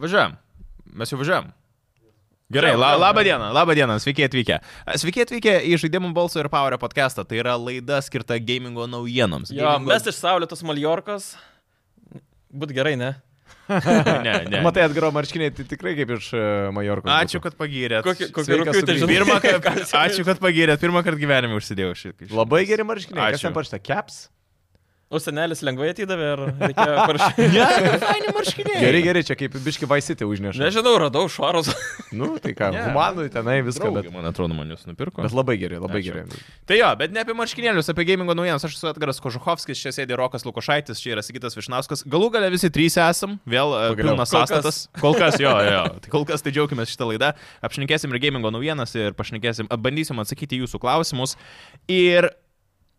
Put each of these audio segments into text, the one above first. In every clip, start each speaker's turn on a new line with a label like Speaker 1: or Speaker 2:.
Speaker 1: Važiuojam. Mes jau važiuojam. Gerai, la, laba diena, laba diena, sveiki atvykę. Sveiki atvykę į žaidimų balso ir power podcastą. Tai yra laida skirta gamingo naujienoms.
Speaker 2: Jo,
Speaker 1: Gamingo-
Speaker 2: mes iš Saulėtos Maljorkos. Būt gerai, ne?
Speaker 1: ne, ne.
Speaker 3: Matai, atgaro marškiniai, tai tikrai kaip iš e, Majorkos.
Speaker 1: Ačiū, kad pagirėt.
Speaker 2: Kokį- kokį
Speaker 3: Sveikas
Speaker 2: rugpjūtį
Speaker 3: sugrįžęs.
Speaker 2: žinai?
Speaker 1: Pirmą kartą.
Speaker 2: Ką čia-
Speaker 1: Ačiū, kad pagirėt. Pirmą kartą gyvenime užsidėjau šį. šį-
Speaker 3: Labai geri marškiniai.
Speaker 1: Ačiū.
Speaker 3: Kas ten parašyta? Keps?
Speaker 2: O senelis lengvai atidavė ir reikėjo parašyti.
Speaker 1: Ne, faini marškiniai.
Speaker 3: Gerai, gerai, čia kaip biški vaisitė užneša.
Speaker 2: Nežinau, radau švarus.
Speaker 3: Nu, tai ką,
Speaker 1: Ne.
Speaker 3: humanui tenai viską,
Speaker 1: Draugė,
Speaker 3: bet,
Speaker 1: man atrodo, man jūs nupirko.
Speaker 3: bet labai gerai, labai
Speaker 1: Ačiū.
Speaker 3: gerai.
Speaker 1: Tai jo, bet ne apie marškinėlius, apie gamingo naujienas. Aš esu Edgaras Kožuhovskis, čia sėdi Rokas Lukošaitis, čia yra Sigitas Višnauskas. Galų gale visi trys esam, vėl e,
Speaker 3: Pagaliau.
Speaker 1: pilnas
Speaker 2: Kol kas.
Speaker 1: sąstatas. Kol kas, jo, jo, jo. Tai kol kas tai džiaugiamės šitą laidą. Apšnekėsim ir gamingo naujienas ir pašnekėsim, bandysim atsakyti į jūsų klausimus. Ir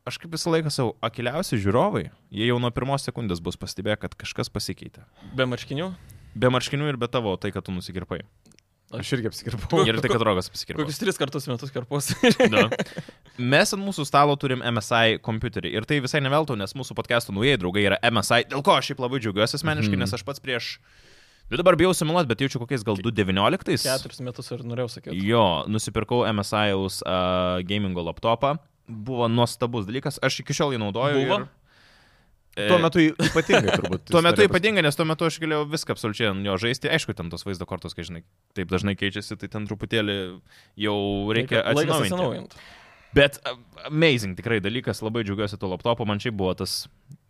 Speaker 1: aš kaip visą laiką savo, akiliausi žiūrovai, jie jau nuo pirmos sekundės bus pastebėję, kad kažkas pasikeitė.
Speaker 2: Be marškinių.
Speaker 1: Be marškinių ir be tavo, tai kad tu nusikirpai.
Speaker 3: Aš irgi apsikirpau.
Speaker 1: Ir tai, kad Rokas apsikirpo.
Speaker 2: Kokius tris kartus į metus karpos.
Speaker 1: Na. Mes ant mūsų stalo turim MSI kompiuterį ir tai visai neveltau, nes mūsų podcastų naujieji draugai yra MSI, dėl ko aš šiaip labai džiaugiuosi asmeniškai, nes aš pats prieš, nu dabar bijau sumiluoti, bet jaučiu kokiais gal 2.19.
Speaker 2: Keturis metus ir norėjau sakyti.
Speaker 1: Jo, nusipirkau MSI uh, gamingo laptopą, buvo nuostabus dalykas, aš iki šiol jį naudoju.
Speaker 2: Buvo?
Speaker 1: Ir...
Speaker 3: Tuo metu y- ypatingai turbūt.
Speaker 1: Tuo metu
Speaker 3: istorija pas-
Speaker 1: ypatinga, nes tuo metu aš galėjau viską absoliučiai ant jo žaisti. Aišku, ten tos vaizdo kortos, kai žinai, taip dažnai keičiasi, tai ten truputėlį jau reikia atsinaujinti.
Speaker 2: atsinaujinti.
Speaker 1: Bet a- amazing tikrai dalykas, labai džiaugiuosi tuo laptopu, man šiaip buvo tas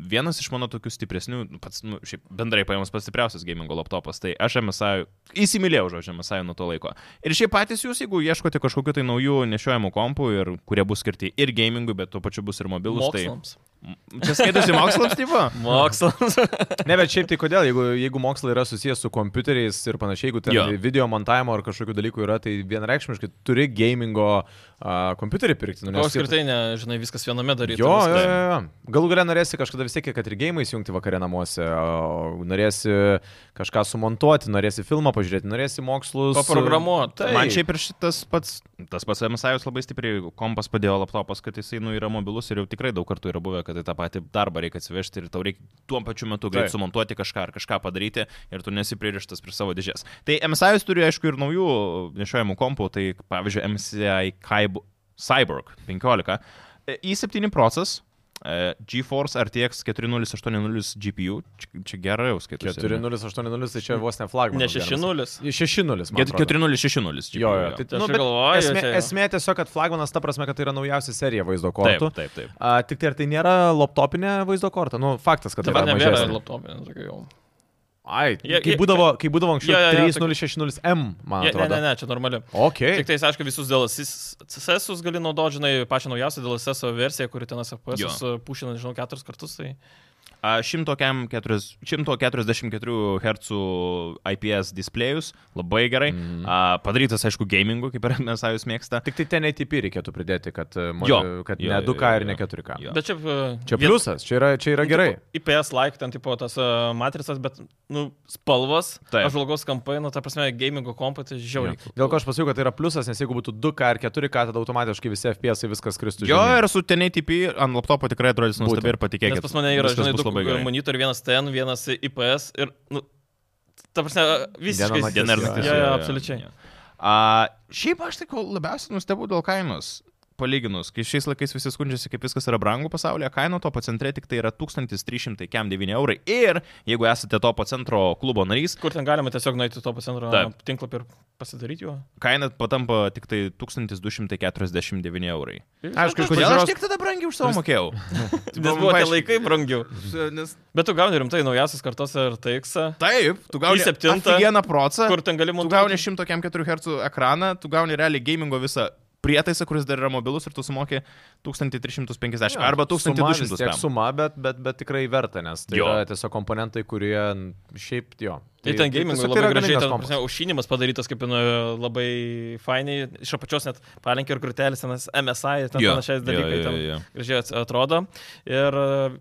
Speaker 1: vienas iš mano tokių stipresnių, nu, pats, nu, šiaip bendrai paėmus pats stipriausias gamingo laptopas, tai aš MSI, įsimylėjau žodžiu MSI nuo to laiko. Ir šiaip patys jūs, jeigu ieškote kažkokiu tai naujų nešiojamų kompų, ir, kurie bus skirti ir gamingui, bet tuo pačiu bus ir mobilus,
Speaker 2: Mokslams.
Speaker 1: tai... Čia skaitosi mokslams, tipo?
Speaker 2: Mokslams.
Speaker 3: Ne, bet šiaip tai kodėl, jeigu, jeigu mokslai yra susijęs su kompiuteriais ir panašiai, jeigu ten
Speaker 1: Jo.
Speaker 3: jo. video montavimo ar kažkokių dalykų yra, tai vienareikšmiškai turi gamingo a, kompiuterį pirkti. Nu,
Speaker 2: O apskritai, ne, žinai, viskas viename daryti.
Speaker 3: Jo, jo,
Speaker 2: viską.
Speaker 3: jo, jo. Galų galę norėsi kažkada vis tiek, kad ir gėjimai įjungti vakarė namuose, o norėsi kažką sumontuoti, norėsi filmą pažiūrėti, norėsi mokslus.
Speaker 2: Paprogramuot.
Speaker 3: Tai.
Speaker 1: Man šiaip ir šitas pats, tas pats MSI jūs labai stipriai kompas padėjo laptopas, kad jisai nu, yra mobilus ir jau tikrai daug kartų yra buvę, kad į tą patį darbą reikia atsivežti ir tau reikia tuo pačiu metu greit
Speaker 3: Taip.
Speaker 1: sumontuoti kažką ar kažką padaryti ir tu nesipririštas prie savo dėžės. Tai MSI jūs turi aišku ir naujų nešiojamų kompų, tai pavyzdžiui MSI Kyb- Cyborg 15, e, i7 procesas. e, GeForce RTX 4080 GPU, čia, čia gerai jau
Speaker 3: e,
Speaker 1: skaitau.
Speaker 3: 4080, tai čia vos ne flagmanas.
Speaker 2: Mm. Ne 6-0.
Speaker 3: 6-0.
Speaker 1: 4060 GPU.
Speaker 3: Jo, jo. Tai,
Speaker 2: Tai
Speaker 3: nu,
Speaker 2: aš ir
Speaker 3: bet
Speaker 2: galvoju,
Speaker 3: esmė,
Speaker 2: čia-
Speaker 3: esmė tiesiog, kad flagmanas ta prasme, kad tai yra naujausia serija vaizdo
Speaker 1: taip,
Speaker 3: kortų.
Speaker 1: taip, taip.
Speaker 3: A, tik tai ar tai nėra laptopinė vaizdo kortą? Nu, faktas, kad tai
Speaker 2: Dabar
Speaker 3: yra
Speaker 2: nebėra
Speaker 3: mažesnė.
Speaker 2: laptopė. tokia jau.
Speaker 3: Ai,
Speaker 2: Jie-
Speaker 3: kai
Speaker 2: jie-
Speaker 3: būdavo, kai būdavo anksčiau
Speaker 2: Jo, jo, jo, tokia-
Speaker 3: 3060M, man
Speaker 2: Je- Ne, ne,
Speaker 3: atrodo.
Speaker 2: ne, čia normali.
Speaker 3: Ok.
Speaker 2: Tik tai tais, aišku, visus DLSS gali naudoti, žinai, pačią naujausio DLSS versiją, kuri ten
Speaker 1: Jo.
Speaker 2: SPS e, pušina, nežinau, keturis kartus. Tai...
Speaker 1: A, 104 144 Hz IPS displejus, labai gerai. Mm. A, padarytas, aišku, gamingu, kaip ir mes jūs mėgsta.
Speaker 3: Tik tai ten ATP reikėtų pridėti, kad, e, mo-
Speaker 1: Jo.
Speaker 3: kad
Speaker 1: Jo,
Speaker 3: ne
Speaker 1: jo,
Speaker 3: 2K
Speaker 1: jo,
Speaker 3: ir ne
Speaker 1: jo.
Speaker 3: 4K.
Speaker 1: Jo.
Speaker 2: Bet e, čia...
Speaker 3: Čia pliusas, čia yra,
Speaker 2: nu,
Speaker 3: čia yra gerai.
Speaker 2: IPS like, ten tipo tas uh, matricas, bet, nu, spalvas,
Speaker 1: Taip.
Speaker 2: apžvalgos kampai, nu, ta prasme, gamingo kompai, tai žiauriai.
Speaker 3: Dėl ko aš pasakiau, kad tai yra pliusas, nes jeigu būtų 2K ir 4K, tada automatiškai visi FPS -ai viskas kristų.
Speaker 1: Jo,
Speaker 3: žemyn.
Speaker 1: ir su TNTP ant laptopo tikrai atrodys nuostabiai ir patikėkit.
Speaker 2: Nes pas mane yra,
Speaker 1: viskas
Speaker 2: žinai,
Speaker 1: bus
Speaker 2: du
Speaker 1: labai gerai.
Speaker 2: monitoriai, vienas ten, vienas IPS ir, nu, ta prasme, visiškai...
Speaker 3: naktis.
Speaker 1: Diena ir
Speaker 3: Jo,
Speaker 1: naktis.
Speaker 2: jo, jo, absoliučiai.
Speaker 1: A, šiaip aš tik labiausiai nustebau dėl kainos. Palyginus, kai šiais laikais visi skundžiasi, kaip viskas yra brangu pasaulyje, kaina topo centre tik tai yra 1309 eurai. Ir jeigu esate topo centro klubo narys,
Speaker 2: Kur ten galima tiesiog nueiti į topo centro
Speaker 1: Taip.
Speaker 2: tinklapį ir pasidaryti juo.
Speaker 1: kaina patampa tik tai 1249 eurai.
Speaker 3: Aišku, iš
Speaker 1: Kodėl
Speaker 3: pažiūros-
Speaker 1: aš tiek tada brangiai už savo mokėjau? Tai
Speaker 2: Nes buvo tie laikai brangiau.
Speaker 1: Nes...
Speaker 2: Bet tu gauni rimtai naujasias kartos RTX, -ą,
Speaker 1: Taip, tu gauni
Speaker 2: Į septintą,
Speaker 1: vieną procentą,
Speaker 2: kur ten gali
Speaker 1: tu
Speaker 2: montuoti.
Speaker 1: gauni 104 Hz ekraną, tu gauni realiai gamingo visą prietaisą, kuris dar yra mobilus ir tu sumoki 1350
Speaker 3: Jo,
Speaker 1: arba
Speaker 3: suma vis
Speaker 1: 1200.
Speaker 3: tiek
Speaker 1: tam.
Speaker 3: suma, bet, bet, bet tikrai verta, nes tai
Speaker 1: Jo.
Speaker 3: jo. yra tiesiog komponentai, kurie n- šiaip jo. Tai
Speaker 2: Ir Tai ten
Speaker 1: tai
Speaker 2: gamingui
Speaker 3: tiesiog
Speaker 2: labai
Speaker 3: yra
Speaker 2: gražiai,
Speaker 3: galingas
Speaker 2: ten
Speaker 3: kompas.
Speaker 2: prasme, aušinimas padarytas kaip nu, labai fainai, iš apačios net palenkė ir krūtelės, nes MSI, ten
Speaker 1: Jo,
Speaker 2: panašiais
Speaker 1: jo,
Speaker 2: dalykai,
Speaker 1: jo,
Speaker 2: ten
Speaker 1: jo.
Speaker 2: gražiai at- atrodo. Ir e,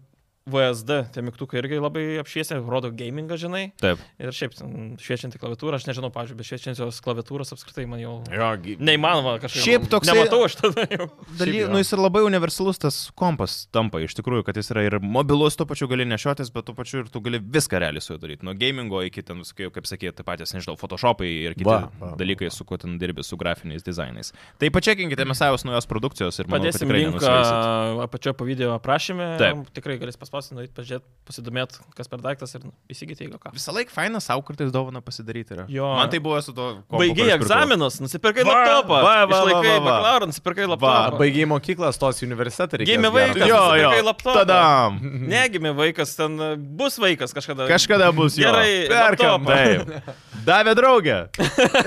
Speaker 2: VSD, tie mygtukai irgi labai apšviesia, rodo gamingą, žinai.
Speaker 1: Taip.
Speaker 2: Ir šiaip, ten, šviečianti klaviatūra, aš nežinau, pavyzdžiui, bet šviečiančios klaviatūros apskritai man jau
Speaker 3: Jo, gi-
Speaker 2: neįmanoma kažkaip.
Speaker 1: Šiaip toksai-
Speaker 2: Nematau aš tada jau.
Speaker 1: Daly, nu, jis ir labai universalus tas kompas tampa, iš tikrųjų, kad jis yra ir mobilus, tuo pačiu gali nešiotis, bet tuo pačiu ir tu gali viską realiai su juo daryti. Nuo gamingo iki ten, visokių, kaip sakė, taip patys, nežinau, photoshopai ir kiti
Speaker 3: Va,
Speaker 1: va,
Speaker 3: va,
Speaker 1: va,
Speaker 3: va.
Speaker 1: dalykai, su kuo ten dirbi, su grafiniais dizainais. Tai pačiakinkite Mesajos naujos produkcijos ir manau, kad
Speaker 2: Padėsim
Speaker 1: tikrai
Speaker 2: linką
Speaker 1: nenusivylsit.
Speaker 2: apačioje po video aprašymė.
Speaker 1: Taip.
Speaker 2: Tikrai galės paspausti, nuėti pažiūrėti, pasidomėti, kas per daiktas ir nu, įsigyti, jeigu ką.
Speaker 1: Visą laiką faina savo kartais dovana pasidaryti yra.
Speaker 2: Jo.
Speaker 1: Man tai buvo su to. kompu,
Speaker 2: Baigiai
Speaker 1: kurį aš pirkau.
Speaker 2: egzaminus, nusipirkai
Speaker 1: Va,
Speaker 2: laptopą.
Speaker 1: va, va, va,
Speaker 2: Išlaikai
Speaker 1: va, va.
Speaker 2: bakalauro, nusipirkai
Speaker 3: Va,
Speaker 2: laptopą.
Speaker 3: baigiai mokyklą, stos į universitetą. reikės
Speaker 2: Gimė
Speaker 3: gero.
Speaker 2: vaikas.
Speaker 1: Tai Jo, jo.
Speaker 2: Nusipirkai laptopą.
Speaker 1: Tada.
Speaker 2: Negimė vaikas, ten e, bus vaikas kažkada.
Speaker 1: Kažkada bus jo.
Speaker 2: Gerai,
Speaker 1: perkam.
Speaker 2: laptopą.
Speaker 1: Taip. Davė draugę.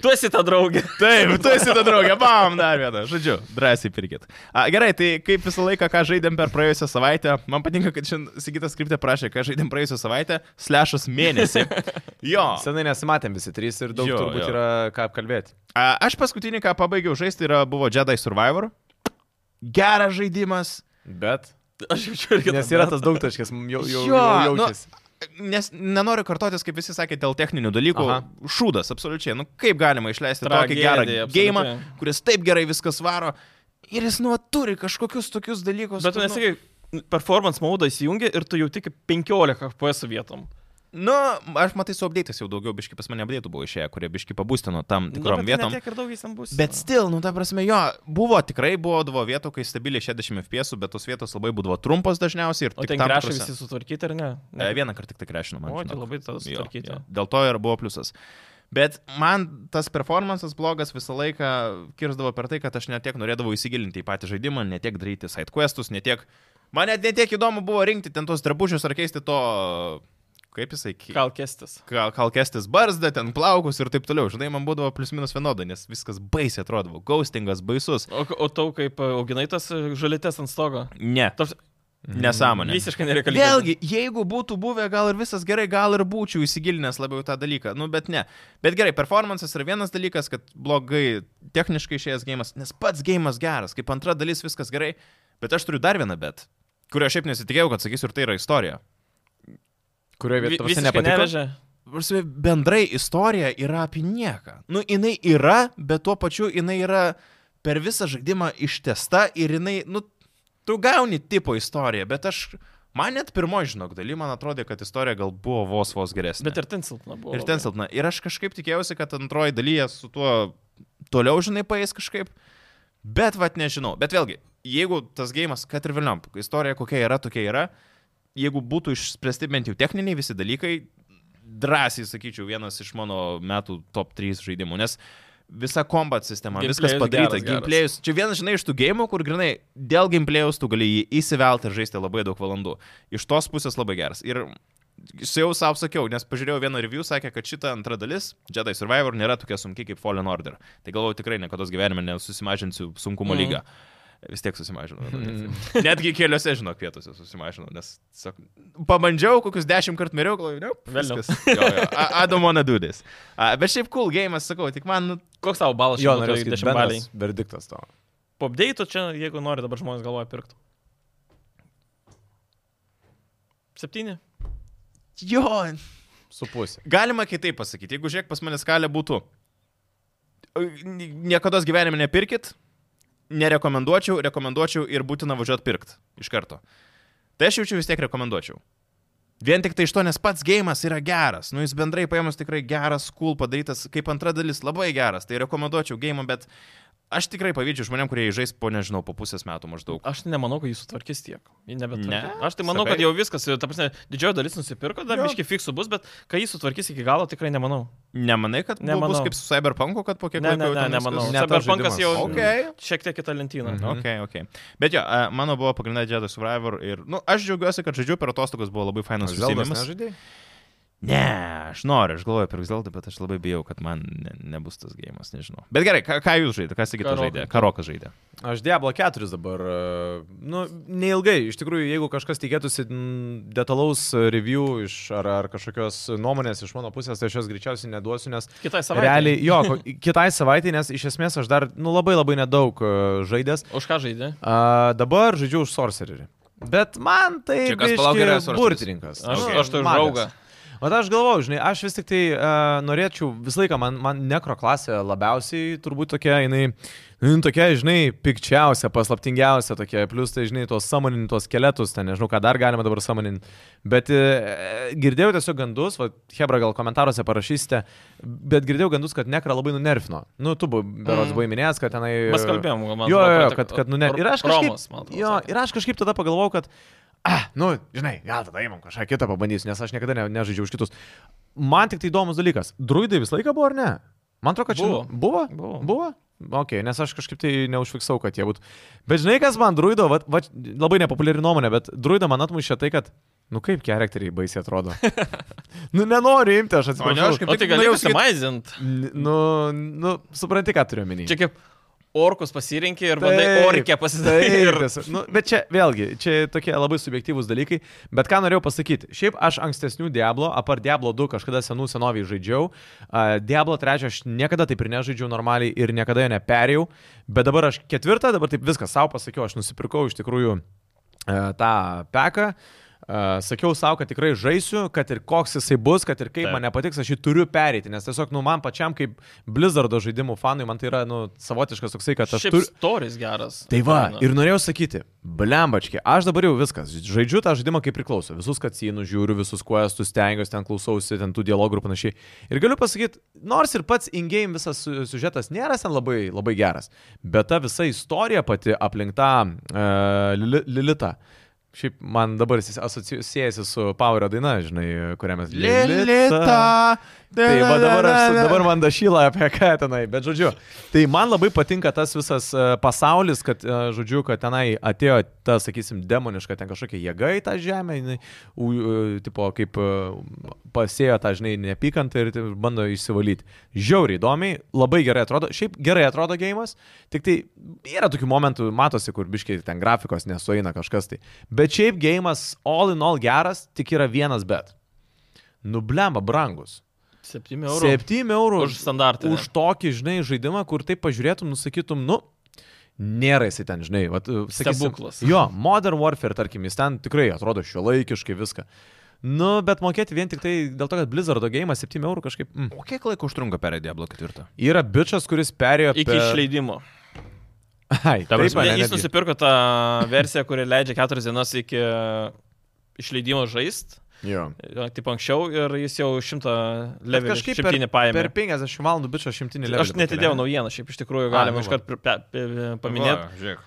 Speaker 2: Tu esi ta draugė.
Speaker 1: Taip, tu esi ta draugė. Bam, dar vieną. Žodžiu, drąsiai pirkit. A, gerai, tai kaip visą laiką, ką žaidėm per praėjusią savaitę. Man patinka, kad šiandien Sigitas skriptė prašė, ką žaidėm praėjusią savaitę, slešas mėnesį. Jo.
Speaker 3: Senai nesimatėm visi trys ir daug
Speaker 1: Jo,
Speaker 3: turbūt
Speaker 1: jo.
Speaker 3: yra ką apkalbėti.
Speaker 1: A, aš paskutinį, ką pabaigiau žaisti, yra buvo Jedi Survivor. Geras žaidimas.
Speaker 3: Bet.
Speaker 2: Aš jaučiu irgi.
Speaker 3: Nes yra tas daugtaškis, mum jau, jau,
Speaker 1: Jo,
Speaker 3: jau
Speaker 2: nu,
Speaker 3: jaučiasi.
Speaker 1: Nes nenoriu kartotis, kaip visi sakė, dėl techninių dalykų.
Speaker 3: Aha.
Speaker 1: Aha. Šūdas, absoliučiai. Nu, kaip galima išleisti
Speaker 2: Tragedija,
Speaker 1: tokį gerą gėjimą,
Speaker 2: absoliučiai.
Speaker 1: kuris taip gerai viskas varo. Ir jis nu turi kažkokius tokius dalykus.
Speaker 2: Bet tu
Speaker 1: kur, nu,
Speaker 2: nesakai, performance mode įsijungi ir tu jau tik 15 FPS vietom.
Speaker 1: Nu, aš matai, su update'ais jau daugiau biški pas mane update'ų buvo išėję, kurie biški pabūstino tam tikrom
Speaker 2: bet
Speaker 1: nu,
Speaker 2: ne
Speaker 1: vietom.
Speaker 2: Tiek ir daug jis ten bus.
Speaker 1: Bet still, nu, ta prasme, jo, buvo tikrai, buvo dvo vietų, kai stabiliai 60 FPS, bet tos vietos labai būdavo trumpos dažniausiai ir
Speaker 2: O
Speaker 1: tik
Speaker 2: ten
Speaker 1: tam
Speaker 2: grešai
Speaker 1: tikrose-
Speaker 2: visi sutvarkyti ar ne?
Speaker 1: E, Vieną kartą tik tai krešinu, man.
Speaker 2: O, tai
Speaker 1: žinok.
Speaker 2: labai tada sutvarkyti.
Speaker 1: Jo, jo. Dėl to ir buvo pliusas. Bet man tas performances blogas visą laiką kirzdavo per tai, kad aš netiek norėdavau įsigilinti į patį žaidimą, netiek daryti sidequestus, netiek... Man net netiek įdomu buvo rinkti ten tos drabužius ar keisti to... Kaip jisai... ki-
Speaker 2: Gal kestis.
Speaker 1: ka- kalkestis barzdą, ten plaukus ir taip toliau. Žinai, man būdavo plius minus vienoda, nes viskas baisiai atrodavo. Ghostingas baisus.
Speaker 2: O, o tau kaip e, auginai tas e, žalytes ant stogo?
Speaker 1: Ne.
Speaker 2: Toks-
Speaker 1: Nesąmonė.
Speaker 2: Visiškai nereikalingas.
Speaker 1: Vėlgi, jeigu būtų buvę gal ir visas gerai, gal ir būčiau įsigilinęs labiau į tą dalyką, nu bet ne. Bet gerai, performances yra vienas dalykas, kad blogai techniškai išėjęs gėjimas, nes pats gėjimas geras, kaip antra dalis viskas gerai, bet aš turiu dar vieną bet, kurio aš šiaip nesitikėjau, kad sakysiu ir tai yra istorija.
Speaker 3: Kurioje
Speaker 2: Vi-
Speaker 3: vietoje
Speaker 2: visiškai
Speaker 3: nepatiko?
Speaker 2: nevežė.
Speaker 1: Prasme, bendrai istorija yra apie nieką. Nu, jinai yra, bet tuo pačiu jinai yra per visą žaidimą ištesta ir jinai, nu, tu gauni tipo istoriją, bet aš, man net pirmoji, žinok, daly, man atrodė, kad istorija gal buvo vos vos geresnė.
Speaker 2: Bet ir ten silpna buvo.
Speaker 1: ir ten
Speaker 2: labai.
Speaker 1: silpna. Ir aš kažkaip tikėjausi, kad antroji dalyje su tuo toliau, žinai, paės kažkaip. Bet, vad, nežinau. Bet vėlgi, jeigu tas gėjimas, kad ir Vilniam, istorija kokia yra, tokia yra, jeigu būtų išspręsti bent jau techniniai visi dalykai, drąsiai sakyčiau, vienas iš mano metų top 3 žaidimų, nes visa kombat sistema,
Speaker 2: Gameplay'us
Speaker 1: viskas padaryta,
Speaker 2: geras, geras.
Speaker 1: gameplayus. Čia vienas, žinai, iš tų gėjimų, kur grinai dėl gameplayus tu gali jį įsivelti ir žaisti labai daug valandų. Iš tos pusės labai geras. Ir Jis jau savo sakiau, nes pažiūrėjau vieną review, sakė, kad šita antra dalis, Jedi Survivor, nėra tokia sunki kaip Fallen Order. Tai galvoju, tikrai niekada gyvenime nesusimažinsiu sunkumo
Speaker 2: Mm.
Speaker 1: lygą. Vis tiek susimažinau. Netgi keliuose, žinok, vietose susimažinau, nes sak, pabandžiau, kokius dešimt kartų miriau, galvoju, ne,
Speaker 2: Velniop.
Speaker 1: viskas. Jo, jo, I, I don't wanna do this. A, bet šiaip cool gėjimas, sakau, tik man, nu,
Speaker 2: Koks tavo balas?
Speaker 3: Jo,
Speaker 2: šiuo metu
Speaker 3: norėjau
Speaker 2: į
Speaker 3: sakyti,
Speaker 2: dešimtbalį?
Speaker 3: bendras verdiktas to.
Speaker 2: Po update'o čia, jeigu nori, dabar žmonės galvoja pirktų. Septyni.
Speaker 1: jo,
Speaker 3: Su pusė.
Speaker 1: galima kitaip pasakyti. Jeigu žiūrėk, pas mane skalė būtų, niekada gyvenime nepirkit, nerekomenduočiau, rekomenduočiau ir būtina važiuoti pirkti iš karto. Tai aš jaučiu vis tiek rekomenduočiau. Vien tik tai iš to, nes pats gėjimas yra geras, nu jis bendrai paėmus tikrai geras, cool padarytas, kaip antra dalis labai geras, tai rekomenduočiau gėjimą, bet aš tikrai pavydžiu žmonėm, kurie jį žais po nežinau, po pusės metų maždaug.
Speaker 2: Aš nemanau, kad jis sutvarkys tiek. Ji nebetvarkys.
Speaker 1: Ne?
Speaker 2: Aš tai manau,
Speaker 1: Sakai?
Speaker 2: kad jau viskas, ta prasme, didžioji dalis nusipirko, dar
Speaker 1: Jo.
Speaker 2: biški fiksų bus, bet kai jis sutvarkys iki galo, tikrai nemanau.
Speaker 1: Nemanai, kad Nemanau.
Speaker 2: Nemanau.
Speaker 1: bus kaip su Cyberpunku, kad po kiek
Speaker 2: Ne,
Speaker 1: laiko
Speaker 2: ne,
Speaker 1: jau
Speaker 2: ne,
Speaker 1: ten
Speaker 2: nemanau.
Speaker 1: viskas-
Speaker 3: Ne tas
Speaker 2: Cyberpunkas jau
Speaker 3: žaidimas.
Speaker 1: Okay.
Speaker 2: šiek tiek kitą lentyną.
Speaker 3: Mhm.
Speaker 1: Ok, ok. Bet jo, a, mano buvo pagrindinė Jedi Survivor ir, na, nu, aš džiaugiuosi, kad žaidžiu per atostogas buvo labai fainas užsiėmimas.
Speaker 3: nežaidėjai?
Speaker 1: Ne, aš noriu, aš galvoju per Zeldą, bet aš labai bijau, kad man ne, nebus tas gėjimas, nežinau. Bet gerai, ką, ką jūs žaidėte, kas kitas
Speaker 2: Karoką.
Speaker 1: žaidė? Karokas žaidė.
Speaker 3: Aš Diablo 4 dabar, e, nu, neilgai, iš tikrųjų, jeigu kažkas tikėtųsi mm, detalaus e, review iš, ar, ar kažkokios nuomonės iš mano pusės, tai aš jos greičiausiai neduosiu, nes
Speaker 2: Kitai savaitei.
Speaker 3: realiai, jo, ko- kitai savaitė, nes iš esmės aš dar, nu, labai labai nedaug e, žaidęs.
Speaker 2: Už ką žaidė?
Speaker 3: A, dabar žaidžiu už Sorcererį. Bet man tai...
Speaker 1: Čia kas, palauk,
Speaker 3: biški
Speaker 1: yra svarstytis?
Speaker 3: burtininkas. Nu,
Speaker 2: Aš,
Speaker 1: Okay.
Speaker 2: okay. aš tai
Speaker 3: Magas.
Speaker 2: žaugą.
Speaker 3: O aš galvoju, žinai, aš vis tik tai uh, norėčiau, visą laiką man, man nekro klasė labiausiai turbūt tokia, jinai, jinai tokia, žinai, pikčiausia, paslaptingiausia tokia, plus tai, žinai, tos samonintos skeletus, ten nežinau, ką dar galima dabar samoninti. Bet uh, girdėjau tiesiog gandus, va, Hebra gal komentaruose parašysite, bet girdėjau gandus, kad nekra labai nunerfino. Nu, tu, bu- berods,
Speaker 2: Mm.
Speaker 3: buvai minėjęs, kad tenai...
Speaker 2: Mes kalbėjom, man
Speaker 3: Jo,
Speaker 2: atrodo,
Speaker 3: jo, jo,
Speaker 2: praeitą-
Speaker 3: kad, kad nu, ne,
Speaker 2: Ro-
Speaker 3: ir aš kažkaip,
Speaker 2: Romas, man atrodo,
Speaker 3: jo,
Speaker 2: sakė.
Speaker 3: ir aš kažkaip tada pagalvojau, kad, ah, nu, žinai, gal tada įmam kažką kitą pabandysiu, nes aš niekada ne, nežaidžiau už kitus. Man tik tai įdomus dalykas, druidai visą laiką buvo ar ne? Man atrodo, kad čia
Speaker 2: Buvo.
Speaker 3: Buvo?
Speaker 2: Buvo.
Speaker 3: Buvo? Ok, nes aš kažkaip tai neužfiksau, kad jie būtų. Bet žinai, kas man druido, va, va, labai nepopuliari nuomonė, bet druido man atmušė tai, kad, nu kaip charakteriai baisiai atrodo. nu nenoriu imti, aš
Speaker 1: O ne, aš
Speaker 3: atsiprašau.
Speaker 1: kaip
Speaker 2: O tai
Speaker 1: tik
Speaker 2: gali
Speaker 1: norėjau sakyt-
Speaker 2: užsimaizint.
Speaker 3: N- Nu, nu, supranti, ką turiu omenyje.
Speaker 2: Čia kaip orkus pasirinkė ir bandai orkę pasidaryti.
Speaker 3: Taip, tiesa. nu, bet čia vėlgi, čia tokie labai subjektyvūs dalykai. Bet ką norėjau pasakyti. Šiaip aš ankstesnių Diablo, apar Diablo 2 kažkada senų senoviai žaidžiau. Uh, Diablo 3 aš niekada taip ir nežaidžiau normaliai ir niekada jo neperėjau. Bet dabar aš ketvirtą, dabar taip viską savo pasakiau, aš nusipirkau iš tikrųjų e, tą peką. E, Sakiau savo, kad tikrai žaisiu, kad ir koks jisai bus, kad ir kaip
Speaker 1: Taip.
Speaker 3: man nepatiks, aš jį turiu pereiti, nes tiesiog, nu, man pačiam kaip Blizzardo žaidimų fanui, man tai yra, nu, savotiškas toksai, kad aš
Speaker 2: Šiaip
Speaker 3: turiu...
Speaker 2: storis geras. nu,
Speaker 3: Tai va,
Speaker 2: Faina.
Speaker 3: ir norėjau sakyti, blembački, aš dabar jau viskas, žaidžiu tą žaidimą kaip priklauso, visus kacinus žiūriu, visus kuestus stengiuosi, ten klausausi, ten tų dialogų ir panašiai. Ir galiu pasakyti, nors ir pats in-game visas su- siužetas nėra ten labai, labai geras, bet ta visa istorija pati aplinkta uh, Lilita. Šiaip man dabar jis asocijuojasi su Power daina, žinai, kurią mes Tai va dabar, aš, dabar man dašyla apie ką tenai, bet žodžiu. Tai man labai patinka tas visas e, pasaulis, kad, e, žodžiu, kad tenai atėjo ta, sakysim, demoniška ten kažkokia jėga į tą žemę, jinai, u, e, tipo, kaip e, pasėjo tą, žinai, neapykantą ir taip bando išsivalyti. Žiauriai įdomiai, labai gerai atrodo, šiaip gerai atrodo gėjimas, tik tai yra tokių momentų, matosi, kur biškiai ten grafikos nesueina kažkas tai. Bet šiaip gėjimas all in all geras, tik yra vienas bet. Nublemba brangus.
Speaker 2: 7 eurų.
Speaker 3: 7 eurų
Speaker 2: Už standartinę.
Speaker 3: Už tokį, žinai, žaidimą, kur taip pažiūrėtum, nusakytum, nu, nėra jisai ten, žinai, vat, uh, sakysim,
Speaker 2: Stebuklas.
Speaker 3: Jo, Modern Warfare, tarkim, jis ten tikrai atrodo šio laikiškai viską. Nu, bet mokėti vien tik tai dėl to, kad Blizzardo gėjimas 7 eurų kažkaip... Mm.
Speaker 1: O kiek laiko užtrunka per Diablo 4?
Speaker 3: Yra bičias, kuris perėjo...
Speaker 2: Iki
Speaker 3: per...
Speaker 2: išleidimo.
Speaker 3: Ai,
Speaker 1: Ta
Speaker 3: taip,
Speaker 1: prasme,
Speaker 3: mane
Speaker 2: Ne, jis
Speaker 3: netgi.
Speaker 2: nusipirko tą versiją, kuri leidžia 4 dienas iki išleidimo žaist.
Speaker 3: Jo.
Speaker 2: Taip anksčiau ir jis jau šimtą
Speaker 3: Bet
Speaker 2: levelį
Speaker 3: Kažkaip per,
Speaker 2: šimtinį
Speaker 3: per
Speaker 2: paėmė.
Speaker 3: 50 valandų bičio šimtinį levelį.
Speaker 2: Aš netidėjau naujieną, šiaip iš tikrųjų galima
Speaker 3: nu va.
Speaker 2: iškart pri- pe- pe- paminėti.
Speaker 1: Žiūrėk.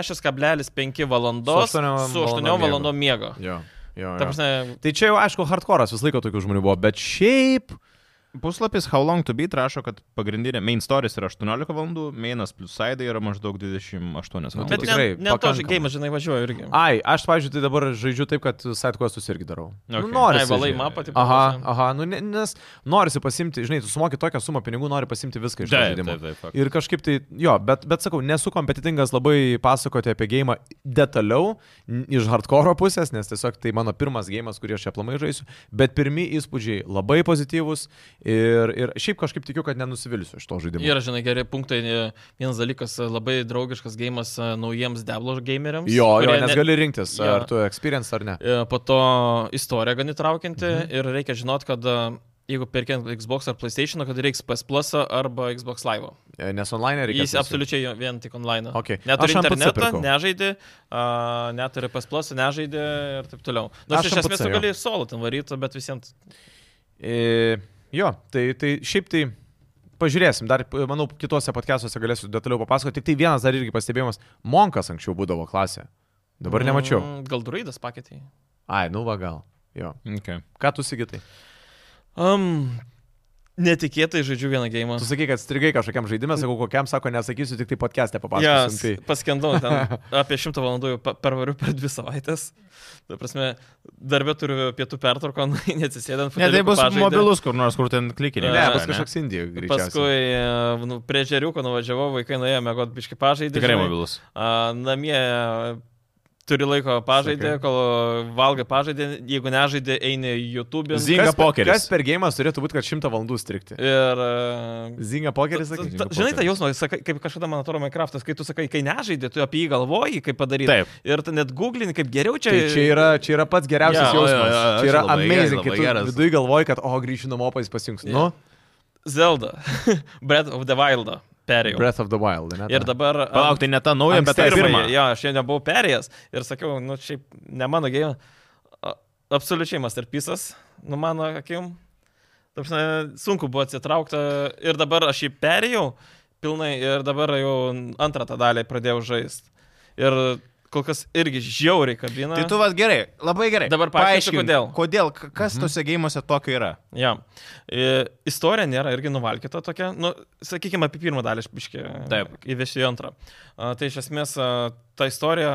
Speaker 2: 56,5 valandos
Speaker 3: Su
Speaker 2: su
Speaker 3: aštuoniom
Speaker 2: 8
Speaker 3: valandom
Speaker 2: valandom miego.
Speaker 3: Jo, jo.
Speaker 2: Ta
Speaker 3: jo.
Speaker 2: prasme,
Speaker 3: Tai čia jau, aišku, hardcore'as visą laiką tokių žmonių buvo, bet šiaip...
Speaker 1: Puslapis How Long to Beat rašo, kad pagrindinė main stories yra 18 valandų, mainas plus side yra maždaug 28
Speaker 3: Nu,
Speaker 1: valandos.
Speaker 3: tai
Speaker 2: bet
Speaker 1: Bet,
Speaker 3: tikrai
Speaker 2: ne, ne to
Speaker 3: pakankamai.
Speaker 2: žaidimas, žinai, važiuoju irgi.
Speaker 3: Ai, aš, pavyzdžiui, tai dabar žaidžiu taip, kad sidequestus irgi darau. Okay. Nu,
Speaker 1: Okay.
Speaker 3: norisi,
Speaker 2: Ai, valai
Speaker 3: žinai.
Speaker 2: mapą, tai taip.
Speaker 3: Aha, aha, nu, ne- nes norisi pasimti, žinai, tu sumoki tokią sumą pinigų, nori pasimti viską iš to
Speaker 1: Taip,
Speaker 3: žaidimo.
Speaker 1: taip, taip, fakt.
Speaker 3: Ir kažkaip tai, jo, bet, bet sakau, nesu kompetitingas labai pasakoti apie gėjimą detaliau n- iš hardcore pusės, nes tiesiog tai mano pirmas gėjimas, kurį aš čia plamai žaisiu, bet pirmi įspūdžiai labai pozityvūs ir, ir šiaip kažkaip tikiu, kad nenusivilsiu iš to žaidimo.
Speaker 2: Yra, žinai, geri punktai. Vienas dalykas, labai draugiškas gėjimas naujiems Diablo gameriams.
Speaker 3: Jo, jo,
Speaker 2: kurie
Speaker 3: nes
Speaker 2: ne-
Speaker 3: gali rinktis,
Speaker 2: jo.
Speaker 3: ar tu experience ar ne.
Speaker 2: E, Po to istorija gan įtraukianti
Speaker 3: Mhm.
Speaker 2: ir reikia žinot, kad e, jeigu perkiant Xbox ar PlayStation, kad reiks PS Plus arba Xbox Live.
Speaker 3: E, Nes online reikia.
Speaker 2: Jis absoliučiai jo- vien tik online.
Speaker 3: Okay.
Speaker 2: Neturi
Speaker 3: Aš ant PC
Speaker 2: interneto,
Speaker 3: pirkau.
Speaker 2: nežaidė, uh, neturi PS Plus, nežaidė ir taip toliau. Nors
Speaker 3: Aš
Speaker 2: iš
Speaker 3: ant
Speaker 2: esmės
Speaker 3: PC,
Speaker 2: tu
Speaker 3: jo.
Speaker 2: gali solo ten varyti, bet visiems...
Speaker 3: E, jo, tai, tai šiaip tai pažiūrėsim, dar, p- manau, kitose podcastuose galėsiu detaliau papasakoti. Tik tai vienas dar irgi pastebėjimas, Monkas anksčiau būdavo klasė. Dabar nemačiau.
Speaker 2: Mm, Gal druidas paketė.
Speaker 3: Ai, nu va gal. Jo.
Speaker 1: Okay.
Speaker 3: Ką tu sigitai?
Speaker 2: Um, netikėtai žaidžiu vieną gėjimą.
Speaker 3: Tu sakai, kad strigai kažkokiam žaidimui, sakau, kokiam, sako, nesakysiu, tik tai podcast'e
Speaker 2: Jas,
Speaker 3: papasakosiu. Yes.
Speaker 2: paskendau ten apie šimtą valandų jau pa- pervariu per dvi savaitės. Tai prasme, darbė turiu pietų pertrauką, nu, neatsisėdant.
Speaker 1: Ne, tai bus mobilus kur nors, kur ten klikinė.
Speaker 3: Tai.
Speaker 2: Jo,
Speaker 3: Ne,
Speaker 2: jo,
Speaker 3: bus
Speaker 2: ne.
Speaker 3: kažkoks Indijų greičiausiai.
Speaker 2: Paskui e, nu, prie žeriuko nuvažiavau, vaikai nuėjo mėgoti biški pažaidimą.
Speaker 1: Tikrai mobilus.
Speaker 2: Namie e, Turi laiko pažaidė,
Speaker 3: Sakai.
Speaker 2: kol valgai pažaidė, jeigu nežaidė, eini į YouTube.
Speaker 1: Zi- Zinga
Speaker 3: kas, per-
Speaker 1: pokeris.
Speaker 3: Kas per gėjimas turėtų būti, kad šimtą valandų strikti?
Speaker 2: Ir... e,
Speaker 3: Zinga pokeris,
Speaker 2: ta-
Speaker 3: sakai?
Speaker 2: ta- Žinai, tą jausmą, sakai, kaip kažkada, man atrodo, Minecraftas, kai tu sakai, kai nežaidė, tu apie jį galvoji, kaip padaryti.
Speaker 1: Taip.
Speaker 2: Ir tu net googlini, kaip geriau čia.
Speaker 3: Tai čia yra, čia yra pats geriausias
Speaker 1: Jo, jo,
Speaker 3: jausmas.
Speaker 1: jo, jo,
Speaker 3: čia yra
Speaker 1: čia labai gerai,
Speaker 3: amazing,
Speaker 1: labai
Speaker 3: kai tu
Speaker 1: geras.
Speaker 3: viduje galvoji, kad, o, grįšiu namo, pas pasijungs. Nu,
Speaker 2: Zelda. Breath of the Wild. Perėjau.
Speaker 3: Breath of the Wild, ne?
Speaker 2: tai Ir dabar... a,
Speaker 1: Palauk, tai ne ta nauja, bet tai
Speaker 2: Ankstyvąjį,
Speaker 1: pirma.
Speaker 2: Jo, aš jau nebuvau perėjęs ir sakiau, nu šiaip ne mano gėjim, absoliučiai masterpisas, nu mano akim. Ta prasme, Sunku buvo atsitraukti ir dabar aš jį perėjau pilnai ir dabar jau antrą tą dalį pradėjau žaisti. Ir kol kas irgi žiauriai kabina.
Speaker 1: Tai tu vas gerai, labai gerai.
Speaker 2: Dabar paaiškink, kodėl.
Speaker 1: Kodėl, k- kas tose gėjimuose tokio yra?
Speaker 2: Ja. I, E, istorija nėra irgi nuvalkita tokia, nu, sakykime, apie pirmą dalį išpiškė.
Speaker 1: Taip.
Speaker 2: Įvešti į antrą. A, tai iš esmės a, ta istorija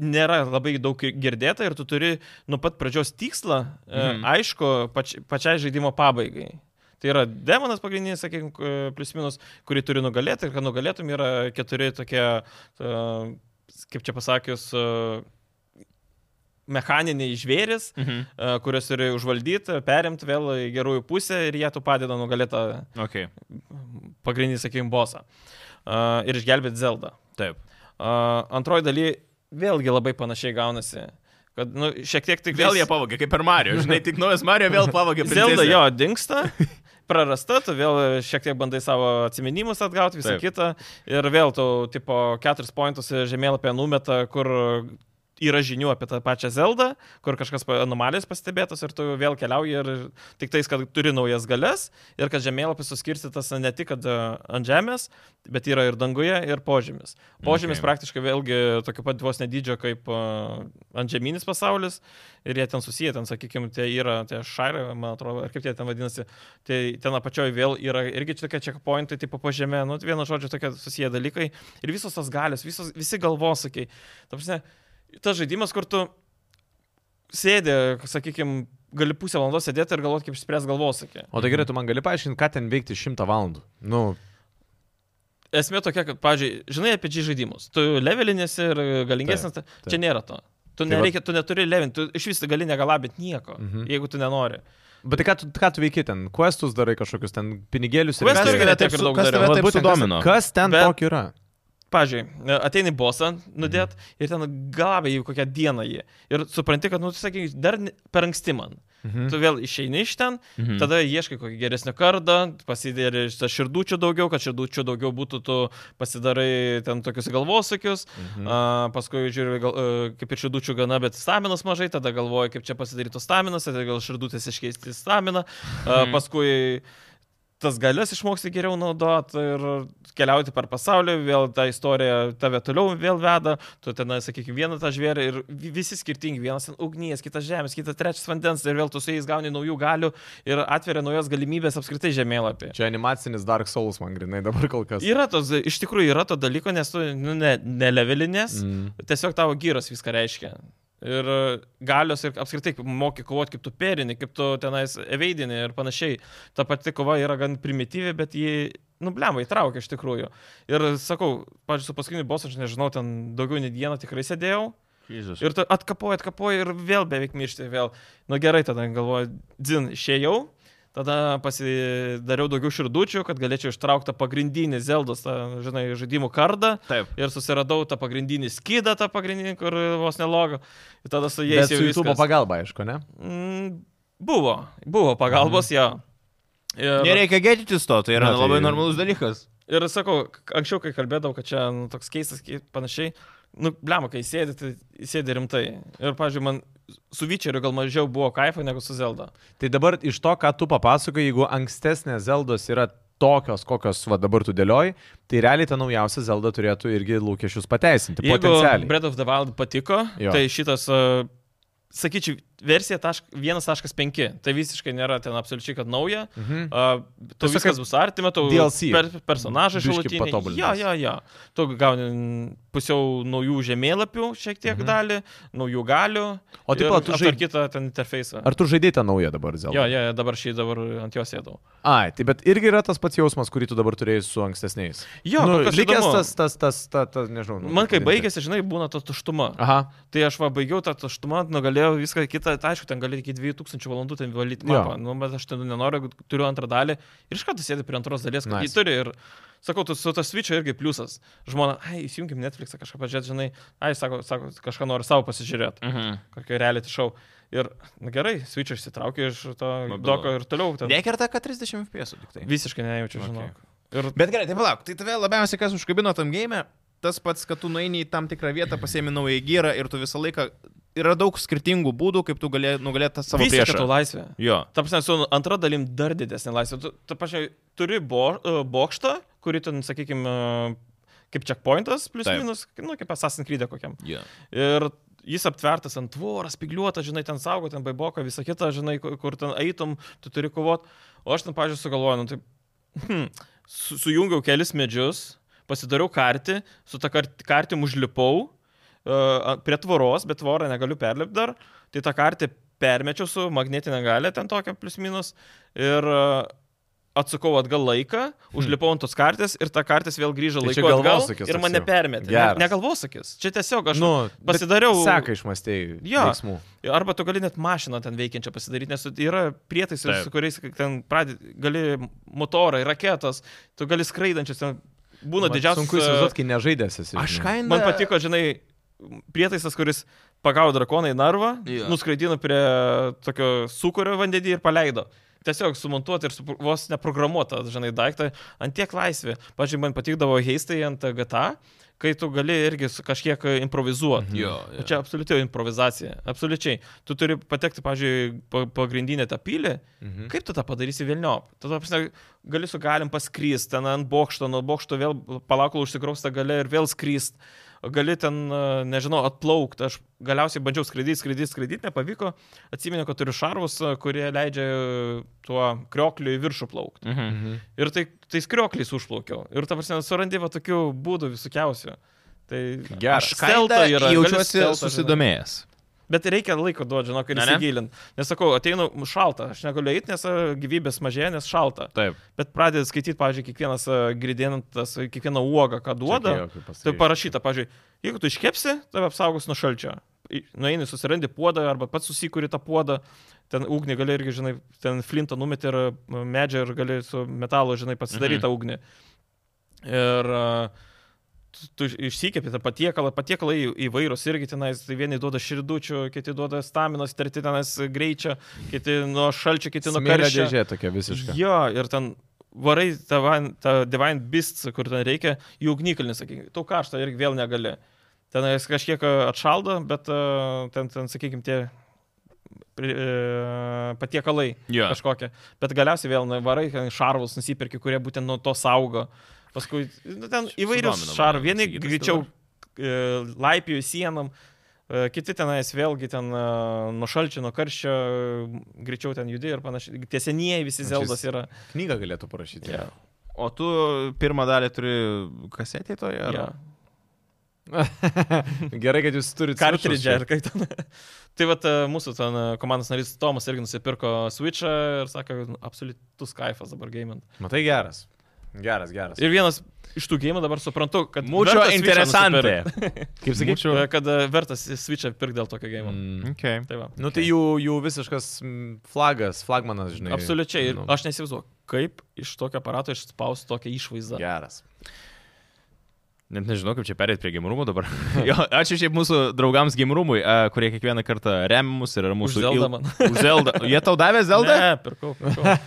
Speaker 2: nėra labai daug girdėta ir tu turi nuo pat pradžios tikslą, mhm.
Speaker 1: Mhm.
Speaker 2: aišku, pač, pačiai žaidimo pabaigai. Tai yra demonas pagrindinis, sakykime, plus minus, kurį turi nugalėti ir kad nugalėtum yra keturi tokie, a, kaip čia pasakius, a, mechaniniai žvėris,
Speaker 1: Mhm.
Speaker 2: e, kurias turi užvaldyti, perimti vėl į gerųjų pusę ir jie tu padeda nugalėti
Speaker 1: Okay.
Speaker 2: pagrindinį, sakykime, bosą. E, Ir išgelbėti Zeldą.
Speaker 1: Taip.
Speaker 2: E, Antroji daly vėlgi labai panašiai gaunasi. Kad, nu, šiek tiek tik
Speaker 1: Vėl jie pavogė, kaip per Mario. Žinai, tik naujas Mario vėl pavogė.
Speaker 2: Zelda
Speaker 1: princesę.
Speaker 2: jo dinksta. Prarasta, tu vėl šiek tiek bandai savo atminimus atgauti, visą
Speaker 1: Taip.
Speaker 2: kitą. Ir vėl tu, tipo, keturis pointus žemėlapė numeta, kur yra žinių apie tą pačią Zeldą, kur kažkas pa- anomalijos pastebėtos ir tu vėl keliauji ir tik tais, kad turi naujas galias ir kad žemėlapis suskirstytas ne tik kad, e, ant žemės, bet yra ir danguje, ir požemis. Požemis
Speaker 1: Okay.
Speaker 2: okay. praktiškai vėlgi tokio pat vos nedidžio kaip uh, ant žemynis pasaulis ir jie ten susiję, ten, sakykime, tie yra, tie šarai, man atrodo, ar kaip jie ten vadinasi, tai ten apačioje vėl yra irgi čia tokie checkpointai, tipo po žemė, nu, vieno žodžio tokie susiję dalykai ir visos tos galios, visos, visi galvosakiai. Ta prasme, tas žaidimas, kur tu sėdė, sakykime, gali pusę valandos sėdėti ir galvoti, kaip išspręs galvosakį.
Speaker 3: O tai gerai, tu man gali paaiškinti, ką ten veikti šimtą valandų. Nu,
Speaker 2: esmė tokia, kad, pavyzdžiui, žinai apie G žaidimus, tu levelinėsi ir galingesnis, taip, taip. čia nėra to. Tu,
Speaker 3: Tai
Speaker 2: nereikia, tu neturi levinti, tu iš vis gali negalabinti nieko, mhm.
Speaker 3: Mhm.
Speaker 2: jeigu tu nenori.
Speaker 3: bet tai ką tu, ką tu veiki ten? Questus darai kažkokius ten pinigėlius ir
Speaker 2: Questus
Speaker 1: Kas
Speaker 3: viską?
Speaker 2: irgi
Speaker 1: tave
Speaker 2: ne tiek
Speaker 1: taip,
Speaker 2: ir
Speaker 1: su,
Speaker 2: daug
Speaker 1: kas
Speaker 2: dariau.
Speaker 1: tave taip
Speaker 3: Vat būtent, kas-
Speaker 1: sudomino?
Speaker 3: Kas ten
Speaker 2: Bet-
Speaker 3: tokio yra?
Speaker 2: Pavyzdžiui, ateini bosą, nudėt mhm. ir ten galabė jį kokią dieną jį. Ir supranti, kad, nu, tu sakai, dar ne- per anksti man. Mhm. Tu vėl išeini iš ten,
Speaker 1: Mhm.
Speaker 2: Tada ieškai kokį geresnį kardą, pasidėri iš širdučių daugiau, kad širdučių daugiau būtų, tu pasidarai ten tokius galvosakius, mhm. a, paskui žiūri, gal, a, kaip ir širdučių gana, bet staminas mažai, tada galvoji, kaip čia pasidarytų staminas, tada gal širdutės iškeisti į staminą, a,
Speaker 1: Mhm.
Speaker 2: paskui tas galias išmoksti geriau naudoti ir keliauti per pasaulį, vėl tą istoriją tave toliau vėl veda, tu ten, sakykime, vieną tą žvėrį ir vi- visi skirtingi, vienas ten ugnies, kitas žemės, kitas trečias vandens ir vėl tu su jais gauni naujų galių ir atveria naujas galimybės apskritai žemėlapį.
Speaker 3: Čia animacinis Dark Souls man grinai dabar kol kas.
Speaker 2: Yra tos, iš tikrųjų yra to dalyko, nes tu nu, ne, nelevelinės,
Speaker 3: Mm.
Speaker 2: tiesiog tavo gyras viską reiškia. Ir e, galios ir apskritai kaip moki kovoti, kaip tu perini, kaip tu tenais eveidini ir panašiai. Ta pati kova yra gan primityvi, bet ji, nu, blemą įtraukia iš tikrųjų. Ir sakau, pažiūrėjau, su paskutiniu bosu, aš nežinau, ten daugiau nei dieną tikrai sėdėjau.
Speaker 1: Jėzus.
Speaker 2: Ir tu atkapoji, atkapoji ir vėl beveik miršti, vėl. Nu gerai, tada galvoju, dzin, išėjau, tada pasidariau daugiau širdučių, kad galėčiau ištraukti tą pagrindinį Zeldos, tą, žinai, žaidimų kardą.
Speaker 1: Taip.
Speaker 2: Ir susiradau tą pagrindinį skydą, tą pagrindinį, kur vos nelogą. Ir tada su
Speaker 3: Bet
Speaker 2: jais
Speaker 3: su
Speaker 2: jau
Speaker 3: YouTube
Speaker 2: viskas.
Speaker 3: pagalba, aišku, ne?
Speaker 2: Mm, Buvo, buvo pagalbos, mhm. jo. Ir,
Speaker 1: Nereikia gėdytis to, tai yra
Speaker 3: Na, tai-
Speaker 1: labai normalus dalykas.
Speaker 2: ir sakau, k- anksčiau, kai kalbėdavau, kad čia nu, toks keistas, kai- panašiai, nu, blemo, kai sėdi, tai sėdi rimtai. Ir, pažiūrėjau, man su Vyčeriu gal mažiau buvo kaifo negu su Zelda.
Speaker 3: Tai dabar iš to, ką tu papasakai, jeigu ankstesnės Zeldos yra tokios, kokios va dabar tu dėlioji, tai realiai ta naujausia Zelda turėtų irgi lūkesčius pateisinti.
Speaker 2: Jeigu
Speaker 3: Tai Potencialiai.
Speaker 2: Breath of the Wild patiko, jo.
Speaker 3: Jo.
Speaker 2: tai šitas, a, e, sakyčiau, versija tašk- 1.5. Tai visiškai nėra ten absoliučiai, kad nauja.
Speaker 3: Mhm.
Speaker 2: Uh, tu
Speaker 3: Tiesiog
Speaker 2: viskas
Speaker 3: kaip
Speaker 2: bus artima, tu
Speaker 3: DLC
Speaker 2: per, personažai
Speaker 3: biškį
Speaker 2: šalutiniai.
Speaker 3: patobulintas.
Speaker 2: Ja, ja, ja. Tu gauni mm, pusiau naujų žemėlapių šiek tiek mhm. dalį, naujų galių.
Speaker 3: O tipo, tu žaid-
Speaker 2: žaidži kitą ten interfejsą.
Speaker 3: Ar tu žaidėjai tą naują dabar, Zelda?
Speaker 2: Jo, jo, jo, dabar šį dabar ant jos sėdau.
Speaker 3: Ai, tai bet irgi yra tas pats jausmas, kurį tu dabar turėjai su ankstesniais.
Speaker 2: Jo,
Speaker 3: nu,
Speaker 2: kol kas
Speaker 3: likęs
Speaker 2: įdomu.
Speaker 3: tas, tas, tas, tas, tas, nežinau. nu,
Speaker 2: Man kai
Speaker 3: kaip vadinti.
Speaker 2: baigėsi, žinai, būna ta tuštuma.
Speaker 3: Aha.
Speaker 2: Tai aš va baigiau tą tuštumą, nugalėjau viską kitą, tai aišku, ten gali iki 2000 valandų ten valyti
Speaker 3: Jo.
Speaker 2: mapą, nu, bet aš ten nenoriu, jeigu turiu antrą dalį ir iš karto sėdi prie antros dalies, kad nice.
Speaker 3: Nice.
Speaker 2: jį turi ir, sakau, tu su tas Switch'o irgi pliusas. Žmona, ai, įsijunkim Netflixą kažką pažiūrėti, žinai, ai, sako, sako kažką noriu savo pasižiūrėti,
Speaker 1: Mhm.
Speaker 2: kokio reality show. Ir, na gerai, Switch'ą išsitraukiu iš to
Speaker 1: Mobilų.
Speaker 2: doko ir toliau ten.
Speaker 1: Nekerta, kad 30 FPS tik tai.
Speaker 2: Visiškai nejaučiu,
Speaker 1: Okay.
Speaker 2: žinau. Okay. Ir
Speaker 1: Bet gerai, tai palauk, tai tave labiausiai kas užkabino tam game, tas pats, kad tu nueini į tam tikrą vietą, pasiemi naują gyrą ir tu visą laiką yra daug skirtingų būdų, kaip tu gali nugalėti tą savo
Speaker 2: visiška
Speaker 1: priešą.
Speaker 2: tau laisvė.
Speaker 1: Jo.
Speaker 2: Tam prasme, su antra dalim dar didesnė laisvė. Tu, tu pačiai, turi bo, e, bokštą, kurį ten, sakykime, kaip checkpointas, plus
Speaker 1: Taip.
Speaker 2: Taip. minus, nu, kaip Assassin's Creed kokiam.
Speaker 1: Yeah.
Speaker 2: Ir jis aptvertas ant tvoros, spigliuotas, žinai, ten saugo, ten baiboko, visą kitą, žinai, kur kur ten eitum, tu turi kovot. O aš ten, pažiūrėjau, sugalvojau, nu, tai hmm, su, sujungiau kelis medžius, pasidariau kartį, su tą kart, kartim užlipau uh, prie tvoros, bet tvorą negaliu perlipti dar. Tai tą kartį permečiau su magnetinė galė, ten tokia plius minus. Ir uh, atsukau atgal laiką, užlipau ant tos kartės ir ta kartės vėl grįžo
Speaker 3: Hmm. Tai čia
Speaker 2: laiku atgal
Speaker 3: galvosūkis
Speaker 2: ir
Speaker 3: toks
Speaker 2: mane
Speaker 3: jau.
Speaker 2: permetė. Ne,
Speaker 3: Geras.
Speaker 2: ne galvosakis. Čia tiesiog aš
Speaker 3: Nu, bet
Speaker 2: pasidariau-
Speaker 3: Seka išmastėjai.
Speaker 2: Jo.
Speaker 3: Veiksmų.
Speaker 2: Arba tu gali net mašiną ten veikiančią pasidaryti, nes yra prietaisai,
Speaker 1: Taip.
Speaker 2: su kuriais ten pradė, gali motorai, raketos, tu gali skraidančius, ten būna
Speaker 3: Man
Speaker 2: Nu, didžiausias. e,
Speaker 3: Sunku įsivaizduoti, kai nežaidėsi.
Speaker 1: Aš kainą.
Speaker 2: Man patiko, žinai, prietaisas, kuris pagavo drakoną į narvą,
Speaker 1: Jo.
Speaker 2: yeah. nuskraidino prie tokio sukurio vandenį ir paleido. Tiesiog sumontuoti ir su, vos neprogramuotą, žinai, daiktą ant tiek laisvė. Pavyzdžiui, man patikdavo heistai ant GTA, kai tu gali irgi su- kažkiek improvizuoti.
Speaker 1: Jo, jo.
Speaker 2: Mhm. Nu, Čia absoliuti improvizacija. Absoliučiai. Tu turi patekti, pavyzdžiui, pa- pagrindinę tą pilį. Mhm. Kaip tu tą padarysi Vilniop? Tada prasme, gali su galim paskryst, ten ant bokšto, nuo bokšto vėl palauk, kol užsikrausta gale ir vėl skryst. Gali ten, e, nežinau, atplaukti. Aš galiausiai bandžiau skraidyti, skraidyti, skraidyti, nepavyko. Atsimenu, kad turiu šarvus, e, kurie leidžia e, tuo kriokliu į viršų plaukti.
Speaker 1: Mhm.
Speaker 2: Ir tai, tai skriokliais užplaukiau. Ir tam prasme, surandi va tokių būdų visokiausių. Tai
Speaker 1: Aš
Speaker 3: Geras.
Speaker 2: Stealthą
Speaker 1: kailą
Speaker 2: yra, gali
Speaker 1: jaučiuosi
Speaker 2: stealthą, žinai.
Speaker 1: susidomėjęs.
Speaker 2: Bet reikia laiko duoti, žinok, ir
Speaker 1: Ne, ne?
Speaker 2: įsigilint. Nes sakau, ateinu šalta, aš negaliu eiti, nes e, gyvybės mažėja, nes šalta.
Speaker 1: Taip.
Speaker 2: Bet pradedi skaityti, pavyzdžiui, kiekvienas uh, gridinantas, kiekvieną uogą, ką duoda.
Speaker 3: Čia, kai jau, kai
Speaker 2: Tai
Speaker 3: pasakei.
Speaker 2: parašyta, pavyzdžiui, jeigu tu iškepsi, tave apsaugos nuo šalčio. I- Nueini, susirandi puodą arba pats susikuri tą puodą, ten ugnį gali irgi, žinai, ten flintą numeti ir e, medžią ir gali su metalu, žinai, pasidaryti
Speaker 1: Mhm.
Speaker 2: tą ugnį. Ir e, tu, tu išsikepi tą patiekalą, patiekalai į- įvairūs irgi tenais, tai vieni duoda širdučių, kiti duoda staminos, treti tenais greičio, kiti nuo šalčio, kiti nuo
Speaker 3: Smėlio
Speaker 2: karščio.
Speaker 3: dėžė tokia visiškai.
Speaker 2: Jo, ir ten varai tą, van- tą Divine Beast, kur ten reikia, jų ugnikalnis, sakykime, tau karšta irgi vėl negali. Ten jis kažkiek e, atšaldo, bet e, ten, ten sakykime, tie pri- e, patiekalai
Speaker 1: Jo.
Speaker 2: kažkokie. Bet galiausiai vėl na, varai ten šarvus nusipirki, kurie būtent nuo to saugo. Paskui nu, ten įvairius
Speaker 1: Sudomino
Speaker 2: šarvus,
Speaker 1: mane
Speaker 2: vieni
Speaker 1: Sigitas
Speaker 2: greičiau
Speaker 1: dabar.
Speaker 2: e, laipioju sienom, e, kiti tenais vėlgi ten e, nuo šalčio, nuo karščio, e, greičiau ten judi ir panašiai. Tiesenieji visi
Speaker 1: Nu,
Speaker 3: Čia
Speaker 2: zeldas yra.
Speaker 3: Knygą galėtų parašyti.
Speaker 2: Yeah.
Speaker 1: O tu pirmą dalį turi kasetį toje? ar-
Speaker 2: Yeah.
Speaker 3: Gerai, kad jūs turite
Speaker 2: Kartridžą ir kaip ten. tai vat e, mūsų ten e, komandos narys Tomas irgi nusipirko Switch'ą ir sako, nu, absoliutus kaifas dabar gaming.
Speaker 3: Matai, geras. Geras, geras.
Speaker 2: Ir vienas iš tų game dabar suprantu, kad...
Speaker 1: Mucho
Speaker 2: verta Switch'ą
Speaker 1: interesante.
Speaker 2: nusipirkt.
Speaker 3: Kaip sakyčiau.
Speaker 2: E, Kad e, vertas Switch'ą pirkti dėl tokio game.
Speaker 3: Mm.
Speaker 1: Okay.
Speaker 2: Tai va.
Speaker 3: Nu tai jų, jų visiškas mm, flagas, flagmanas, žinai.
Speaker 2: Absoliučiai. Ir
Speaker 3: nu.
Speaker 2: aš nesivaizduoju, kaip iš tokio aparato išspausti tokią išvaizdą.
Speaker 3: Geras.
Speaker 1: Net nežinau, kaip čia perėti prie gimrumų dabar. jo, ačiū šiaip mūsų draugams gimrumui, kurie kiekvieną kartą remia mus ir yra
Speaker 2: Už
Speaker 1: mūsų...
Speaker 2: Zeldą man.
Speaker 1: Už Zeldą. Jie tau davė Zeldą?
Speaker 2: Ne, pirkau, pirkau.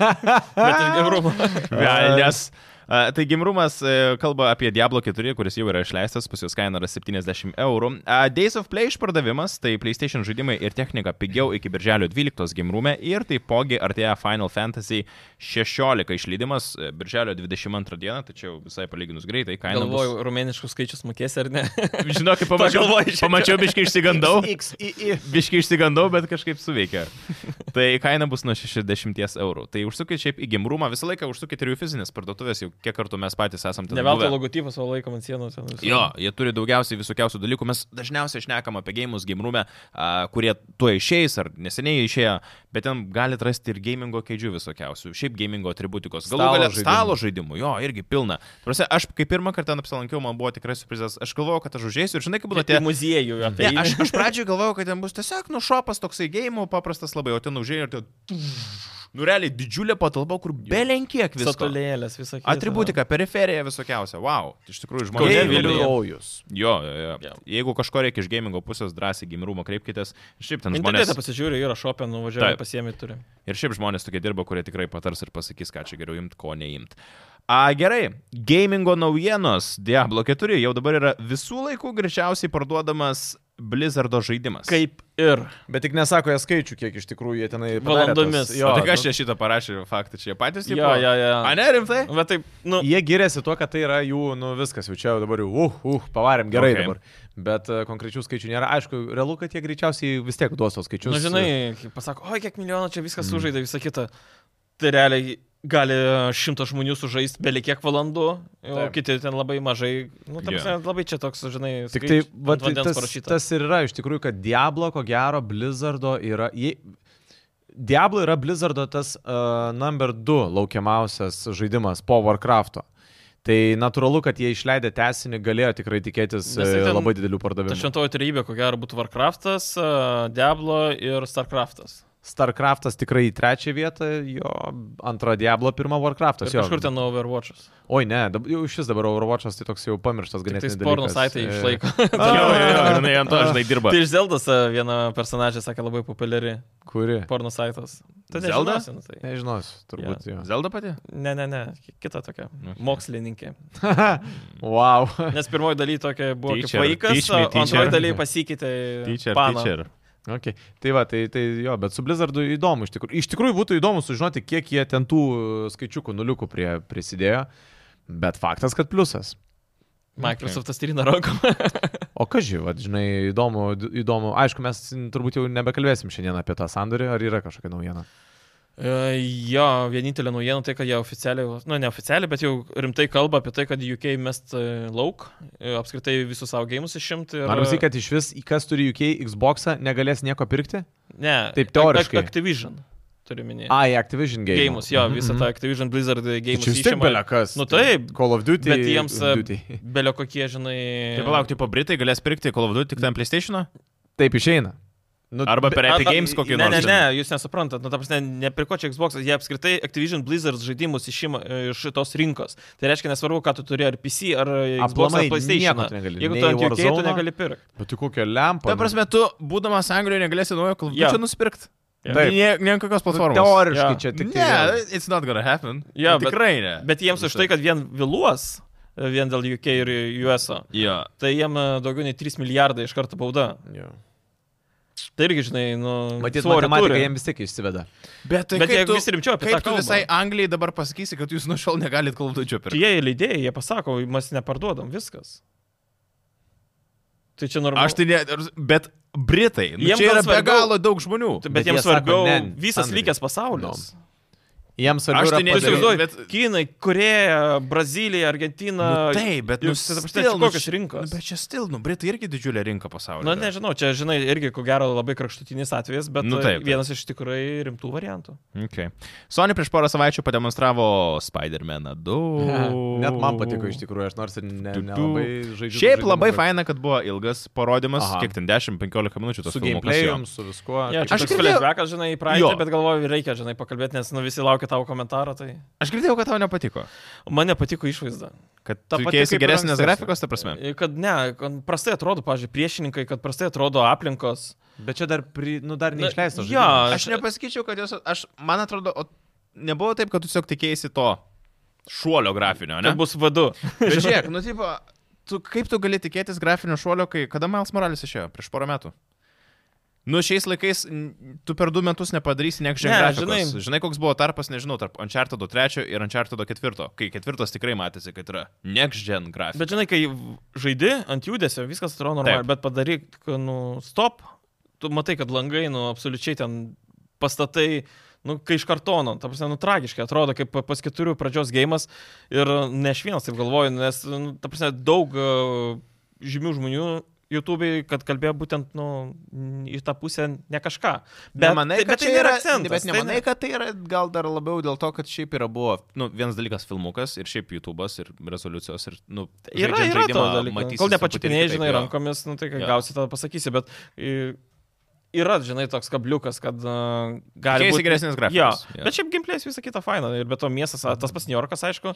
Speaker 2: Bet iš gerumo.
Speaker 1: Velnės. A, Tai Gimrumas e, kalba apie Diablo 4, kuris jau yra išleistas, pas juos kaina yra 70 eurų. A, Days of Play išpardavimas, tai PlayStation žaidimai ir technika pigiau iki birželio 12 Gimrume ir taipogi artėja Final Fantasy 16 išleidimas e, birželio 22 dieną, tačiau visai palyginus greitai kaina.
Speaker 2: Galvoju, rumėniškus skaičius mokėsi ar ne?
Speaker 1: bus... žinau, kaip pamačiau,
Speaker 2: Pagalvoju šiek tiek.
Speaker 1: pamačiau biškai išsigandau.
Speaker 3: XII.
Speaker 1: Biškai išsigandau, bet kažkaip suveikia. Tai kaina bus nuo 60 eurų. Tai užsukit šiaip į gimrumą, visą laiką užsukit ir jų fizinės parduotuvės, jau kiek kartų mes patys esam ten.
Speaker 2: Ne veltui
Speaker 1: buvę.
Speaker 2: logotipas savo laikom ant sienos. ten visur.
Speaker 1: Jo, jie turi daugiausiai visokiausių dalykų. Mes dažniausiai šnekam apie gėjimus gimrume, a, kurie tuo išeis ar neseniai išėjo, bet ten galite rasti ir gamingo kėdžių visokiausių, šiaip gamingo atributikos, galų
Speaker 3: Stalo
Speaker 1: galę
Speaker 3: žaidimų.
Speaker 1: stalo žaidimų, jo, irgi pilna. Prasė, aš kai pirmą kartą ten apsilankiau, man buvo tikrai surprizas, aš galvojau, kad aš užėsiu ir žinai, kaip būna
Speaker 2: Kaip
Speaker 1: tie...
Speaker 2: į muziejų tai apie
Speaker 1: Ne,
Speaker 2: jį.
Speaker 1: aš, aš pradžioje galvojau, kad ten bus tiesiog nu šopas toksai gėjimų, paprastas labai, o ten užėjo ir ten... Nu, realiai didžiulė patalpa, kur belenkiek visko.
Speaker 2: Satulėlės, visą kitą.
Speaker 1: Atributika, periferija visokiausia. Wow, iš tikrųjų žmonės.
Speaker 2: Kaune,
Speaker 1: myli.
Speaker 2: Vilniuje.
Speaker 3: Vilnius.
Speaker 1: Jo, jo, jo.
Speaker 2: Jo.
Speaker 1: Yeah. Jeigu kažko reikia iš gamingo pusės, drąsiai gimrumo kreipkitės. Ir šiaip ten žmonės.
Speaker 2: Internetą pasižiūriu, yra šopė, nuvažiuoju,
Speaker 1: Taip.
Speaker 2: pasiemi turi.
Speaker 1: Ir šiaip žmonės tokie dirba, kurie tikrai patars ir pasakys, ką čia geriau imt, ko neimt. A, gerai, gamingo naujienos Diablo 4 jau dabar yra visų laikų greičiausiai parduodamas Blizzardo žaidimas.
Speaker 2: Kaip ir.
Speaker 3: Bet tik nesako jie skaičių, kiek iš tikrųjų jie tenai padarė
Speaker 2: Valandomis.
Speaker 3: tas-
Speaker 1: Jo,
Speaker 3: Jo,
Speaker 1: tai
Speaker 3: nu,
Speaker 1: aš čia šitą parašiau, faktą čia jie patys
Speaker 2: Jo, jo, jo.
Speaker 1: A, ne rimtai?
Speaker 2: Bet taip, nu,
Speaker 3: Jie giriasi tuo, kad tai yra jų, nu viskas, jau čia jau dabar jau, uh, uh, pavarėm gerai
Speaker 1: Okay.
Speaker 3: okay. dabar. Bet e, konkrečių skaičių nėra. Aišku, realu, kad jie greičiausiai vis tiek duos tos skaičius.
Speaker 2: nu, žinai, kaip pasako, oi, kiek milijonų čia viskas sužaidė, visą kitą. Tai realiai gali šimtas žmonių sužaisti beveik kiek valandų, o
Speaker 3: Taip.
Speaker 2: kiti ten labai mažai. Nu, tam
Speaker 1: Jo.
Speaker 2: yeah. labai čia toks, žinai,
Speaker 3: Tik tai,
Speaker 2: skaičius ant
Speaker 3: vat,
Speaker 2: vandens
Speaker 3: tas,
Speaker 2: parašyta.
Speaker 3: tas ir yra, iš tikrųjų, kad Diablo, ko gero, Blizzardo yra... Jei, Diablo yra Blizzardo tas uh, number 2 laukiamiausias žaidimas po Warcraft'o. Tai natūralu, kad jie išleidę tesinį galėjo tikrai tikėtis
Speaker 2: Nes tai
Speaker 3: e,
Speaker 2: ten-
Speaker 3: labai didelių
Speaker 2: Ta
Speaker 3: pardavimų.
Speaker 2: šventoji trybė, ko gero, būtų Warcraftas, a, э, Diablo ir Starcraftas.
Speaker 3: Starcraftas tikrai į trečią vietą, jo antrą Diablo, pirmą Warcraft'as.
Speaker 2: Ir
Speaker 3: jo.
Speaker 2: kažkur ten Overwatch'as.
Speaker 3: Oi, ne, dab, jau šis dabar Overwatch'as tai toks jau pamirštas
Speaker 2: Tai
Speaker 3: ganėtinai.
Speaker 2: sporno
Speaker 3: dalykas.
Speaker 2: saitai
Speaker 3: E,
Speaker 2: išlaiko.
Speaker 1: Jo, jo, jo, jinai ant to žinai dirba.
Speaker 2: Tai iš Zeldas a, viena personažė, sakė, labai populiari
Speaker 3: Kuri?
Speaker 2: porno saitas. Tai
Speaker 1: Zelda?
Speaker 2: nežinosi, nu Tai.
Speaker 3: Nežinos, turbūt. Yeah.
Speaker 1: Zelda pati?
Speaker 2: Ne, ne, ne, ki- kita tokia.
Speaker 1: Okay.
Speaker 2: Mokslininkė.
Speaker 3: Wow.
Speaker 2: Nes pirmoji daly tokia buvo kaip
Speaker 1: Teacher,
Speaker 2: vaikas,
Speaker 1: teach me,
Speaker 2: o
Speaker 1: teacher.
Speaker 2: antroji daly pasikeitė.
Speaker 1: Teacher,
Speaker 2: paną.
Speaker 1: teacher.
Speaker 3: Okay. Tai va, tai, tai jo, bet su Blizzardu įdomu iš tikrųjų. Iš tikrųjų būtų įdomu sužinoti, kiek jie ten tų uh, skaičiukų nuliukų prie, prisidėjo, bet faktas, kad pliusas.
Speaker 2: Microsoftas trina rankom.
Speaker 3: O kaži, va, žinai, įdomu, įdomu, aišku, mes turbūt jau nebekalbėsim šiandien apie tą sandorį, ar yra kažkokia naujiena.
Speaker 2: E, Jo, vienintelė naujiena tai, kad jie oficialiai, nu ne oficialiai, bet jau rimtai kalba apie tai, kad UK mest e, lauk, e, apskritai visus savo gėjimus išimti. ir- uh,
Speaker 3: Ar jūs kad iš vis, į kas turi UK Xboxą, negalės nieko pirkti?
Speaker 2: e, Ne,
Speaker 3: Taip,
Speaker 2: Ac-
Speaker 3: teoriškai.
Speaker 2: Ac- Activision, turiu minėti.
Speaker 3: A, į Activision Game.
Speaker 2: Gėjimus, jo, visą tą Activision Blizzard gėjimus.
Speaker 3: Čia vis tiek belia kas.
Speaker 2: Nu taip,
Speaker 3: Call of Duty.
Speaker 2: bet jiems e,
Speaker 3: Duty.
Speaker 2: belio kokie, žinai.
Speaker 1: Tai palauk, tipo Britai galės pirkti Call of Duty tik ten PlayStation'ą?
Speaker 3: Taip išeina. Nu,
Speaker 1: Arba per
Speaker 3: be-
Speaker 1: Epic
Speaker 2: A- a-
Speaker 1: Games kokį
Speaker 2: ne,
Speaker 1: nors.
Speaker 2: Ne, ne, jūs nesuprantat, nu, ta prasme, ne prie ko čia Xbox, jie apskritai Activision Blizzard žaidimus išima e, iš šitos rinkos. Tai reiškia, nesvarbu, ką tu turi, ar PC, ar e, Xbox, ar
Speaker 3: Aplamai
Speaker 2: PlayStation.
Speaker 3: nieko tu negali.
Speaker 2: Jeigu
Speaker 3: Nei
Speaker 2: tu ant jų keitų,
Speaker 3: Warzone'o.
Speaker 2: negali pirkti.
Speaker 3: Bet tai tu kokią lempą.
Speaker 1: Ta prasme, tu, būdamas Anglijoje, negalėsi naujo Call of
Speaker 2: Jo.
Speaker 1: Duty nusipirkti.
Speaker 3: Taip.
Speaker 1: Nie, nie ant kokios platformos.
Speaker 3: Teoriškai
Speaker 2: Jo.
Speaker 3: čia tik tai.
Speaker 1: Ne,
Speaker 3: vėl.
Speaker 1: it's not gonna happen. Nu,
Speaker 2: Jo, bet-
Speaker 1: Tikrai ne.
Speaker 2: Bet jiems už tai, kad vien vėluos, e, vien dėl UK ir US, -o,
Speaker 1: Jo.
Speaker 2: tai jiems daugiau nei 3 milijardai iš karto bauda.
Speaker 3: Jo.
Speaker 2: Tai irgi, žinai, nu,
Speaker 3: Matyt,
Speaker 2: svorio
Speaker 3: matematika
Speaker 2: turi.
Speaker 3: jiems vis tiek išsiveda.
Speaker 1: Bet, tai
Speaker 2: Bet
Speaker 1: kaip
Speaker 2: jeigu
Speaker 1: tu-
Speaker 2: vis rimčiau apie
Speaker 1: Kaip
Speaker 2: tą
Speaker 1: tu
Speaker 2: kalbą.
Speaker 1: visai Anglijai dabar pasakysi, kad jūs nuo šiol negalit Call of Duty
Speaker 2: Tai
Speaker 1: pirkti?
Speaker 2: jie leidėjai, jie pasako, mes neparduodam, viskas. Tai čia normalu.
Speaker 1: Aš tai ne, ar- bet Britai. Nu,
Speaker 2: Jiems
Speaker 1: čia yra
Speaker 2: gal
Speaker 1: be
Speaker 2: svarbiau-
Speaker 1: galo daug žmonių.
Speaker 2: Bet,
Speaker 3: Bet
Speaker 2: bet jiems
Speaker 3: jie sako,
Speaker 2: svarbiau
Speaker 3: ne,
Speaker 2: ne, visas
Speaker 3: sandoriai.
Speaker 2: likęs pasaulis. No.
Speaker 3: Jiems svarbu
Speaker 1: Aš
Speaker 3: yra
Speaker 1: tai ne- Padarai,
Speaker 2: Tu
Speaker 3: padaryt-
Speaker 2: įsivaizduoji, bet...
Speaker 1: bet-
Speaker 2: Kinai, Koreja, Brazilija, Argentina.
Speaker 1: Na, taip, bet nu,
Speaker 2: juk, ta
Speaker 3: tai
Speaker 2: prasme,
Speaker 1: still,
Speaker 2: čia
Speaker 1: nu,
Speaker 2: kokios
Speaker 1: š-
Speaker 2: rinkos?
Speaker 1: Bet čia stil, nu, Britai irgi didžiulė rinka pasaulyje.
Speaker 2: Na,
Speaker 3: Nu,
Speaker 2: nežinau, čia, žinai, irgi, ko gero, labai kraštutinis atvejis, bet
Speaker 1: Nu,
Speaker 2: nu,
Speaker 1: taip,
Speaker 2: taip,
Speaker 1: taip.
Speaker 2: vienas iš tikrai rimtų variantų.
Speaker 1: Okay. Sony prieš porą savaičių pademonstravo Spider-Man 2.
Speaker 3: Net man patiko iš tikrųjų, aš nors ir ne,
Speaker 1: Tu- tu.
Speaker 3: nelabai žaidžiu.
Speaker 1: Šiaip
Speaker 3: žaidimų,
Speaker 1: labai
Speaker 3: bet
Speaker 1: faina, kad buvo ilgas parodimas,
Speaker 3: Aha.
Speaker 1: kiek ten 10-15 minučių tos
Speaker 3: Su
Speaker 1: filmukas jo.
Speaker 3: gameplay'om, su viskuo.
Speaker 2: Ja, čia
Speaker 3: kaip-
Speaker 1: Aš
Speaker 2: aš
Speaker 1: girdėjau-
Speaker 2: kaip flashbackas, žinai, į praeitį,
Speaker 1: Jo.
Speaker 2: bet galvoju, reikia, žinai, pakalbėti, nes nu, visi laukia tavo komentaro. Tai
Speaker 1: Aš girdėjau, kad tau nepatiko.
Speaker 2: man nepatiko išvaizda.
Speaker 1: Kad
Speaker 3: Ta
Speaker 1: tu
Speaker 3: pati
Speaker 1: tikėjaisi
Speaker 3: kaip ir
Speaker 1: geresnės
Speaker 3: ankstesnė.
Speaker 1: grafikos, ta prasme.
Speaker 2: Kad ne, kad prastai atrodo, pažiūrėjau, priešininkai, kad prastai atrodo aplinkos.
Speaker 3: Bet čia dar, pri, nu, dar
Speaker 2: Na, jo.
Speaker 3: neišleistas. žaidimas.
Speaker 1: Aš nepasakyčiau, kad jos, aš, man atrodo, o nebuvo taip, kad tu tiesiog tikėjai to. šuolio grafinio, ne?
Speaker 2: Ten bus vadu.
Speaker 1: Bet žiūrėk, nu, tipo, tu, kaip tu gali tikėtis grafinio šuolio, kai kada Miles Morales išėjo? Prieš porą metų. Nu, šiais laikais n- tu per du metus nepadarysi niekšė
Speaker 2: Ne,
Speaker 1: grafikos. Žinai.
Speaker 2: žinai-
Speaker 1: žinai, koks buvo tarpas, nežinau, tarp Uncharted 3 ir Uncharted 4, kai ketvirtas tikrai matėsi, kad yra niekšė grafika.
Speaker 2: Bet žinai, kai v- žaidi ant judesio, viskas atrodo
Speaker 1: Taip.
Speaker 2: normaliai, bet padaryk, k- nu, stop, tu matai, kad langai, nu, absoliučiai ten pastatai, nu, kai iš kartono, ta prasme, nu, tragiškai atrodo, kaip pa- pas keturių pradžios gėjimas ir ne aš vienas taip galvoju, nes, nu, ta prasme, daug a, žymių žmonių YouTube'ai, kad kalbėjo būtent, nu, n- į tą pusę ne kažką.
Speaker 1: nemanai,
Speaker 2: tai-
Speaker 1: kad
Speaker 2: tai
Speaker 1: čia
Speaker 2: nėra
Speaker 1: yra,
Speaker 2: akcentas,
Speaker 1: Bet
Speaker 2: tai
Speaker 1: nemanai,
Speaker 2: ne-
Speaker 1: kad tai yra gal dar labiau dėl to, kad šiaip yra buvo, nu, vienas dalykas filmukas ir šiaip YouTube'as ir rezoliucijos ir, nu,
Speaker 2: Yra,
Speaker 1: žaidžiant
Speaker 2: yra to
Speaker 1: žaidimą
Speaker 2: dalyko.
Speaker 1: matysi
Speaker 2: Kol
Speaker 1: truputėlį
Speaker 2: nepačiupinėjai,
Speaker 1: kitaip,
Speaker 2: žinai,
Speaker 1: jo.
Speaker 2: rankomis, nu, tai ką
Speaker 1: Jo.
Speaker 2: gausi, tada pasakysi, bet i, yra, žinai, toks kabliukas, kad uh, gali
Speaker 1: Tikėjaisi
Speaker 2: būti
Speaker 1: geresnės grafikos.
Speaker 2: Jo, bet šiaip gimplės visą kitą fainą. Ir be to miestas, a, tas pats New Yorkas, aišku,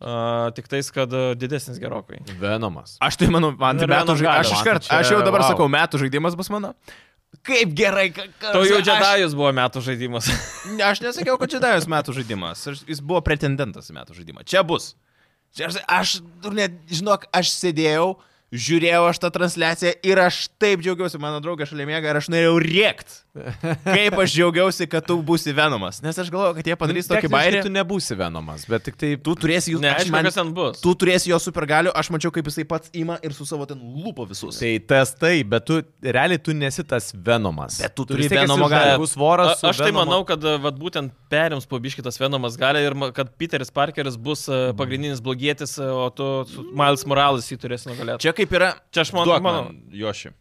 Speaker 2: uh, tik tais, kad a, didesnis gerokai.
Speaker 3: Venomas.
Speaker 1: Aš tai manau, man tai
Speaker 2: Nu,
Speaker 1: metų
Speaker 2: Venom
Speaker 1: žaidimas.
Speaker 2: gali.
Speaker 1: Aš,
Speaker 3: Man
Speaker 1: iš
Speaker 3: tai
Speaker 1: kart-
Speaker 3: čia-
Speaker 1: aš jau dabar
Speaker 3: vau.
Speaker 1: sakau, metų žaidimas bus mano. Kaip gerai, kad...
Speaker 2: Tau jau Džedajus buvo metų žaidimas.
Speaker 1: Ne, aš nesakiau, kad čia davęs metų žaidimas. Aš, jis buvo pretendentas į metų žaidimą. Čia bus. Čia aš, aš tu net, žinok, aš sėdėjau, žiūrėjau aš tą transliaciją ir aš taip džiaugiausi, mano draugė šalia mėga ir aš norėjau rėkt. Kaip aš džiaugiausi, kad tu būsi Venomas. Nes aš galvoju, kad jie padarys tokį bairį.
Speaker 3: Tu nebūsi venomas, bet tik tai...
Speaker 1: Tu turėsi jų,
Speaker 2: Ne,
Speaker 1: aš
Speaker 2: aišku,
Speaker 1: man-
Speaker 2: kas ten bus.
Speaker 1: tu turėsi jo supergalių, aš mačiau, kaip jisai pats ima ir su savo ten lupo visus.
Speaker 3: Tai tas tai, bet tu realiai tu nesi tas venomas.
Speaker 1: Bet tu
Speaker 3: Tu
Speaker 1: turi
Speaker 3: vis tiek esi
Speaker 1: Venomo galią.
Speaker 3: žmogus svoras.
Speaker 2: A,
Speaker 3: su
Speaker 2: aš tai
Speaker 3: Venomo-
Speaker 2: manau, kad a, vat, būtent perims pobiškitas Venomas gali ir ma- kad Peteris Parkeris bus a, pagrindinis blogietis, a, o tu su Miles Morales jį turėsi nugalėti.
Speaker 1: Čia kaip yra.
Speaker 2: Čia aš man-
Speaker 1: Duok
Speaker 2: manau.
Speaker 1: man, Joši.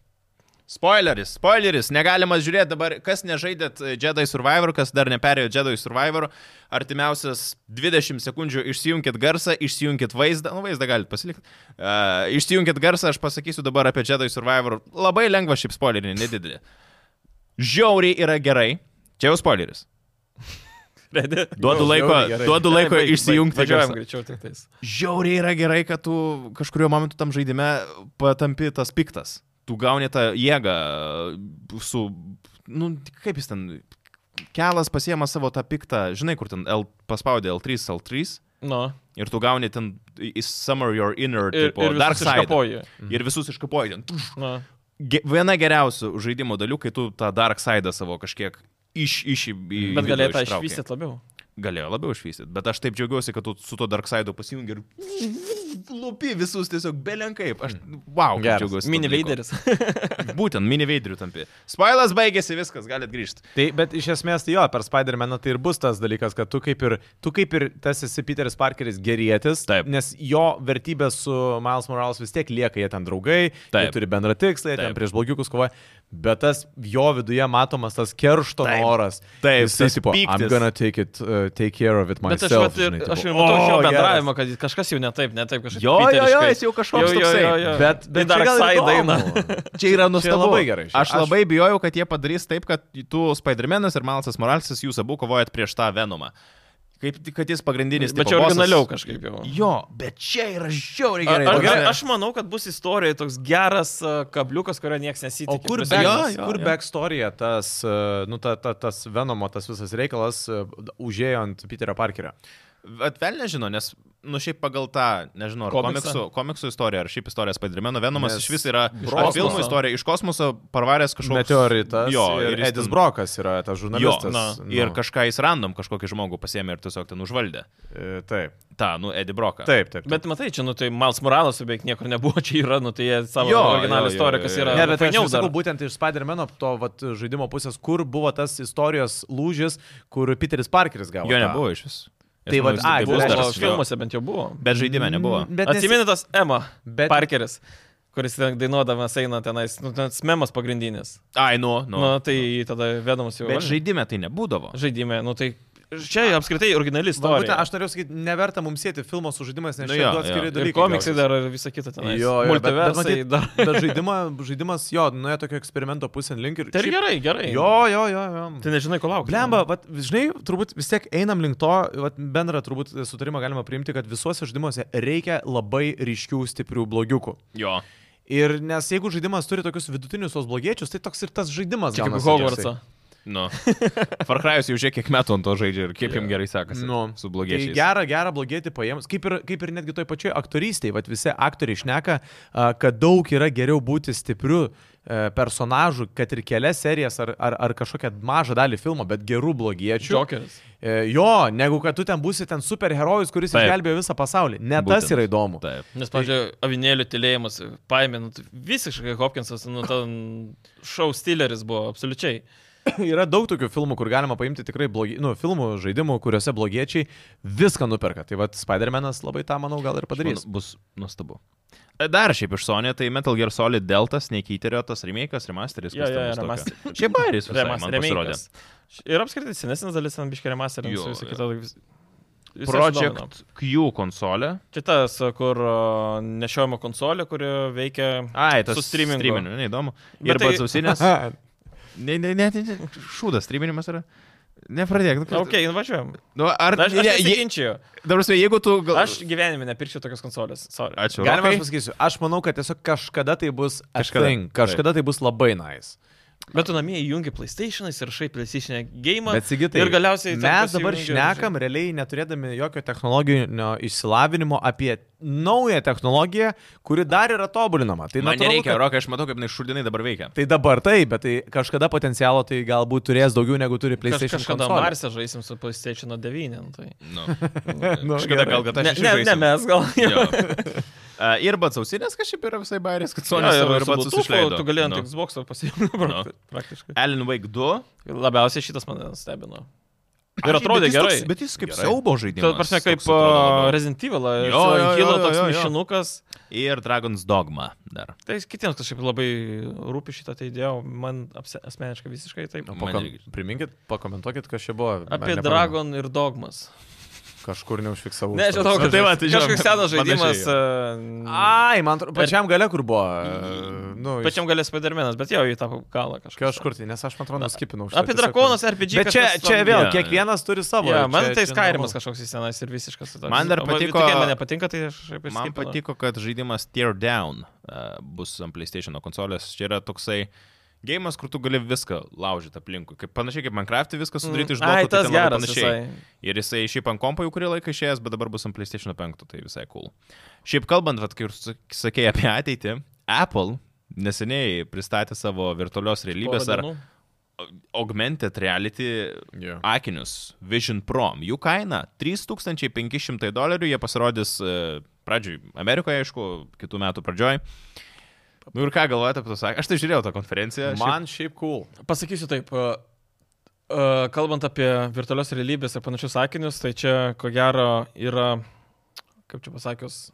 Speaker 1: Spoileris, spoileris, negalima žiūrėti dabar, kas nežaidėt e, Jedi Survivor, kas dar neperėjo Jedi Survivor, artimiausias 20 sekundžių išsijunkit garsą, išsijunkit vaizdą, nu vaizdą galite pasilikti, uh, išsijunkit garsą, aš pasakysiu dabar apie Jedi Survivor, labai lengva šiaip spoilerį, nedidelį. Žiauriai yra gerai, čia jau spoileris.
Speaker 2: Ready?
Speaker 1: Duodu
Speaker 3: Jau,
Speaker 1: laiko,
Speaker 3: žiauriai gerai.
Speaker 1: duodu laiko išsijungti
Speaker 2: Važiuojam
Speaker 1: garsą.
Speaker 2: greičiau tik tais.
Speaker 1: Žiauriai yra gerai, kad tu kažkurio momentu tam žaidime patampi tas piktas. Tu gauni tą jėgą e, su... Nu, kaip jis ten... Kelas pasiema savo tą piktą, žinai, kur ten L, paspaudė L3, L3
Speaker 2: Nu. ir-
Speaker 1: ir tu gauni ten i- i- Summer Your Inner,
Speaker 2: Ir,
Speaker 1: tipo,
Speaker 2: visus
Speaker 1: Dark Side. Mhm.
Speaker 2: iškapoji.
Speaker 1: Ir visus iškapoji. Ten. tuš.
Speaker 2: Nu.
Speaker 1: Ge, viena geriausių žaidimo dalių, kai tu tą Dark Side tą savo kažkiek iš... iš į, į
Speaker 2: Bet
Speaker 1: vidų
Speaker 2: galėjai tą
Speaker 1: ištrauki.
Speaker 2: išvystyti labiau.
Speaker 1: galėjo labiau išvystyti. Bet aš taip džiaugiausi, kad tu su to Darksaidu pasijungi ir lupi visus tiesiog belenkaip. Aš, wow,
Speaker 3: Geras.
Speaker 1: džiaugiuosi. tuo
Speaker 2: Mini
Speaker 1: dalyku.
Speaker 2: lyderis.
Speaker 1: Būtent, mini veidrių tampi. Spoilas baigėsi, viskas, galit grįžti.
Speaker 3: Tai, bet iš esmės, tai jo, per Spider-Maną tai ir bus tas dalykas, kad tu kaip ir, tu kaip ir tas esi Peteris Parkeris gerėtis,
Speaker 1: Taip.
Speaker 3: nes jo vertybės su Miles Morales vis tiek lieka, jie ten draugai,
Speaker 1: Taip.
Speaker 3: jie turi bendrą tikslą, jie
Speaker 1: Taip.
Speaker 3: ten prieš blogiukus kovoja, bet tas jo viduje matomas tas keršto
Speaker 1: Taip.
Speaker 3: noras.
Speaker 1: Taip,
Speaker 3: jisai
Speaker 1: tas
Speaker 3: tipo,
Speaker 1: pyktis.
Speaker 3: I'm gonna take, it, uh, take care of it
Speaker 2: Bet aš,
Speaker 3: myself.
Speaker 2: vat, ir,
Speaker 3: žinai,
Speaker 2: aš
Speaker 3: tipo, "Oh,
Speaker 2: jau matau iš
Speaker 3: "O,
Speaker 2: jo
Speaker 3: geras."
Speaker 2: bendravimo, kad kažkas jau ne taip, ne taip kažkas.
Speaker 1: Jo, jo, jo,
Speaker 2: piteriškai.
Speaker 1: jis jau kažkoks
Speaker 2: jo,
Speaker 1: toksai.
Speaker 2: jo, jo, jo.
Speaker 3: Bet,
Speaker 2: tai
Speaker 3: bet
Speaker 2: dar Aksai daina.
Speaker 1: Čia yra nuostabu.
Speaker 3: labai gerai, šiaip.
Speaker 1: Aš labai bijojau, kad jie padarys taip, kad tu Spider-Man'as ir Malsas Moralsas jūs abu kovojat prieš tą Venomą. Kaip kad jis pagrindinis.
Speaker 2: Bet
Speaker 1: tipo,
Speaker 2: čia
Speaker 1: bosas.
Speaker 2: originaliau kažkaip jau.
Speaker 1: Jo, bet čia yra žiauriai
Speaker 2: A,
Speaker 1: gerai.
Speaker 2: aš,
Speaker 1: ta prasme.
Speaker 2: aš manau, kad bus istorijoje toks geras a, kabliukas, kurio niekas nesitikėjo.
Speaker 3: O kur,
Speaker 1: back-
Speaker 3: back,
Speaker 1: Jo,
Speaker 3: jo,
Speaker 1: jo,
Speaker 3: kur
Speaker 1: jo.
Speaker 3: backstorija, tas, e, nu, ta, ta, tas Venomo, tas visas reikalas e, užėjo ant Peterio Parkerio.
Speaker 1: Atvel nežino, nes, nu šiaip pagal tą, nežinau, ar
Speaker 2: Komiksą?
Speaker 1: komiksų, komiksų istoriją, ar šiaip istoriją Spaidrimeno Venomas
Speaker 3: Nes
Speaker 1: iš vis yra
Speaker 2: iš
Speaker 1: ar filmų
Speaker 2: kosmoso.
Speaker 1: istorija, iš kosmoso parvaręs kažkoks
Speaker 3: Meteoritas.
Speaker 1: Jo,
Speaker 3: ir
Speaker 1: jis
Speaker 3: Edis
Speaker 1: ten-
Speaker 3: Brokas yra tas
Speaker 1: Jo,
Speaker 3: žurnalistas.
Speaker 1: na,
Speaker 3: nu,
Speaker 1: ir kažką jis random, kažkokį žmogų pasėmė ir tiesiog ten užvaldė.
Speaker 3: e, Taip,
Speaker 1: Ta, nu, Edi Broką.
Speaker 3: taip, taip.
Speaker 2: Bet matai, čia, nu tai Miles Morales jau beveik niekur nebuvo, čia yra, nu tai jie savo
Speaker 1: Jo, jo,
Speaker 2: originalią
Speaker 1: jo,
Speaker 2: istoriją,
Speaker 1: jo,
Speaker 2: kas
Speaker 1: jo.
Speaker 2: yra.
Speaker 3: Ne, bet aš
Speaker 2: fainiau
Speaker 3: jau sakau, būtent iš Spider-Man'o to vat, žaidimo pusės, kur buvo tas istorijos lūžis, kur Peteris Parkeris gavo.
Speaker 1: Jo
Speaker 3: tą.
Speaker 1: nebuvo iš vis. Aš
Speaker 3: Tai
Speaker 1: manau,
Speaker 3: vat,
Speaker 1: jis
Speaker 3: ai,
Speaker 1: tai
Speaker 3: tai
Speaker 1: bus
Speaker 3: reiškia,
Speaker 2: Būdavo,
Speaker 1: dar
Speaker 3: aš
Speaker 1: filmas.
Speaker 2: filmuose bent jau buvo.
Speaker 1: Bet žaidime nebuvo.
Speaker 3: Mm, Bet nes...
Speaker 2: Atsimeni tas Ema.
Speaker 3: bet-
Speaker 2: Parkeris, kuris ten dainuodamas eina tenais, nu, ten memas pagrindinis.
Speaker 1: Ai, nu, nu.
Speaker 2: Na, tai tada vedamas jau.
Speaker 1: Bet
Speaker 2: valdė.
Speaker 1: žaidime tai nebūdavo.
Speaker 2: žaidime. Nu, tai čia apskritai originali
Speaker 3: Va,
Speaker 2: istorija.
Speaker 3: būtent, aš norėjau sakyti, neverta mums sėti filmo su žaidimais, nes
Speaker 1: Nu
Speaker 3: nu,
Speaker 1: jo,
Speaker 3: čia du
Speaker 1: jo.
Speaker 3: atskiri
Speaker 2: Ir
Speaker 3: dalykai.
Speaker 2: komiksai
Speaker 3: gausis.
Speaker 2: dar ir visa kita ten.
Speaker 3: Jo, jo, bet- bet
Speaker 2: multiversai
Speaker 3: matyt-
Speaker 2: dar.
Speaker 3: Bet žaidimą, žaidimas, jo, nuėjo tokio eksperimento pusėn link ir...
Speaker 2: Tai ir
Speaker 3: šiaip-
Speaker 2: gerai, gerai.
Speaker 3: Jo, jo, jo, jo.
Speaker 2: Tai nežinai, ko laukti.
Speaker 3: Blemba, vat, žinai, turbūt vis tiek einam link to, vat, bendrą turbūt sutarimą galima priimti, kad visuose žaidimuose reikia labai ryškių, stiprių blogiukų.
Speaker 1: Jo.
Speaker 3: Ir nes jeigu žaidimas turi tokius vidutinius tos blogiečius, tai toks ir tas žaidimas.
Speaker 2: Čia kaip
Speaker 3: gaunasi
Speaker 2: Hogwartsą.
Speaker 3: toksai.
Speaker 1: Nu. Far Cry'us jau žiūrėk, kiek metų ant to žaidžia ir kaip jam gerai sekasi.
Speaker 3: Nu,
Speaker 1: su
Speaker 3: Tai
Speaker 1: blogiečiais.
Speaker 3: gerą, gerą blogėti paėmus. Kaip ir, kaip ir netgi toj pačioj aktorystėje, vad visi aktoriai šneka, a, kad daug yra geriau būti stipriu e, personažu, kad ir kelias serijas ar, ar, ar kažkokią mažą dalį filmo, bet gerų blogiečių.
Speaker 2: Džokeris.
Speaker 3: E, Jo, negu kad tu ten būsi ten superherojus, kuris
Speaker 1: Taip.
Speaker 3: išgelbėjo visą pasaulį. Ne Būtent. tas
Speaker 1: Būtent.
Speaker 3: yra įdomu.
Speaker 1: Taip.
Speaker 2: Nes,
Speaker 3: Tai-
Speaker 2: pavyzdžiui, avinėlių tylėjimas, paėmė, nu, tai visiškai Hopkinsas, nu, ten šau stileris buvo, absoliučiai.
Speaker 3: yra daug tokių filmų, kur galima paimti tikrai blogi, nu, filmų, žaidimų, kuriuose blogiečiai viską nuperka. Tai vad Spider-Man'as labai tą, manau, gal ir padarys.
Speaker 1: Manau, Bus nuostabu. E, Dar šiaip iš Sony, tai Metal Gear Solid Deltas, nekeiterio tas remake'as, remasteris.
Speaker 2: Jo,
Speaker 1: kas
Speaker 2: jo,
Speaker 1: ten bus
Speaker 2: remaster-
Speaker 1: tokio. Šiaip bairis visai man
Speaker 2: Remaster-
Speaker 1: pasirodė.
Speaker 2: remake'as. Ir apskritai senesnis dalis, ten biškai remasteris,
Speaker 1: Jo,
Speaker 2: visą
Speaker 1: jo.
Speaker 2: kitą. vis- visai sudomino.
Speaker 1: Project Q konsolė.
Speaker 2: Čia tas, kur o, nešiojama konsolė, kuri veikia.
Speaker 1: Ai, tas
Speaker 2: Su streamingu.
Speaker 1: Streamingu, neįdomu.
Speaker 2: Bet
Speaker 1: Ir
Speaker 2: tai-
Speaker 1: pats ausinės. Ne, ne, ne, ne, ne. šūdas streaminimas yra. Nepradėk. Nu,
Speaker 2: Na, ok, nuvažiuojam.
Speaker 1: Nu, ar...
Speaker 2: Aš, aš
Speaker 1: je- je-
Speaker 2: nesiginčiu.
Speaker 1: Dabar, prasme, jeigu tu... Gal...
Speaker 2: Aš gyvenime nepirkčiau tokios konsolės. Sorry.
Speaker 1: Ačiū.
Speaker 3: Galima
Speaker 1: Rokai.
Speaker 3: aš pasakysiu, aš manau, kad tiesiog kažkada tai bus
Speaker 1: Kažkada.
Speaker 3: kažkada, thing, kažkada tai bus labai nice.
Speaker 2: Bet tu namie įjungi PlayStation'ais ir šai PlayStation'e game.
Speaker 3: Bet sigitai,
Speaker 2: ir galiausiai... ten
Speaker 3: mes
Speaker 2: pasijungi
Speaker 3: dabar
Speaker 2: ir-
Speaker 3: šnekam realiai neturėdami jokio technologinio išsilavinimo apie naują technologiją, kuri dar yra tobulinama. Tai
Speaker 1: Man
Speaker 3: natūralu,
Speaker 1: nereikia,
Speaker 3: kad-
Speaker 1: Rokai, aš matau, kaip jinai šūdinai dabar veikia.
Speaker 3: Tai dabar tai, bet tai kažkada potencialo tai galbūt turės daugiau negu turi
Speaker 2: Kaž,
Speaker 3: PlayStation.
Speaker 2: kažkada
Speaker 3: konsolė.
Speaker 2: Marsą žaisim su PlayStation 9. nu Tai.
Speaker 1: Nu.
Speaker 3: Nu,
Speaker 1: Kažkada
Speaker 3: gerai.
Speaker 1: gal, kad
Speaker 2: Ne,
Speaker 1: aš...
Speaker 2: ne, ne mes gal.
Speaker 1: Ir pats ausinės kažkaip yra visai bairis, kad
Speaker 2: Jo,
Speaker 1: Sony savo
Speaker 2: su
Speaker 1: pats
Speaker 2: Bluetooth'u
Speaker 1: susileido.
Speaker 2: Tu galėjai ant
Speaker 1: Nu.
Speaker 2: no. Xbox pasiimti
Speaker 1: Nu.
Speaker 2: no. praktiškai.
Speaker 1: Alan Wake 2.
Speaker 2: Labiausiai šitas mane stebino. Ir
Speaker 1: Aš- bet
Speaker 2: atrodė
Speaker 1: jis
Speaker 2: gerai.
Speaker 1: toks- Bet jis kaip
Speaker 3: Gerai.
Speaker 1: siaubo žaidimas.
Speaker 2: Tu prasme, kaip
Speaker 1: toks atrodo
Speaker 2: a,
Speaker 1: labiau.
Speaker 2: Resident Evil,
Speaker 1: Jo,
Speaker 2: jo, jo,
Speaker 1: jo,
Speaker 2: jo,
Speaker 1: jo, jo,
Speaker 2: toks
Speaker 1: jo.
Speaker 2: mišinukas.
Speaker 1: Ir Dragon's Dogma dar.
Speaker 2: Tai kitiems kažkaip labai rūpi šitą tai idėją, man apse- asmeniškai visiškai taip.
Speaker 1: Nu,
Speaker 3: Pako-
Speaker 1: Man irgi.
Speaker 3: Priminkit, pakomentuokit, kas čia buvo. Man
Speaker 2: Apie
Speaker 3: nepamenu.
Speaker 2: Dragon ir Dogmas.
Speaker 3: Kažkur neužfiksau.
Speaker 2: Ne, žinau,
Speaker 1: Nu,
Speaker 2: kad
Speaker 1: tai va, tai
Speaker 2: kažkoks
Speaker 1: žinom,
Speaker 2: senas žaidimas.
Speaker 1: panašiai
Speaker 2: a,
Speaker 3: Ai, man atrodo, pačiam gale kur buvo. e, Nu, iš-
Speaker 2: Pačiam galės Spidermanas, bet jau jį tapo galą kažkas.
Speaker 3: Kažkur tai, nes aš man atrodo skipinau. šitą
Speaker 2: Apie
Speaker 3: tiesiog.
Speaker 2: drakonus RPG.
Speaker 3: Bet čia,
Speaker 2: kažkas
Speaker 3: čia
Speaker 2: ten-
Speaker 1: Jo,
Speaker 3: vėl,
Speaker 1: jo.
Speaker 3: kiekvienas turi savo.
Speaker 2: Ja,
Speaker 3: čia-
Speaker 2: man tai
Speaker 3: čia
Speaker 2: Skyrimas
Speaker 3: normalu.
Speaker 2: kažkoks senas ir visiškas. toks.
Speaker 1: Man dar
Speaker 2: Va,
Speaker 1: patiko-
Speaker 2: Tokie man nepatinka, tai aš kaip ir
Speaker 1: Man patiko, kad žaidimas Teardown uh, bus ant PlayStation konsolės. Čia yra toksai gėjimas, kur tu gali viską laužyti aplinkui. Kaip, panašiai kaip Minecraft, viską sudaryti iš blokų.
Speaker 2: Mm. Ai,
Speaker 1: tai
Speaker 2: tas
Speaker 1: ten labai
Speaker 2: geras.
Speaker 1: Panašiai.
Speaker 2: Visai.
Speaker 1: Ir jisai šiaip ant kompo jau kurį laiką išėjęs, bet dabar bus ant PlayStation 5, tai visai cool. Šiaip kalbant, vat, kaip sakėjai apie ateitį, Apple neseniai pristatė savo virtualios realybės
Speaker 2: Porą
Speaker 1: ar
Speaker 2: dienų.
Speaker 1: augmented reality
Speaker 3: Jo.
Speaker 1: akinius Vision Pro. Jų kaina 3500 dolerių, jie pasirodys e, pradžioj Amerikoje, aišku, kitų metų pradžioj. Nu ir ką galvojate apie tos akinius? Aš tai žiūrėjau tą konferenciją.
Speaker 3: Man šiaip cool.
Speaker 2: Pasakysiu taip. a, a, Kalbant apie virtualios realybės ir panašius sakinius, tai čia ko gero yra, kaip čia pasakius,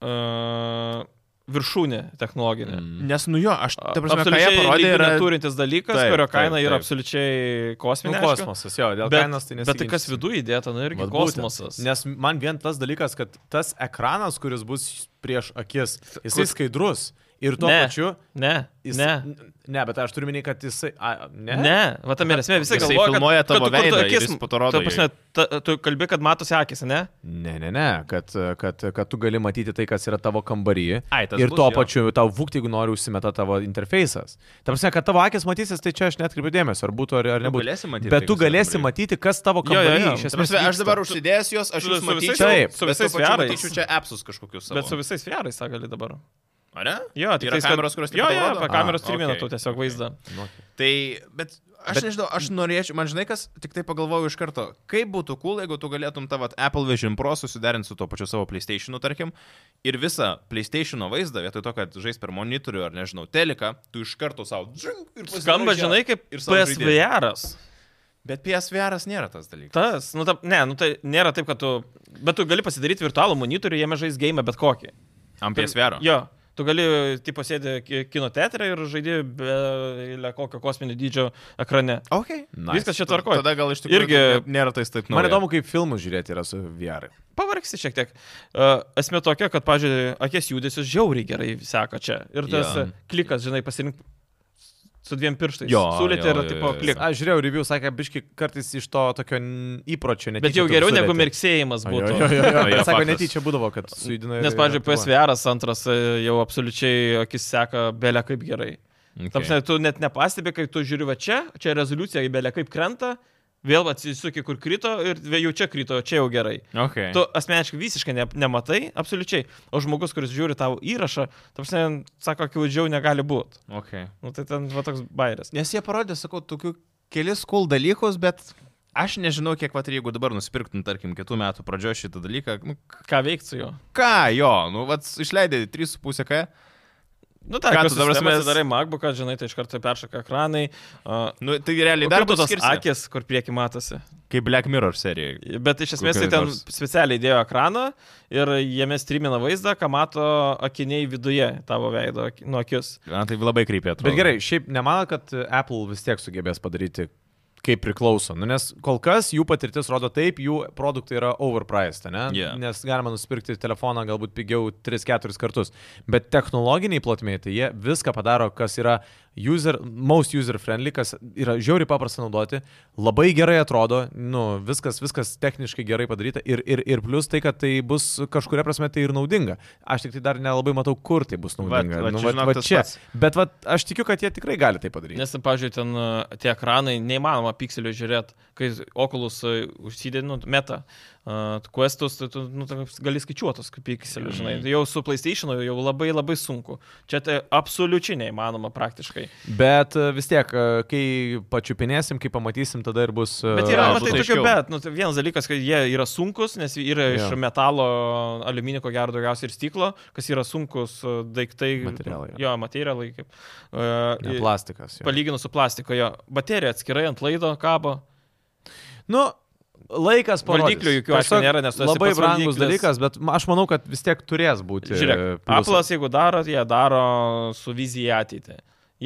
Speaker 2: a, viršūnė technologinė. Mm.
Speaker 1: šiaip... Nes nu jo, aš, ta prasme, ką jie
Speaker 2: Absoliučiai
Speaker 1: parodė, yra...
Speaker 2: turintis dalykas,
Speaker 1: Taip,
Speaker 2: taip, kurio
Speaker 1: taip,
Speaker 2: kaina yra
Speaker 1: taip.
Speaker 2: absoliučiai
Speaker 3: Nu,
Speaker 2: kosminė. aišku.
Speaker 3: kosmosas, jo, dėl
Speaker 2: Bet-
Speaker 3: kainos tai nesu.
Speaker 2: Bet tai kas viduje įdėta, nu irgi
Speaker 3: Vat būtent.
Speaker 2: kosmosas.
Speaker 3: Nes man vien tas dalykas, kad tas ekranas, kuris bus prieš akis, jisai
Speaker 2: Kus-
Speaker 3: skaidrus ir tuo
Speaker 2: Ne.
Speaker 3: pačiu
Speaker 2: Ne,
Speaker 3: Jis,
Speaker 2: ne.
Speaker 3: ne, bet aš turiu minėti, kad jisai. A, ne?
Speaker 2: Ne, ne. va tam ir esmė, visi
Speaker 1: Jisai
Speaker 2: galvoja, kad-
Speaker 1: filmuoja
Speaker 2: kad
Speaker 1: tavo
Speaker 2: tu- kur tu
Speaker 1: veidą ir
Speaker 2: akis-
Speaker 1: jis po to rodo
Speaker 2: ta prasme, ta- Tu kalbi, kad matosi akis, ne?
Speaker 3: Ne, ne, ne, kad, kad, kad tu gali matyti tai, kas yra tavo kambaryje.
Speaker 1: Ai, tas
Speaker 3: Ir
Speaker 1: bus,
Speaker 3: tuo
Speaker 1: jo.
Speaker 3: pačiu tau vūkti, jeigu nori, užsimeta tavo interfejsas. Tam prasme, kad tavo akis matysis, tai čia aš netkreipiu dėmesio, ar būtų, ar, ar
Speaker 1: Nu,
Speaker 3: nebūtų.
Speaker 1: galėsi matyti tai,
Speaker 3: Bet tu
Speaker 1: kas yra
Speaker 3: galėsi
Speaker 1: kambaryje.
Speaker 3: matyti, kas tavo
Speaker 2: jo,
Speaker 3: kambaryje.
Speaker 2: jo.
Speaker 3: iš
Speaker 1: Ta
Speaker 3: esmės
Speaker 1: prasme, aš
Speaker 3: vyksta.
Speaker 1: dabar užsidėsiu juos, aš
Speaker 2: Su-
Speaker 1: jūs
Speaker 2: su visais-
Speaker 1: matyčiau,
Speaker 3: Taip.
Speaker 2: su
Speaker 1: bet tuo
Speaker 2: visais
Speaker 1: pačiu
Speaker 2: verais.
Speaker 1: matyčiau čia apsus kažkokius. Savo.
Speaker 2: Bet su visais vierais tą gali dabar.
Speaker 1: Ar ne?
Speaker 2: Jo, tik
Speaker 1: yra
Speaker 2: tais, kad-
Speaker 1: kameros, kurios tik
Speaker 2: Jo,
Speaker 1: tai
Speaker 2: jo,
Speaker 1: rodo?
Speaker 2: apie
Speaker 1: A,
Speaker 2: kameros trimina
Speaker 1: okei.
Speaker 2: tu tiesiog vaizdą.
Speaker 3: Nu,
Speaker 1: Tai, bet aš
Speaker 3: Bet-
Speaker 1: bet... nežinau, aš norėčiau, man žinai kas, tik tai pagalvojau iš karto, kaip būtų cool, jeigu tu galėtum tavo Apple Vision Pro susiderinti su to pačiu savo PlayStationu, tarkim, ir visą PlayStationo vaizdą, vietoj to, kad žais per monitorių ar nežinau, teleką, tu iš karto savo džink ir pasidarai
Speaker 2: Skamba,
Speaker 1: čia.
Speaker 2: žinai, kaip
Speaker 1: ir savo žaidėją.
Speaker 2: PSVR'as.
Speaker 1: Bet PSVR nėra tas dalykas.
Speaker 2: Tas, nu, ta, ne, nu tai nėra taip, kad tu... Bet tu gali pasidaryti virtualų monitorių, jame žais game bet kokį.
Speaker 1: Am PSVR.
Speaker 2: Jo. Tu gali, tipo, sėdė kino teatre ir žaidė be eilę kokio kosminio dydžio ekrane.
Speaker 1: Okay.
Speaker 3: Nice.
Speaker 2: Viskas čia tvarkoja.
Speaker 1: Tada gal iš tikrųjų
Speaker 2: Irgi-
Speaker 1: nėra tais taip
Speaker 3: Man
Speaker 1: nauja.
Speaker 3: įdomu, kaip filmus žiūrėti yra su VR.
Speaker 2: Pavargsi šiek tiek. Uh, esmė tokia, kad, pažiūrėjau, akies judesius žiauriai gerai seka čia. Ir tas
Speaker 1: Jo.
Speaker 2: ja. klikas, žinai, pasirink su dviem pirštais.
Speaker 1: Jo,
Speaker 2: Sulėtė
Speaker 1: jo,
Speaker 2: ir,
Speaker 1: jo,
Speaker 2: tipo,
Speaker 1: jo, jo.
Speaker 2: klik.
Speaker 3: Aš žiūrėjau review, sakė, biški kartais iš to tokio n- įpročio netyčia.
Speaker 2: Bet jau
Speaker 3: tu
Speaker 2: geriau negu
Speaker 3: sudėti.
Speaker 2: mirksėjimas
Speaker 3: Jo,
Speaker 2: būtų.
Speaker 3: jo, jo, jo.
Speaker 1: Jo,
Speaker 3: Bet Sako,
Speaker 1: faktas.
Speaker 3: netyčia būdavo, kad sujudina. ir-
Speaker 2: Nes, pavyzdžiui,
Speaker 3: ir-
Speaker 2: PSVR antras e, jau absoliučiai akis seka belę kaip gerai. Tapsne, tu net nepastebi, kai tu žiūri va čia, čia rezoliucija įbelė kaip krenta, vėl atsisuki, kur krito ir vėjau čia krito, čia jau gerai.
Speaker 1: Okay.
Speaker 2: Tu asmeniškai visiškai ne, nematai, absoliučiai. O žmogus, kuris žiūri tavo įrašą, tapsne, sako, akivaizdžiau negali būti.
Speaker 1: Okay.
Speaker 2: Nu, tai ten va toks bairis.
Speaker 1: Nes jie parodė, sakau, tokių kelis cool dalykus, bet aš nežinau, kiek pat jeigu dabar nusipirktum, tarkim, kitų metų pradžioje šitą dalyką, nu,
Speaker 2: Ką veikti su juo?
Speaker 1: ką jo, nu, vats, išleidai 3,5K,
Speaker 2: Nu, tai,
Speaker 1: Ką tu
Speaker 2: kad tu
Speaker 1: dabar
Speaker 2: dabar mes
Speaker 1: mes-
Speaker 2: darai MacBooką, žinai, tai iš karto peršaka ekranai. Uh,
Speaker 1: nu, tai realiai dar
Speaker 2: dar tu tos
Speaker 1: skirsi.
Speaker 2: akis, kur prieki matosi.
Speaker 1: Kaip Black Mirror serijoje.
Speaker 2: Bet iš esmės tai
Speaker 1: Kokioj
Speaker 2: ten
Speaker 1: nors.
Speaker 2: specialiai dėjo ekraną ir jame streamina vaizdą, ką mato akiniai viduje tavo veido ak- nuo akis.
Speaker 1: Na, tai labai krypė atrodo.
Speaker 3: Bet gerai, šiaip nemanau, kad Apple vis tiek sugebės padaryti kaip priklauso. Nu, nes kol kas jų patirtis rodo taip, jų produktai yra overpriced, ne?
Speaker 1: Yeah.
Speaker 3: nes galima nusipirkti telefoną galbūt pigiau 3-4 kartus. Bet technologiniai plotmėje tai jie viską padaro, kas yra user, most user friendly, kas yra žiauriai paprasta naudoti, labai gerai atrodo, nu, viskas, viskas techniškai gerai padaryta ir, ir, ir plus tai, kad tai bus kažkuria prasme tai ir naudinga. Aš tik tai dar nelabai matau, kur tai bus naudinga.
Speaker 1: vat,
Speaker 3: nu,
Speaker 1: čia,
Speaker 3: vat-
Speaker 1: žinok,
Speaker 3: vat
Speaker 1: tas
Speaker 3: čia.
Speaker 1: pats.
Speaker 3: Bet vat, aš tikiu, kad jie tikrai gali tai padaryti.
Speaker 2: Nes, pavyzdžiui, ten e, tie ekranai, neįmanoma pikselių žiūrėti, kai okulus užsidėdinu, nu, meta, uh, questus, tai tu nu, tai gali skaičiuotos kaip pikselių, žinai.
Speaker 1: Mm.
Speaker 2: Tai Jau su PlayStation jau labai labai sunku. Čia tai absoliučiai neįmanoma praktiškai.
Speaker 3: Bet e, vis tiek, e, kai pačiupinėsim, kai pamatysim, tada ir bus. e,
Speaker 2: Bet yra,
Speaker 1: jo,
Speaker 2: matai,
Speaker 1: būtų
Speaker 2: tokių,
Speaker 1: aiškiau.
Speaker 2: bet, nu, tai vienas dalykas, kad jie yra sunkus, nes yra iš
Speaker 3: Jo.
Speaker 2: metalo, aliuminio, ko gero daugiausiai ir stiklo, kas yra sunkus e, daiktai.
Speaker 3: Materialai, jo.
Speaker 2: Jo, materialai, kaip.
Speaker 3: Ne,
Speaker 2: Uh,
Speaker 3: plastikas. Pali...
Speaker 2: Palyginus su plastikoje, baterija atskirai ant laido kabo.
Speaker 3: Nu, laikas parodys.
Speaker 2: Valdiklių jokių, aišku,
Speaker 3: Tiesiog
Speaker 2: nėra, nes tu esi
Speaker 3: Labai
Speaker 2: pats
Speaker 3: brangus
Speaker 2: valdiklis.
Speaker 3: dalykas, bet ma- aš manau, kad vis tiek turės būti.
Speaker 2: Žiūrėk,
Speaker 3: e, pliusas.
Speaker 2: Apple'as, jeigu daro, jie daro su vizija į ateitį.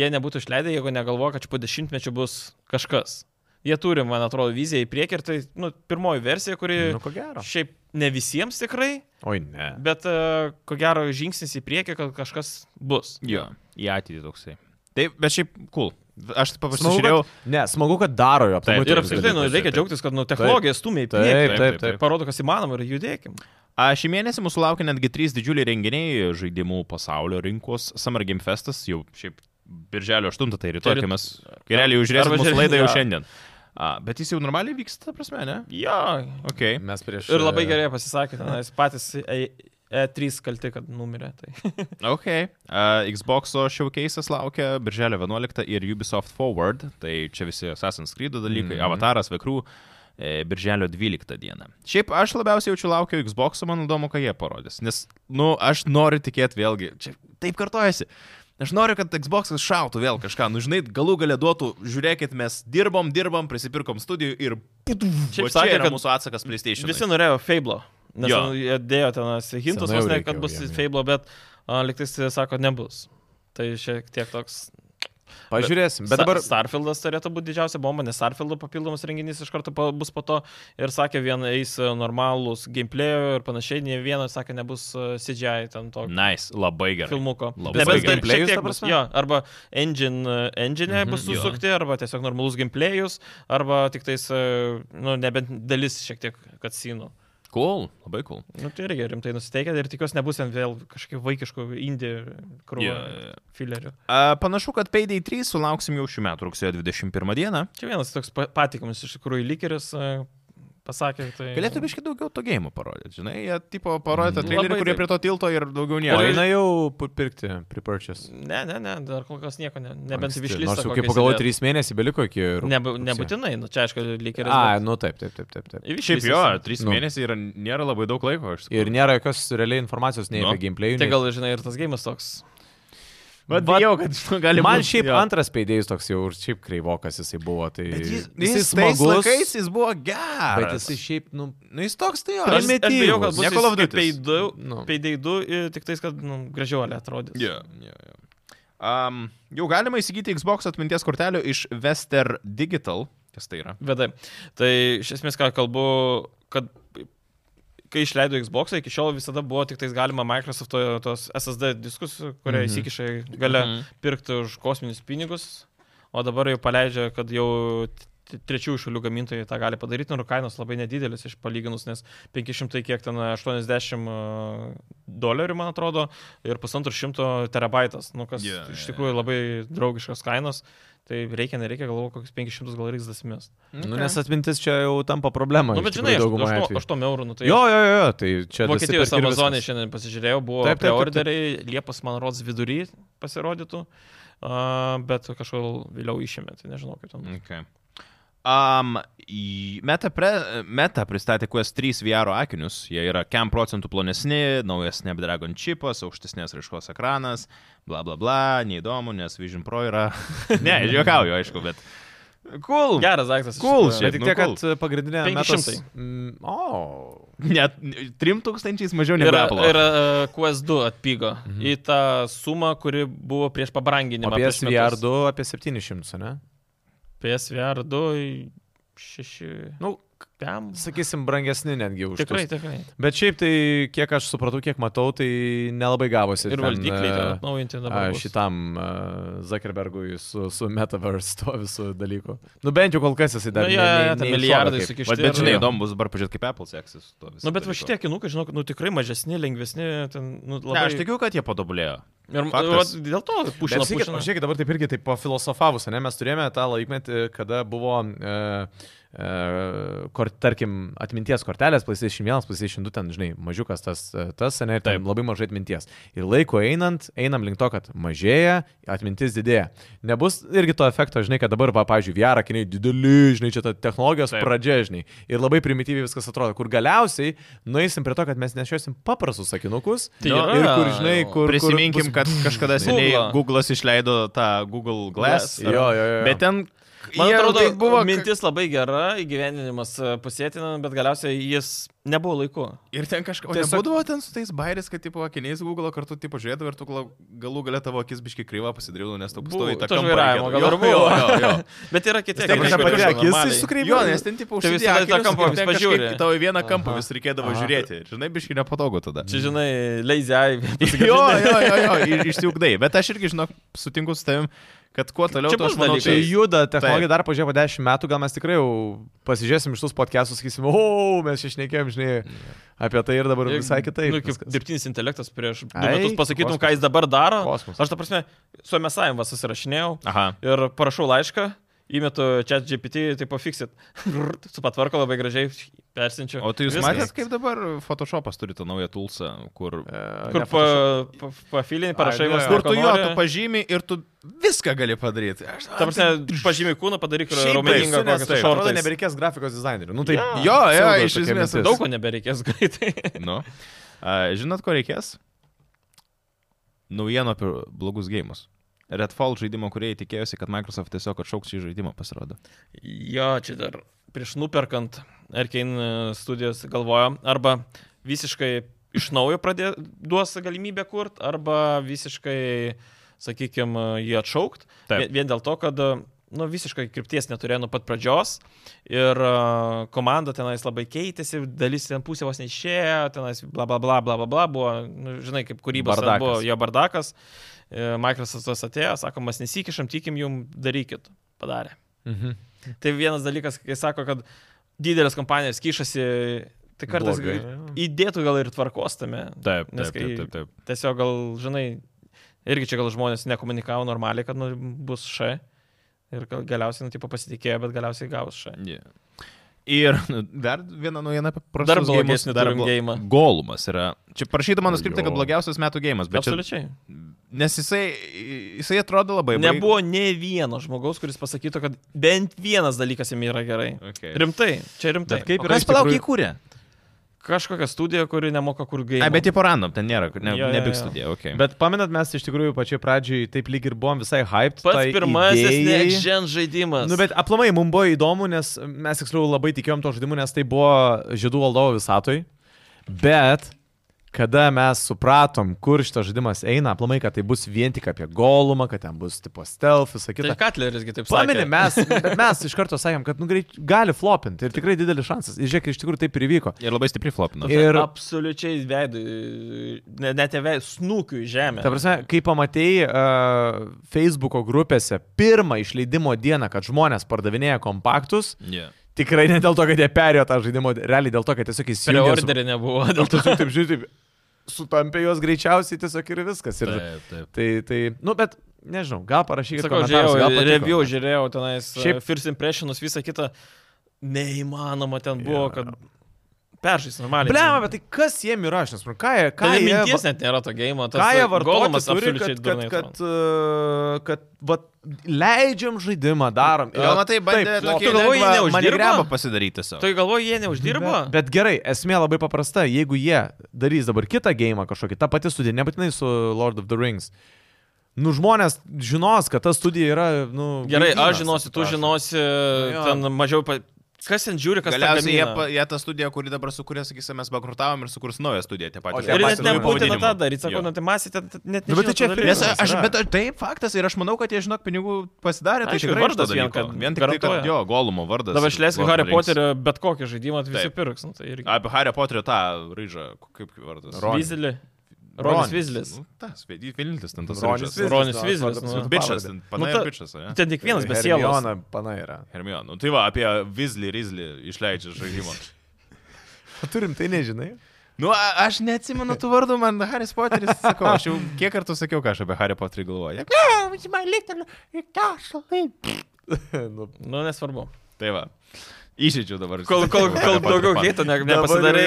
Speaker 2: Jie nebūtų išleidę, jeigu negalvoja, kad čia po dešimtmečio bus kažkas. Jie turi, man atrodo, viziją į priekį ir tai, nu, pirmoji versija, kuri
Speaker 3: Nu, ko gero.
Speaker 2: šiaip ne visiems tikrai,
Speaker 3: Oi, ne.
Speaker 2: bet e, ko gero žingsnis į priekį, kad kažkas bus.
Speaker 1: Jo, į ateitį toksai. Taip, bet šiaip, cool. Aš
Speaker 3: Smagu,
Speaker 1: pasižiūrėjau.
Speaker 3: kad, ne, smagu, kad daro jo aplamai
Speaker 1: Taip,
Speaker 2: Ir
Speaker 3: tokius
Speaker 2: apskritai, nu,
Speaker 3: dalykus.
Speaker 2: reikia
Speaker 1: taip.
Speaker 2: džiaugtis, kad nu, technologija stumia į priekį.
Speaker 3: Taip, taip,
Speaker 1: taip.
Speaker 3: taip.
Speaker 2: Parodo, kas įmanoma ir judėkim.
Speaker 1: A, Šį mėnesį mūsų laukia netgi trys didžiuliai renginiai žaidimų pasaulio rinkos. Summer Game Festas jau šiaip birželio 8, tai rytoj,
Speaker 2: Tai ryt-
Speaker 1: kai mes gereliai užžiūrėsime
Speaker 2: arba
Speaker 1: mūsų
Speaker 2: žiūrė-
Speaker 1: laidą jau
Speaker 2: jo.
Speaker 1: šiandien. A, bet jis jau normaliai vyksta, ta prasme, ne?
Speaker 2: Jo.
Speaker 1: Okay.
Speaker 3: Mes prieš.
Speaker 2: Ir labai
Speaker 3: e,
Speaker 2: gerai pasisakė, nes patys E- E3 kalti, kad numirė. Tai.
Speaker 1: Ok. Uh, Xbox showcase'as laukia birželio 11 ir Ubisoft Forward, tai čia visi Assassin's Creed dalykai,
Speaker 3: Mhm.
Speaker 1: mm. Avataras, Vekrų, e, birželio 12 dieną. Šiaip aš labiausiai jaučiu laukiu Xbox'o, man įdomu, ką jie parodys, nes, nu, aš noriu tikėti vėlgi, čia taip kartojasi. Aš noriu, kad Xbox'as šautų vėl kažką, nu žinai, galų galę duotų, žiūrėkit, mes dirbom, dirbom, prisipirkom studijų ir...
Speaker 2: Šiaip
Speaker 1: Čia, čia
Speaker 2: sakė,
Speaker 1: yra
Speaker 2: kad
Speaker 1: mūsų atsakas PlayStation.
Speaker 2: Visi norėjo Fablo. Nes
Speaker 1: Jo.
Speaker 2: nu, jie dėjo ten hintus,
Speaker 3: Senai jau
Speaker 2: vos ne,
Speaker 3: reikėjo
Speaker 2: kad bus
Speaker 3: jiem, jo.
Speaker 2: Fablo, bet a, liktais jie sako, nebus. Tai šiek tiek toks.
Speaker 3: Pažiūrėsim. Bet dabar.
Speaker 2: Starfieldas turėtų būti didžiausia bomba, nes Starfieldo papildomas renginys iš karto pa, bus po to. Ir sakė, vien eis e, normalūs gameplay ir panašiai, ne vieno, sakė, nebus e, CGI ten to.
Speaker 1: Nice, labai gerai.
Speaker 2: Filmuko.
Speaker 1: Labai
Speaker 2: Nebent
Speaker 1: gerai.
Speaker 2: dar
Speaker 3: Gameplayus,
Speaker 2: šiek tiek
Speaker 3: ta
Speaker 2: bus,
Speaker 3: prasme?
Speaker 2: jo, arba engine, e, engine bus
Speaker 1: Mhm, jo.
Speaker 2: susukti, arba tiesiog normalus gameplayus, arba tik tais, e, nu, nebent dalis šiek tiek katsinų.
Speaker 1: Cool, labai cool.
Speaker 2: Nu, tai irgi rimtai nusiteikę ir tikiuosi nebus ten vėl kažkokių vaikiškų indie krūvų
Speaker 1: Jo, jo, jo.
Speaker 2: yeah. filerių.
Speaker 1: A, Panašu, kad Payday 3 sulauksim jau šių metų rugsėjo 21 dieną.
Speaker 2: Čia vienas toks pa- patikimas iš tikrųjų likeris e, pasakė, tai...
Speaker 1: Galėtų biškai daugiau to gėjimo parodyti, žinai, jie tipo parodė tą
Speaker 2: Mhm.
Speaker 1: trailerį,
Speaker 2: Labai
Speaker 1: kurie
Speaker 2: taip.
Speaker 1: prie to tilto ir daugiau
Speaker 3: O
Speaker 1: nieko.
Speaker 3: eina jau pu- pirkti, pripurčias.
Speaker 2: Ne, ne, ne, dar kol kas nieko, ne, nebent
Speaker 3: Anksti.
Speaker 2: višlys.
Speaker 3: Nors jau kaip pagalvoju, 3 mėnesiai beliko iki. rug- rugsėjo.
Speaker 2: Nebūtinai, nu čia aišku, likeris.
Speaker 3: A, nu taip, taip, taip, taip. taip.
Speaker 1: Šiaip jo, 3
Speaker 3: Nu.
Speaker 1: mėnesiai yra, nėra labai daug laiko, aš
Speaker 3: Ir nėra jokios realiai informacijos nei
Speaker 1: Nu.
Speaker 3: apie gameplay.
Speaker 2: Tai gal, žinai, ir tas gėjimas toks.
Speaker 1: Bet
Speaker 3: Vat-
Speaker 1: bijau, kad žinau, gali
Speaker 3: Man
Speaker 1: būt-
Speaker 3: šiaip
Speaker 1: jo.
Speaker 3: antras peidėjus toks jau ir šiaip kreivokas jisai buvo. Tai
Speaker 1: Bet jis, jis,
Speaker 3: jisai
Speaker 1: jis tais laikais jis buvo geras.
Speaker 3: Bet jisai šiaip, nu,
Speaker 1: Nu jis toks tai jo.
Speaker 2: Aš,
Speaker 1: jis-
Speaker 2: aš bijau, kad bus
Speaker 1: Ne Call of
Speaker 2: jis kaip
Speaker 1: Duty's.
Speaker 2: peidau,
Speaker 3: Nu.
Speaker 2: peideidų, tik tais, kad nu, gražiuolė atrodys.
Speaker 1: Jo, jo, jo. Am, Jau galima įsigyti Xbox atminties kortelių iš Wester Digital. Kas tai yra?
Speaker 2: Vedai. Tai iš esmės, ką kalbu, kad kai išleido Xbox, iki šiol visada buvo tik tais galima Microsoft tos SSD diskus, kurie
Speaker 3: Mhm.
Speaker 2: mm -hmm. įsikiša į galę mm
Speaker 1: Mhm.
Speaker 2: -hmm. pirkti už kosminius pinigus, o dabar jau paleidžia, kad jau t- trečiųjų šalių gamintojai tą gali padaryti, nors kainos labai nedidelis iš palyginus, nes 500 kiek ten 80 dolerių, man atrodo, ir pusantro šimto terabaitas, nu kas
Speaker 1: Jo,
Speaker 2: yeah, iš
Speaker 1: jo,
Speaker 2: tikrųjų labai draugiškas kainos, tai reikia, nereikia, galvoju, kokius 500 gal reiks dasimės.
Speaker 3: Nu, nes atmintis čia jau tampa problema.
Speaker 2: Na, nu,
Speaker 3: iš
Speaker 2: bet
Speaker 3: tikrųjų,
Speaker 2: žinai,
Speaker 3: dauguma atvejų.
Speaker 2: 8 eurų, nu tai
Speaker 3: jo, jo, jo, jo, tai čia...
Speaker 2: Vokietijos
Speaker 3: nusiperki ir
Speaker 2: Amazonė
Speaker 3: viskas.
Speaker 2: šiandien pasižiūrėjau, buvo
Speaker 3: Taip, taip, taip, taip.
Speaker 2: preorderiai, Liepos, man rods, vidury pasirodytų, a, bet kažkur vėliau išėmė, tai nežinau, kaip ten.
Speaker 1: Okay. Um, į- meta, pre, meta pristatė Quest 3 VR akinius. Jie yra 5 procentų plonesni, naujas Snapdragon čipas, aukštesnės raiškos ekranas, bla bla bla, neįdomu, nes Vision Pro yra... ne, juokauju, aišku, bet... Cool.
Speaker 2: Geras daiktas. iš
Speaker 1: Cool
Speaker 2: tikrųjų.
Speaker 1: šiaip.
Speaker 3: Bet tik
Speaker 1: Nu,
Speaker 3: tiek,
Speaker 1: cool.
Speaker 3: kad pagrindinė... metos-
Speaker 2: 500.
Speaker 3: Mm, O.
Speaker 1: Net 3000 mažiau negu
Speaker 2: Ir,
Speaker 1: Apple.
Speaker 2: ir uh, QS2 atpigo mhm. į tą sumą, kuri buvo prieš pabranginimą.
Speaker 3: Apie
Speaker 2: prieš metus.
Speaker 3: SVR2 apie 700, ne?
Speaker 2: PSVR2 6.
Speaker 3: Nu,
Speaker 2: Piam.
Speaker 3: sakysim, brangesni netgi už.
Speaker 2: Tikrai,
Speaker 3: tuos.
Speaker 2: tikrai.
Speaker 3: Bet šiaip tai, kiek aš supratau, kiek matau, tai nelabai gavosi.
Speaker 2: Ir
Speaker 3: ten,
Speaker 2: valdikliai
Speaker 3: e,
Speaker 2: ten atnaujinti
Speaker 3: a,
Speaker 2: dabar. bus.
Speaker 3: Šitam e, Zuckerbergui su, su Metaverse to visų dalykų. Nu bent jau kol kas jisai dar
Speaker 2: Nu,
Speaker 3: ne-
Speaker 2: jo, jo,
Speaker 3: ne-
Speaker 2: ten
Speaker 3: neiššovė
Speaker 2: milijardai
Speaker 3: kaip.
Speaker 2: sukišti.
Speaker 1: Vat, bet žinai,
Speaker 3: ir-
Speaker 1: įdomu bus dabar pažiūrėti, kaip Apple seksis. Na,
Speaker 2: Nu, bet va šitie kinukai, žinok, nu tikrai mažesni, lengvesni, ten, nu,
Speaker 1: Labai...
Speaker 2: labai...
Speaker 1: Ne, aš tikiu, kad jie patobulėjo.
Speaker 2: Ir va,
Speaker 1: faktas.
Speaker 2: dėl to
Speaker 3: Bet
Speaker 2: pušina,
Speaker 3: sakykit,
Speaker 2: pušina.
Speaker 3: Žiūrėkit, dabar taip irgi taip pofilosofavus, ne, mes turėjome tą laikmetį, kada buvo, e, e, kor, tarkim, atminties kortelės, PlayStation 1, PlayStation 2, ten, žinai, mažiukas tas, e, tas, ne, ir ten
Speaker 1: Taip.
Speaker 3: labai mažai atminties. Ir laiko einant, einam link to, kad mažėja, atmintis didėja. Nebus irgi to efekto, žinai, kad dabar, va, pavyzdžiui, VR akiniai dideli, žinai, čia ta technologijos
Speaker 1: Taip.
Speaker 3: Taip. pradžia, žinai, ir labai primityviai viskas atrodo, kur galiausiai nueisim prie to, kad mes nešiosim paprastus akinukus.
Speaker 2: Tai
Speaker 1: Nu,
Speaker 3: Ir
Speaker 2: yra
Speaker 3: kur, žinai,
Speaker 2: jau.
Speaker 3: kur... kur
Speaker 1: Prisiminkim,
Speaker 3: bus-
Speaker 1: kad kažkada seniai
Speaker 2: Google'ą.
Speaker 1: Google'as išleido tą Google Glass.
Speaker 2: Glass,
Speaker 3: Jo, jo, jo.
Speaker 1: Bet ten...
Speaker 2: Man
Speaker 1: jie-
Speaker 2: atrodo,
Speaker 1: tai
Speaker 2: tai buvo
Speaker 1: ka-
Speaker 2: mintis labai gera, įgyvendinimas e, pasėtina, bet galiausiai jis nebuvo laiku.
Speaker 1: Ir ten kažkas.
Speaker 3: Tiesiog-
Speaker 1: Tiesiog... Nebūdavo ten su tais bairis, kad tipo akiniais Google kartu tipo žiūrėdavo ir tu gal- galų galę tavo akis biški kryva pasidarydavo, nes tau
Speaker 2: Buvo,
Speaker 1: pastovi tą
Speaker 2: to žvairavimo gal ir buvo. Bet yra kiti,
Speaker 1: Ta
Speaker 3: Ta
Speaker 1: prasme,
Speaker 3: prasme,
Speaker 1: pati
Speaker 3: pati
Speaker 1: akis
Speaker 3: akis
Speaker 1: Tai Jo, nes ten tipo
Speaker 2: Tai
Speaker 1: užsidėjo
Speaker 2: visada į tą
Speaker 1: akinius ir
Speaker 2: kampą
Speaker 1: ten
Speaker 2: vis
Speaker 1: kažkaip
Speaker 2: pažiūri.
Speaker 1: į Tavo į vieną kampą
Speaker 3: Aha.
Speaker 1: vis reikėdavo
Speaker 3: Aha.
Speaker 1: žiūrėti. Ir, Žinai, biški nepatogu tada.
Speaker 2: Čia, žinai, leizai.
Speaker 1: Jo, jo, jo, jo, i- išsiugdai. Bet aš irgi, žinok, sutinku su tavim, kad kuo toliau,
Speaker 2: Čia
Speaker 1: tuo
Speaker 2: bus
Speaker 1: aš manau,
Speaker 2: dalykai.
Speaker 3: Čia
Speaker 1: tai
Speaker 3: juda technologija dar pažiūrėjau po 10 metų, gal mes tikrai jau pasižiūrėsim iš tos podcastus, sakysim, o, mes išnekėjom, žinai, apie tai ir dabar visai kitaip.
Speaker 2: Nu, kaip
Speaker 3: viskas.
Speaker 2: dirbtinis intelektas prieš du
Speaker 3: Ai,
Speaker 2: metus pasakytum,
Speaker 3: kosmosas.
Speaker 2: ką jis dabar daro.
Speaker 3: Kosmosas.
Speaker 2: Aš, ta prasme, su MSAIM vas susirašinėjau
Speaker 1: Aha.
Speaker 2: ir parašau laišką, įmetu čia GPT, tai pafiksit. Supatvarko labai gražiai, persinčiu.
Speaker 1: O tai jūs
Speaker 2: Viskas.
Speaker 1: matėt, kaip dabar Photoshopas turi tą naują tulsą, kur...
Speaker 3: E,
Speaker 2: Kur
Speaker 3: ne, Photoshop.
Speaker 2: pafilinį parašai,
Speaker 3: Ai, ne.
Speaker 2: vas,
Speaker 1: Kur tu
Speaker 2: ko
Speaker 1: jo,
Speaker 2: nori.
Speaker 1: tu pažymi ir tu viską gali padaryti. Aš,
Speaker 2: Ta prasme, pažymį kūną padaryk
Speaker 1: Šiaip
Speaker 2: raumeningą,
Speaker 1: baisu, nes taip.
Speaker 2: kokią tai. su
Speaker 3: tai, Atrodo,
Speaker 2: šortais.
Speaker 3: nebereikės grafikos dizainerių. Nu, tai
Speaker 2: Jo.
Speaker 1: Jo, jo,
Speaker 3: pseudo
Speaker 1: iš
Speaker 3: tokia
Speaker 1: esmės
Speaker 3: mintis.
Speaker 2: Daug ko nebereikės greitai.
Speaker 1: Nu. A, žinot, ko reikės? Naujienų apie blogus gėjimus. Redfall žaidimo, kurie tikėjosi, kad Microsoft tiesiog atšauks šį žaidimą, pasirodo.
Speaker 2: Jo, čia dar prieš nuperkant Arkane studijos galvojo, arba visiškai iš naujo pradė, duos galimybę kurti, arba visiškai, sakykime, jį atšaukt.
Speaker 1: Taip.
Speaker 2: Vien- Vien dėl to, kad nu, visiškai krypties neturėjo nuo pat pradžios ir a, komanda tenais labai keitėsi, dalis ten pusė vos neišėjo, tenais bla bla bla bla bla bla buvo, nu, žinai, kaip kūrybos ten
Speaker 3: Bardakas.
Speaker 2: buvo jo bardakas. E, Microsoft'as atėjo, sako, mes nesikišam, tikim jum, darykit. Padarė.
Speaker 3: Mhm.
Speaker 2: Tai vienas dalykas, kai sako, kad didelės kompanijos kišasi, tai kartais
Speaker 3: Blogai.
Speaker 2: gal- įdėtų gal ir tvarkos tame.
Speaker 1: Taip,
Speaker 2: Nes
Speaker 1: taip,
Speaker 2: kai-
Speaker 1: taip, taip. taip.
Speaker 2: Tiesiog gal, žinai, irgi čia gal žmonės nekomunikavo normaliai, kad nu, bus š. Ir gal galiausiai, nu, tipo pasitikėjo, bet galiausiai gaus š.
Speaker 1: Yeah. Ir nu, dar viena naujiena apie prastus
Speaker 2: Dar
Speaker 1: gėjimus,
Speaker 2: blogesnį turim gėjimą.
Speaker 1: Golumas yra. Čia prašydama nuskripti,
Speaker 3: Jo.
Speaker 1: kad blogiausias metų gėjimas, bet čia...
Speaker 2: Absoliučiai. Čia...
Speaker 1: Nes jisai, jisai atrodo labai... baig-
Speaker 2: Nebuvo nei vieno žmogaus, kuris pasakytų, kad bent vienas dalykas jam yra gerai.
Speaker 1: Okay.
Speaker 2: Rimtai, čia rimtai.
Speaker 3: Bet kaip
Speaker 1: O
Speaker 3: yra
Speaker 1: kas
Speaker 3: iš
Speaker 1: palauk
Speaker 3: tikrųjų-
Speaker 1: įkūrė?
Speaker 2: Kažkokia studija, kuri nemoka kur gaivinti.
Speaker 1: A, bet tipo random, ten nėra, ne,
Speaker 2: Jo, jo,
Speaker 1: ne big
Speaker 2: jo.
Speaker 1: studija, okei. Okay.
Speaker 3: Bet pamenat, mes iš tikrųjų pačioj pradžioj taip lyg ir buvom visai hyped.
Speaker 2: Pats
Speaker 3: tai
Speaker 2: pirmasis
Speaker 3: idėjai.
Speaker 2: nežen žaidimas.
Speaker 3: Nu, bet aplamai mums buvo įdomu, nes mes tiksliau labai tikėjom to žaidimu, nes tai buvo žydų valdovo visatoj. Bet kada mes supratom, kur šitas žaidimas eina, aplamai, kad tai bus vien tik apie golumą, kad ten bus tipo stealth, visą
Speaker 2: Tai
Speaker 3: kitą.
Speaker 2: Katlerisgi taip sakė.
Speaker 3: Pameni, mes, bet mes iš karto sakėm, kad nu, greit, gali flopinti ir tikrai didelis šansas. Ir žiūrėk, iš tikrųjų taip ir įvyko.
Speaker 1: Ir labai stipriai flopino.
Speaker 3: Ir-
Speaker 2: Ir absoliučiai veidų, ne- net veidų, snukių į žemę.
Speaker 3: Ta prasme, kai pamatėjai uh, Facebook'o grupėse pirmą išleidimo dieną, kad žmonės pardavinėja kompaktus,
Speaker 1: Yeah.
Speaker 3: tikrai ne dėl to, kad jie perėjo tą žaidimą, realiai dėl to, kad tiesiog įsijungė. su-
Speaker 2: Preorderį nebuvo, dėl
Speaker 3: Dėl to, kad taip žiūri, sutampė juos greičiausiai tiesiog ir viskas. Ir,
Speaker 1: Taip, taip.
Speaker 3: tai, tai, nu, bet nežinau, gal parašykite.
Speaker 2: Sakau,
Speaker 3: komentaruose,
Speaker 2: žiūrėjau,
Speaker 3: gal patiko.
Speaker 2: review žiūrėjau tenais,
Speaker 3: Šiaip-
Speaker 2: Šiaip... first impressionus, visą kitą. Neįmanoma ten buvo,
Speaker 3: Jo.
Speaker 2: yeah. kad peržais normaliai.
Speaker 3: Blema, bet tai kas jiem yra, aš nesuprantu, ką jie, ką
Speaker 2: Ką
Speaker 3: jie,
Speaker 2: minties net nėra to gėjimo, tas
Speaker 3: ką jie
Speaker 2: golumas
Speaker 3: vartojamas
Speaker 2: absoliučiai
Speaker 3: kad, kad,
Speaker 2: durnai.
Speaker 3: kad,
Speaker 2: atrodo.
Speaker 3: uh, kad vat, leidžiam žaidimą, darom.
Speaker 1: Gal matai, tai bandė
Speaker 3: Taip,
Speaker 1: tokį
Speaker 2: tu galvoji, jie
Speaker 1: lengvą
Speaker 2: neuždirbo?
Speaker 1: manevravimą pasidaryti tiesiog.
Speaker 2: Tai galvoju, jie neuždirba?
Speaker 3: Bet, bet gerai, esmė labai paprasta. Jeigu jie darys dabar kitą gėjimą kažkokį, tą patį studiją, nebūtinai su Lord of the Rings. Nu, žmonės žinos, kad ta studija yra, nu...
Speaker 2: Gerai,
Speaker 3: vaidynas,
Speaker 2: aš žinosiu, tu
Speaker 3: atsiprašau.
Speaker 2: žinosi,
Speaker 3: Nu jo.
Speaker 2: ten mažiau... Pa... Kas ten žiūri, kas ten
Speaker 1: Galiausiai jie, pa-
Speaker 2: gamina?
Speaker 1: jie tą studiją, kuri dabar sukūrė, sakysime, mes bankrutavom ir sukurs naują studiją tie patys.
Speaker 3: tie
Speaker 2: Ir
Speaker 3: patys
Speaker 2: net
Speaker 1: patys
Speaker 3: nauji
Speaker 2: nebūtina
Speaker 1: pavadinimu.
Speaker 2: tą daryti,
Speaker 1: Jo.
Speaker 2: sakau, nu tai masė ten ten net nežino.
Speaker 3: Nu, bet tai
Speaker 2: to
Speaker 3: čia
Speaker 2: dalyko.
Speaker 1: Nes
Speaker 3: filmas.
Speaker 1: aš,
Speaker 3: yra.
Speaker 1: bet tai faktas ir aš manau, kad jie, žinok, pinigų pasidarė, tai
Speaker 2: Aišku,
Speaker 1: tikrai
Speaker 2: vardas
Speaker 1: iš to
Speaker 2: vien,
Speaker 1: dalyko.
Speaker 2: kad
Speaker 1: vien tik tai, kad
Speaker 2: garantuoja.
Speaker 1: jo, Golumo vardas.
Speaker 2: Dabar išleisk
Speaker 1: Lord
Speaker 2: Harry
Speaker 1: of the Rings.
Speaker 2: Potterio bet kokį žaidimą, tai visi
Speaker 1: Taip.
Speaker 2: pirks. Nu, tai irgi.
Speaker 1: Apie Harry Potterį tą ryžą, kaip vardas.
Speaker 2: Vizelį. Ronis Vizlis.
Speaker 1: Nu, tas, Vilnis ten tas
Speaker 3: Ronis
Speaker 1: ryžas.
Speaker 3: Vizlis.
Speaker 2: Ronis
Speaker 3: nu,
Speaker 2: Vizlis,
Speaker 3: atrodo,
Speaker 2: nu.
Speaker 3: su
Speaker 1: Bičas,
Speaker 3: pavarde.
Speaker 1: ten panai
Speaker 2: Nu,
Speaker 1: ir
Speaker 2: ta-
Speaker 1: bičas, ne?
Speaker 2: Ten tik vienas be sielos.
Speaker 3: Hermiona Panai yra.
Speaker 1: Hermion, nu tai va, apie Vizlį, Rizlį išleidžia žaidimą.
Speaker 3: Turim tai nežinai.
Speaker 1: Nu, a, aš neatsimenu tų vardų, man Haris Poteris, sakau, aš jau kiek kartų sakiau, ką aš apie Harry Potterį galvoju.
Speaker 3: nu,
Speaker 2: Nu, nesvarbu.
Speaker 1: Tai va, išėdžiu dabar.
Speaker 2: Kol, kol, kol daugiau keito ne, nepasidarai,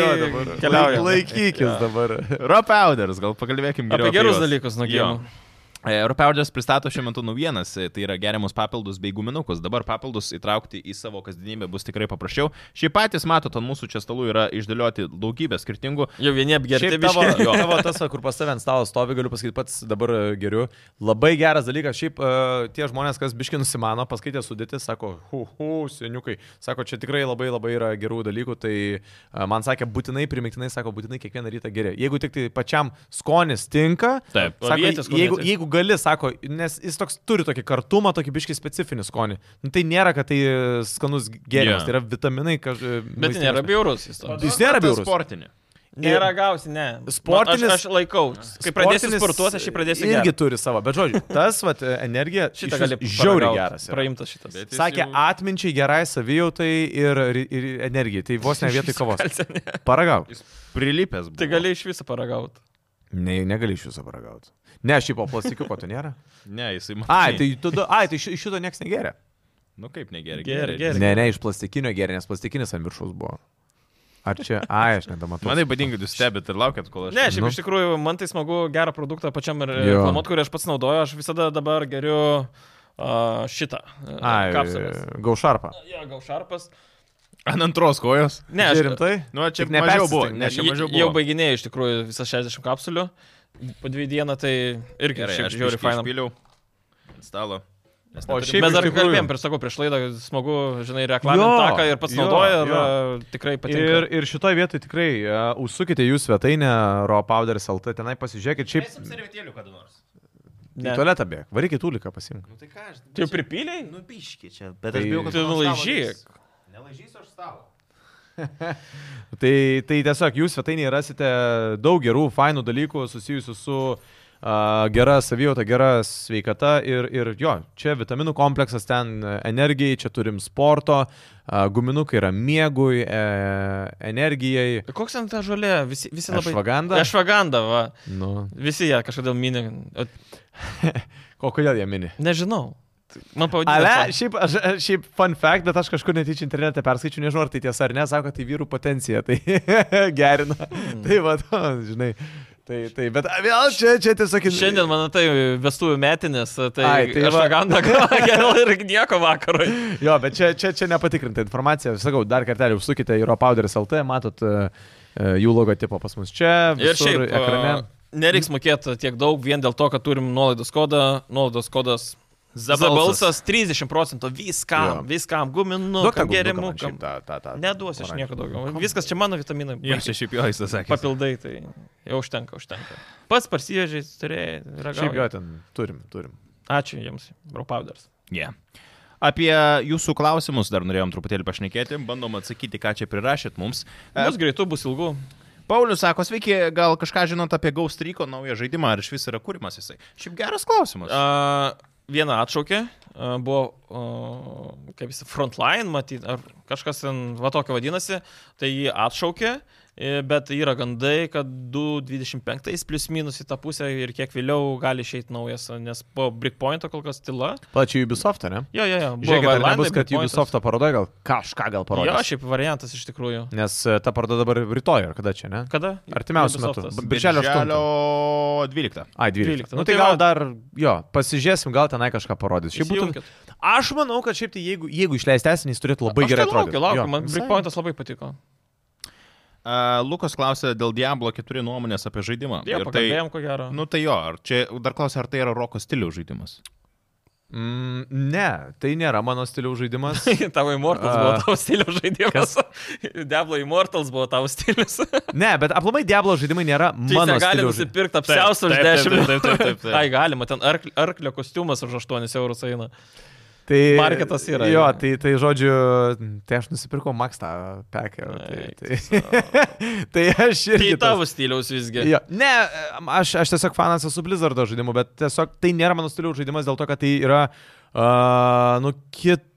Speaker 2: keliauja.
Speaker 3: Laikykis dabar.
Speaker 1: Rope Auders, gal pakalbėkim geriau
Speaker 2: Apie gerus
Speaker 1: juos.
Speaker 2: dalykus nuo
Speaker 1: Jo.
Speaker 2: gėjimų.
Speaker 1: Europeudžas pristato šiuo metu naujienas, e, tai yra geriamus papildus bei guminukus. Dabar papildus įtraukti į savo kasdienybę bus tikrai paprasčiau. Šiaip patys matot, ant mūsų čia stalų yra išdėlioti daugybę skirtingų.
Speaker 2: Jau vieni apgerti
Speaker 3: Šiaip tavo,
Speaker 2: biškai.
Speaker 1: jo.
Speaker 3: tai tavo tas, va, kur pas tavę ant stalo stovi, galiu pasakyti pats dabar e, geriu. Labai geras dalykas, šiaip e, tie žmonės, kas biški nusimano, paskaitė sudėti, sako, hu, hu, seniukai, sako, čia tikrai labai labai yra gerų dalykų, tai e, man sakė, būtinai, primiktinai, sako, būtinai kiekvieną rytą geriau. Jeigu tik tai pačiam skonis tinka,
Speaker 1: Taip.
Speaker 2: O
Speaker 3: Sako,
Speaker 2: vietos
Speaker 3: jeigu,
Speaker 2: kaunietis.
Speaker 3: jeigu gali, sako, nes jis toks turi tokį kartumą, tokį biškį specifinį skonį. Nu, tai nėra, kad tai e, skanus gėrimas,
Speaker 1: Jo.
Speaker 3: yeah. tai yra vitaminai, kažkaip.
Speaker 2: Bet tai nėra biurus jis to.
Speaker 3: Jis nėra biurus.
Speaker 1: Sportinį.
Speaker 2: Nėra gausi, ne.
Speaker 3: Sportinis-
Speaker 2: Nu, Aš, aš laikau. Kai pradėsiu
Speaker 3: Sportinis
Speaker 2: sportuoti, aš jį pradėsiu
Speaker 3: Irgi
Speaker 2: gerti.
Speaker 3: turi savo, bet žodžiu, tas vat, e, energija
Speaker 2: Šitą
Speaker 3: iš
Speaker 2: gali
Speaker 3: vis žiauriai
Speaker 2: paragaut.
Speaker 3: geras. yra.
Speaker 2: Praimtas šitas.
Speaker 1: Bet jis
Speaker 3: Sakė,
Speaker 1: jau-
Speaker 3: atminčiai gerai savijautai ir, ir energijai. Tai vos ne vietoj kavos. Paragau.
Speaker 1: Jis prilipęs. Buvo.
Speaker 2: Tai gali iš viso paragauti.
Speaker 3: Ne, negali iš jūsų paragauti. Ne, šiaip po plastikiuko to nėra.
Speaker 1: Ne, jisai man.
Speaker 3: Ai, tai, tu, ai, tai iš iš šito niekas negeria.
Speaker 1: Nu kaip negeri.
Speaker 2: Gerai, gerai.
Speaker 3: Ne, ne, iš plastikinio geria, nes plastikinis ant viršaus buvo. Ar čia, ai, aš nedamatau.
Speaker 1: Man tai patinka, kad jūs stebit ir laukiat, kol aš.
Speaker 2: Ne, šiaip
Speaker 3: Nu.
Speaker 2: iš tikrųjų, man tai smagu gerą produktą pačiam ir
Speaker 3: Jo.
Speaker 2: reklamuot, kurį aš pats naudoju. Aš visada dabar geriu a, šitą. e,
Speaker 3: Ai,
Speaker 2: Kapsulės.
Speaker 3: gaušarpa.
Speaker 2: Jo, gal šarpas.
Speaker 1: Ant antros kojos.
Speaker 2: Ne, aš
Speaker 3: rimtai?
Speaker 1: Nu, čia
Speaker 3: Tik
Speaker 1: mažiau buvo.
Speaker 3: nepersistengti.
Speaker 1: Ne, čia
Speaker 2: Ji-
Speaker 1: mažiau
Speaker 2: Jau
Speaker 1: buvo.
Speaker 2: baiginėjau iš tikrųjų visas 60 kapsulių. Po dvi dieną tai irgi
Speaker 1: Gerai,
Speaker 2: šiaip
Speaker 1: aš
Speaker 2: žiauriai fainam.
Speaker 1: Piliau. Ant stalo. Mes
Speaker 3: O
Speaker 1: neturim-
Speaker 3: Šiaip
Speaker 2: Mes dar
Speaker 3: iš tikrųjų-
Speaker 2: kalbėjom, prieš sakau, prieš laidą, smagu, žinai,
Speaker 3: Jo,
Speaker 2: reklaminti tą, ką ir pats
Speaker 3: jo,
Speaker 2: naudoju ir
Speaker 3: jo.
Speaker 2: a, tikrai patinka.
Speaker 3: Ir, ir šitoje vietoje tikrai uh, užsukite jų svetainę ropowders.lt, tenai pasižiūrėkit, šiaip
Speaker 1: Leisim servetėlių kada nors.
Speaker 3: į
Speaker 2: Ne.
Speaker 3: tualetą bėg, varykit uliką pasimk.
Speaker 1: Nu tai ką aš.
Speaker 2: Tu jau pripylei?
Speaker 1: Nupiški čia, bet
Speaker 3: Tai-
Speaker 2: Tu
Speaker 1: ant stalo
Speaker 2: nulaižyk.
Speaker 1: liks. Nelaižysiu aš stalo.
Speaker 3: Tai, tai tiesiog jų svetainėje rasite daug gerų, fainų dalykų susijusių su uh, gera savijauta, gera sveikata ir, ir jo, čia vitaminų kompleksas, ten e, energijai, čia turim sporto, uh, guminukai yra miegui, uh, energijai.
Speaker 2: Nu, Koks ten ta žolė? Visi, visi labai.
Speaker 3: Ashwagandha?
Speaker 2: Ašvaganda, va.
Speaker 3: Nu,
Speaker 2: Visi ją kažkodėl mini. O,
Speaker 3: o kodėl jie mini?
Speaker 2: Nežinau. Man pavadinimas.
Speaker 3: Ale, šiaip, aš, aš- šiaip fun fact, bet aš kažkur netyčia internete perskaičiu, nežinau, ar tai tiesa ar ne, sako, tai vyrų potencija, tai gerina.
Speaker 2: Hmm.
Speaker 3: Mm. Tai va, žinai. Tai, tai, bet a, vėl čia, čia tiesiog...
Speaker 2: Šiandien, man tai vestuvių metinės, tai,
Speaker 3: Ai, tai
Speaker 2: tai
Speaker 3: va.
Speaker 2: ašvaganda geriau ir nieko vakarui.
Speaker 3: Jo, bet čia, čia, čia nepatikrinta informacija. Sakau, dar kartelį užsukite į Europowderis LT, matot e, e, jų logotipą pas mus čia.
Speaker 2: Ir
Speaker 3: Visur, e,
Speaker 2: šiaip,
Speaker 3: ekrane.
Speaker 2: a, nereiks mokėti tiek daug vien dėl to, kad turim nuolaidos kodą. Nuolaidos kodas Zabalsas 30 procentų viskam,
Speaker 3: Jo.
Speaker 2: viskam, guminu,
Speaker 3: Duok tą gėrimą.
Speaker 2: gerimukam. Neduosiu aš nieko daugiau. Viskas čia mano vitaminai.
Speaker 1: Jo, čia šiaip jo, jis tą sakė.
Speaker 2: Papildai, tai jau užtenka, užtenka. Pats parsivežiai, turėjai,
Speaker 3: Šiaip jo,
Speaker 2: ragauji.
Speaker 3: ten turim, turim.
Speaker 2: Ačiū jums, bro powders.
Speaker 1: Yeah. Apie jūsų klausimus dar norėjom truputėlį pašnekėti, bandom atsakyti, ką čia prirašėt mums. E,
Speaker 2: Bus greitų, bus ilgų.
Speaker 1: Paulius sako, sveiki, gal kažką žinot apie Ghost Recon naują žaidimą, ar iš vis yra kūrimas jisai. Šiaip geras klausimas.
Speaker 2: A, vieną atšaukė, a, buvo, a, kaip jis, frontline, matyt, ar kažkas ten va tokio vadinasi, tai jį atšaukė, i, bet yra gandai, kad 2.25 plus minus į tą pusę ir kiek vėliau gali išeiti naujas, nes po Brickpointo kol kas tyla.
Speaker 3: Plačiai Ubisoft, ne?
Speaker 2: Jo, jo, jo. buvo
Speaker 3: Žiūrėk, ar
Speaker 2: Wildlandai,
Speaker 3: nebus, kad
Speaker 2: Breakpointas.
Speaker 3: Ubisoft paroda gal kažką gal
Speaker 2: Jo,
Speaker 3: parodė.
Speaker 2: šiaip variantas iš tikrųjų.
Speaker 3: Nes e, ta paroda dabar rytoj, ar kada čia, ne?
Speaker 2: Kada?
Speaker 3: Artimiausiu metu.
Speaker 2: Ubisoftas.
Speaker 3: B- Birželio
Speaker 1: 12.
Speaker 3: Ai,
Speaker 2: 12.
Speaker 3: 12. Nu,
Speaker 2: Nu,
Speaker 3: tai
Speaker 2: tai
Speaker 3: gal
Speaker 2: va.
Speaker 3: dar, jo, pasižiūrėsim, gal tenai kažką parodys. Šiaip būtų...
Speaker 2: Įsijunkit.
Speaker 3: Aš manau, kad šiaip tai jeigu, jeigu išleis tęsinį, jis turėtų labai
Speaker 2: Aš tai
Speaker 3: gerai
Speaker 2: Laukiu,
Speaker 3: atrodyti.
Speaker 2: laukiu,
Speaker 3: Jo,
Speaker 2: man
Speaker 3: visai.
Speaker 2: Breakpointas labai patiko.
Speaker 1: Uh, Lukas klausė dėl Diablo 4 nuomonės apie žaidimą.
Speaker 2: Jau
Speaker 1: Ir tai-
Speaker 2: pakalbėjom, ko gero.
Speaker 1: Nu tai jo, ar čia dar klausia, ar tai yra roko stiliaus žaidimas?
Speaker 3: Mm, ne, tai nėra mano stiliaus žaidimas.
Speaker 2: Tavo Immortals
Speaker 3: A.
Speaker 2: buvo tavo stilius žaidimas. Diablo Immortals buvo tavo stilius.
Speaker 3: Ne, bet aplamai Diablo žaidimai nėra mano
Speaker 2: Mano gali
Speaker 3: stiliaus žaidimas.
Speaker 2: Tai nusipirkti apsiausą už
Speaker 1: taip, taip,
Speaker 2: 10
Speaker 1: taip, taip, taip, taip.
Speaker 2: Ai, galima, ten ark- arklio kostiumas už 8 eurus eina.
Speaker 3: Tai,
Speaker 2: Marketas yra,
Speaker 3: Jo,
Speaker 2: jo.
Speaker 3: tai, tai žodžiu, tai aš nusipirkau Max tą pekę. Tai, tai, tai aš
Speaker 2: Tai
Speaker 3: irgi. tas-
Speaker 2: tavo stiliaus visgi.
Speaker 3: Jo. Ne, em, aš, aš tiesiog fanas esu Blizzardo žaidimų, bet tiesiog tai nėra mano stiliaus žaidimas dėl to, kad tai yra, uh, nu, kitoks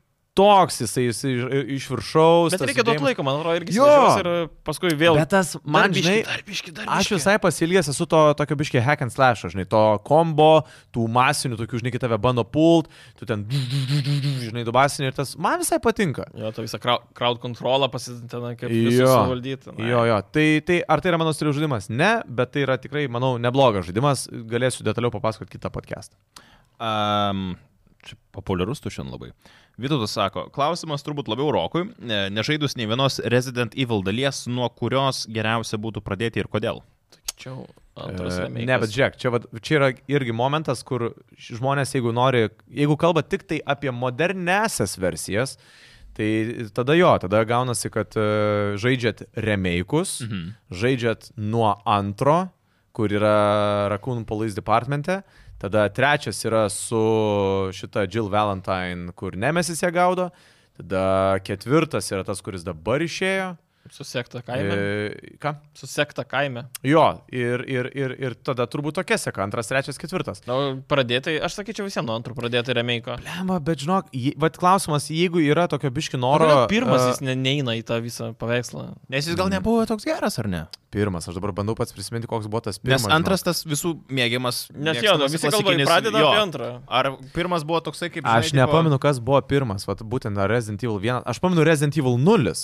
Speaker 3: jisai, jisai iš- iš viršaus.
Speaker 2: Bet
Speaker 3: tas
Speaker 2: reikia duoti
Speaker 3: judėjimas.
Speaker 2: laiko, man atrodo, irgi
Speaker 3: Jo.
Speaker 2: suvažiuos ir paskui vėl.
Speaker 3: Bet tas, man žinai,
Speaker 2: darbiški, darbiški.
Speaker 3: aš visai pasilgęs esu to tokio biškio hack and slash, žinai, to kombo, tų masinių, tokių, žinai, kai tave bando pult, tu ten, žinai, dubasinį ir tas, man visai patinka.
Speaker 2: Jo, tą visą krau- crowd kontrolą pasitintena, kaip
Speaker 3: Jo.
Speaker 2: suvaldyti.
Speaker 3: Jo, jo, tai, tai ar tai yra mano stiliaus žaidimas? Ne, bet tai yra tikrai, manau, neblogas žaidimas, galėsiu detaliau papasakoti kitą podcastą.
Speaker 1: Um, čia populiarus tu šiandien labai. Vytautas sako, klausimas turbūt labiau rokui, ne- nežaidus nei vienos Resident Evil dalies, nuo kurios geriausia būtų pradėti ir kodėl.
Speaker 2: Čia jau antras
Speaker 3: E,
Speaker 2: remikas.
Speaker 3: Ne, bet žiūrėk, čia, vat- čia yra irgi momentas, kur ž- žmonės, jeigu nori, jeigu kalba tik tai apie modernesias versijas, tai tada jo, tada gaunasi, kad e, žaidžiat remake'us, mhm. žaidžiat nuo antro, kur yra Raccoon Police Departmente, tada trečias yra su šita Jill Valentine, kur Nemesis ją gaudo, tada ketvirtas yra tas, kuris dabar išėjo.
Speaker 2: Susekta kaime.
Speaker 3: E, ką?
Speaker 2: Susekta kaime.
Speaker 3: Jo, ir, ir, ir, ir tada turbūt tokia seka, antras, trečias, ketvirtas.
Speaker 2: Na, pradėtai, aš sakyčiau visiems nuo antrų pradėti remeiko.
Speaker 3: Lemba, bet žinok, je- vat klausimas, jeigu yra tokio biški noro.
Speaker 2: Oro, pirmas
Speaker 3: e,
Speaker 2: jis ne, neina į tą visą paveikslą.
Speaker 1: Nes jis gal nebuvo toks geras, ar ne?
Speaker 3: pirmas, aš dabar bandau pats prisiminti, koks buvo tas pirmas.
Speaker 1: Nes antras tas visų mėgiamas.
Speaker 2: Nes jo, nu,
Speaker 1: mėgstamas
Speaker 2: visi kalba,
Speaker 1: klasikinis-
Speaker 2: pradeda
Speaker 1: jo.
Speaker 2: apie antrą.
Speaker 1: Ar pirmas buvo toksai kaip...
Speaker 3: žinok. Aš
Speaker 1: žinai, tipo-
Speaker 3: nepamenu, kas buvo pirmas, vat būtent ar Resident Evil 1. Aš pamenu Resident Evil 0.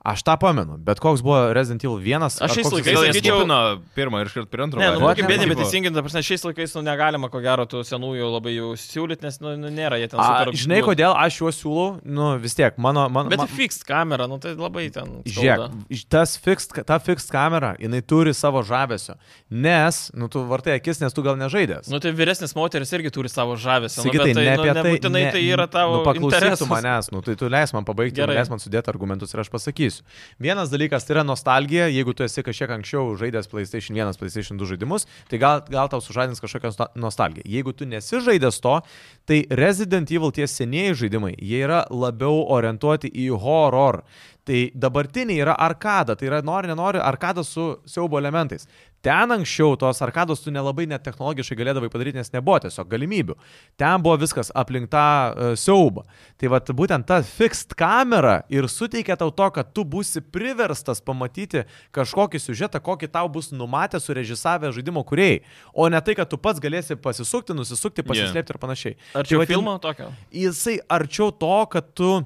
Speaker 3: Aš tą pamenu, bet koks buvo Resident Evil 1.
Speaker 2: Aš
Speaker 3: ar
Speaker 2: šiais
Speaker 3: koks
Speaker 2: laikais
Speaker 1: Gal
Speaker 3: jisai
Speaker 1: jis
Speaker 2: sakyčiau-
Speaker 1: jau nuo pirmo ir iškart prie antro.
Speaker 2: Ne, nu,
Speaker 1: varė.
Speaker 3: vat,
Speaker 2: tokie
Speaker 3: ne,
Speaker 2: bėdė,
Speaker 1: Tipo-
Speaker 2: bet teisingai, ta prasme, šiais laikais, nu, negalima, ko gero, tų senųjų labai jau siūlyti, nes, nu, nu, nėra jie ten
Speaker 3: A,
Speaker 2: super.
Speaker 3: žinai,
Speaker 2: nu,
Speaker 3: kodėl aš juos siūlau? Nu, vis tiek, mano... mano
Speaker 2: Bet
Speaker 3: ma-
Speaker 2: ma... fixed kamera, nu, tai labai ten.
Speaker 3: Žiūrėk,
Speaker 2: skauda.
Speaker 3: ž- tas fixed, ta fixed kamera, jinai turi savo žavesio. Nes, nu tu vartai akis, nes tu gal nežaidęs.
Speaker 2: Nu, tai vyresnis moteris irgi turi savo žavesį. Nu,
Speaker 3: Sigitai,
Speaker 2: bet tai,
Speaker 3: ne apie
Speaker 2: nu,
Speaker 3: tai.
Speaker 2: nebūtinai
Speaker 3: ne-
Speaker 2: tai yra tavo
Speaker 3: Nu, paklausyk tu
Speaker 2: interesas.
Speaker 3: manęs, nu, tai tu leis man pabaigti,
Speaker 2: Gerai.
Speaker 3: leis man sudėti argumentus ir aš pasakysiu. Vienas dalykas tai yra nostalgija, jeigu tu esi kažkiek anksčiau žaidęs PlayStation 1, PlayStation 2 žaidimus, tai gal, gal tau sužadins kažkokią nosta- nostalgiją. Jeigu tu nesi žaidęs to, tai Resident Evil tie senieji žaidimai, jie yra labiau orientuoti į horror. Tai dabartiniai yra arkada, tai yra nori, nenori, arkada su siaubo elementais. Ten anksčiau tos arkados tu nelabai net technologiškai galėdavai padaryti, nes nebuvo tiesiog galimybių. Ten buvo viskas aplink tą uh, siaubą. Tai vat, būtent ta fixed kamera ir suteikia tau to, kad tu būsi priverstas pamatyti kažkokį siužetą, kokį tau bus numatę surežisavę žaidimo kuriejai. O ne tai, kad tu pats galėsi pasisukti, nusisukti, pasislėpti yeah. ir panašiai.
Speaker 2: Ar
Speaker 3: Tai
Speaker 2: čia
Speaker 3: vat jin-
Speaker 2: filmo tokio?
Speaker 3: jisai arčiau to, kad tu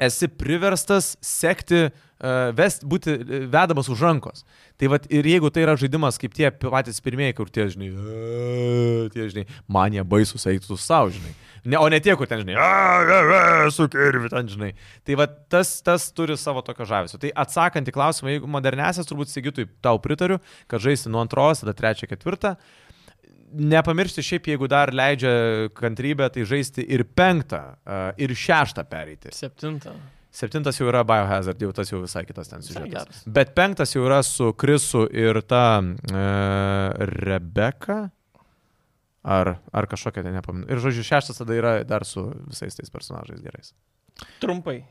Speaker 3: esi priverstas sekti, e, vest, būti e, vedamas už rankos. Tai vad ir jeigu tai yra žaidimas kaip tie patys pirmieji, kur tie, žinai, e, tie, žinai, man jie baisus eitų savo, žinai. Ne, o ne tie, kur ten, žinai, sukirvi ten, žinai. Tai va tas, tas turi savo tokio žavesio. Tai atsakant į klausimą, jeigu modernesias, turbūt Sigitui tau pritariu, kad žaisti nuo antros, tada trečią, ketvirtą. nepamiršti šiaip, jeigu dar leidžia kantrybę, tai žaisti ir penktą, a, ir šeštą pereiti.
Speaker 2: Septinta.
Speaker 3: Septintas jau yra Biohazard, jau tas jau visai kitas ten siužetas.
Speaker 2: geras.
Speaker 3: Bet penktas jau yra su Krisu ir ta e, Rebeka. Ar, ar kažkokia, tai nepaminu. Ir žodžiu, šeštas tada yra dar su visais tais personažais gerais.
Speaker 2: Trumpai.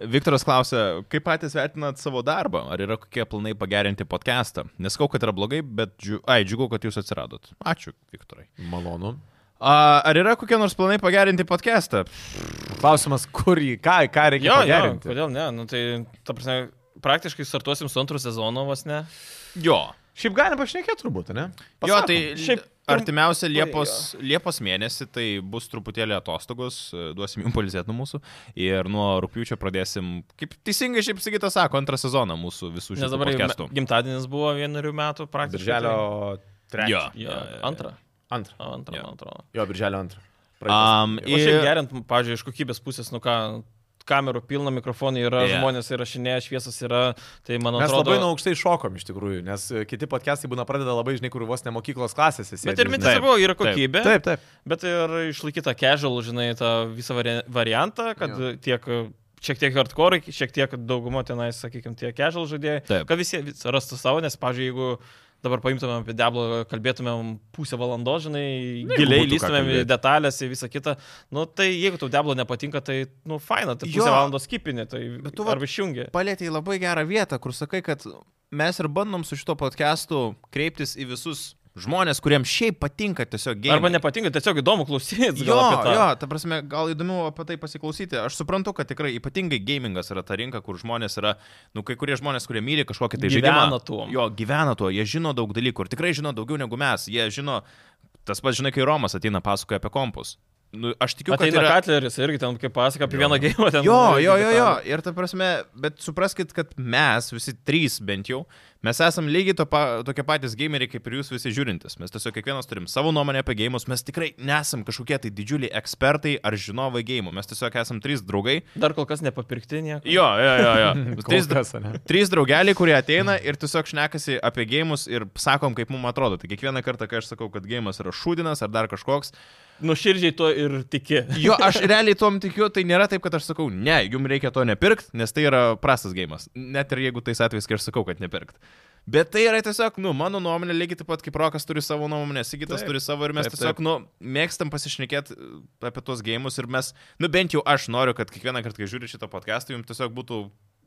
Speaker 1: Viktoras klausia, kaip patys vertinat savo darbą? Ar yra kokie planai pagerinti podcastą? Neskau, kad yra blogai, bet džiu... Ai, džiugu, kad jūs atsiradot. Ačiū, Viktorai.
Speaker 3: Malonu.
Speaker 1: A, ar yra kokie nors planai pagerinti podcastą?
Speaker 3: Klausimas, kur jį, ką, ką reikia
Speaker 2: Jo, jo,
Speaker 3: pagerinti.
Speaker 2: kodėl ne? Nu, tai, ta prasme, praktiškai startuosim su antru sezonu vos ne.
Speaker 1: Jo.
Speaker 3: Šiaip galime pašnekėti turbūt, ne?
Speaker 1: Jo,
Speaker 3: Pasakom.
Speaker 1: tai
Speaker 2: Šiaip-
Speaker 1: šiaip artimiausia Liepos, Liepos mėnesį, tai bus truputėlį atostogos, e, duosim jums polizėti nuo mūsų ir nuo rūpiučio pradėsim, kaip teisingai šiaip sakytas sako, antrą sezoną mūsų visų
Speaker 2: Nes
Speaker 1: šių
Speaker 2: dabar jau
Speaker 1: podcastų.
Speaker 2: me- gimtadienis buvo vienerių metų praktiškai.
Speaker 3: Birželio trečią.
Speaker 1: Jo.
Speaker 2: Tai, jo, antrą.
Speaker 3: Antrą.
Speaker 2: Antrą,
Speaker 1: Jo.
Speaker 2: man atrodo.
Speaker 3: Jo, birželio antrą.
Speaker 1: Um,
Speaker 2: Ir šiaip
Speaker 1: ir...
Speaker 2: gerint, pažiūrėjau, iš kokybės pusės, nu ką, kamerų pilna, mikrofonai yra,
Speaker 1: Jo.
Speaker 2: yeah. žmonės įrašinėja, šviesas yra, tai man
Speaker 3: Mes
Speaker 2: atrodo...
Speaker 3: labai nuo aukštai šokom iš tikrųjų, nes e, kiti podcastai būna pradeda labai, žinai, kur vos ne mokyklos klasėse.
Speaker 2: Bet
Speaker 3: sėdi,
Speaker 2: ir
Speaker 3: žinai.
Speaker 2: mintis
Speaker 1: Taip,
Speaker 2: buvo, yra
Speaker 1: taip.
Speaker 2: kokybė,
Speaker 3: Taip, taip.
Speaker 2: bet ir išlaikyta casual, žinai, tą visą vari variantą, kad
Speaker 3: Jo.
Speaker 2: tiek šiek tiek hardcore, šiek tiek dauguma tenais, sakykime, tie casual žaidėjai,
Speaker 1: Taip.
Speaker 2: kad visi vis- rastų savo, nes, pavyzdžiui, jeigu dabar paimtumėm apie Deblą, kalbėtumėm pusę valandos, žinai,
Speaker 1: Na, jeigu
Speaker 2: giliai
Speaker 1: būtų ką
Speaker 2: lystumėm į
Speaker 1: kalbėti.
Speaker 2: detalės, į visą kitą, nu tai jeigu tau Deblo nepatinka, tai, nu, faina, tai
Speaker 1: Jo.
Speaker 2: pusę valandos kipinė, tai
Speaker 1: Bet tu va-
Speaker 2: arba išjungi.
Speaker 1: palėtėjai labai gerą vietą, kur sakai, kad mes ir bandom su šito podcastu kreiptis į visus žmonės, kuriems šiaip patinka tiesiog gėrimas.
Speaker 2: Arba nepatinka, tiesiog įdomu klausytis.
Speaker 1: Jo, jo, ta prasme, gal įdomiau apie tai pasiklausyti. Aš suprantu, kad tikrai ypatingai gamingas yra ta rinka, kur žmonės yra, nu, kai kurie žmonės, kurie myli kažkokį tai
Speaker 2: Gyvena
Speaker 1: žaidimą.
Speaker 2: tuom.
Speaker 1: Jo, gyvena tuo, jie žino daug dalykų ir tikrai žino daugiau negu mes. Jie žino, tas pats žinai, kai Romas ateina pasakoja apie kompus. Nu, aš tikiu, kad
Speaker 2: Ateina
Speaker 1: yra...
Speaker 2: yra... Katleris irgi ten, kaip pasaka, apie vieną gėjimą ten.
Speaker 1: Jo,
Speaker 2: irgi
Speaker 1: jo, jo,
Speaker 2: ten-
Speaker 1: jo. Ir ta prasme, bet supraskit, kad mes, visi trys bent jau, mes esam lygiai to pa, tokie patys gameriai kaip ir jūs visi žiūrintis. Mes tiesiog kiekvienas turim savo nuomonę apie gėjimus, mes tikrai nesam kažkokie tai didžiuliai ekspertai ar žinovai gėjimų, mes tiesiog esam trys draugai.
Speaker 2: Dar kol kas nepapirkti nieko.
Speaker 1: Jo, jo, jo, jo. trys,
Speaker 3: Kol kas, ane?
Speaker 1: Trys draugeliai, kurie ateina ir tiesiog šnekasi apie gėjimus ir sakom, kaip mums atrodo. Tai kiekvieną kartą, kai aš sakau, kad gėjimas yra šūdinas ar dar kažkoks,
Speaker 2: Nuširdžiai to ir tiki.
Speaker 1: Jo, aš realiai tom tikiu, tai nėra taip, kad aš sakau, ne, jums reikia to nepirkt, nes tai yra prastas gėjimas. Net ir jeigu tais atvejais, kai aš sakau, kad nepirkt. Bet tai yra tiesiog, nu, mano nuomonė, lygiai taip pat kaip Rokas turi savo nuomonę, Sigitas
Speaker 3: Taip.
Speaker 1: turi savo ir mes
Speaker 3: Taip,
Speaker 1: taip, tiesiog,
Speaker 3: taip.
Speaker 1: nu, mėgstam pasišnekėti apie tuos gėjimus ir mes, nu, bent jau aš noriu, kad kiekvieną kartą, kai žiūri šitą podcastą, jums tiesiog būtų,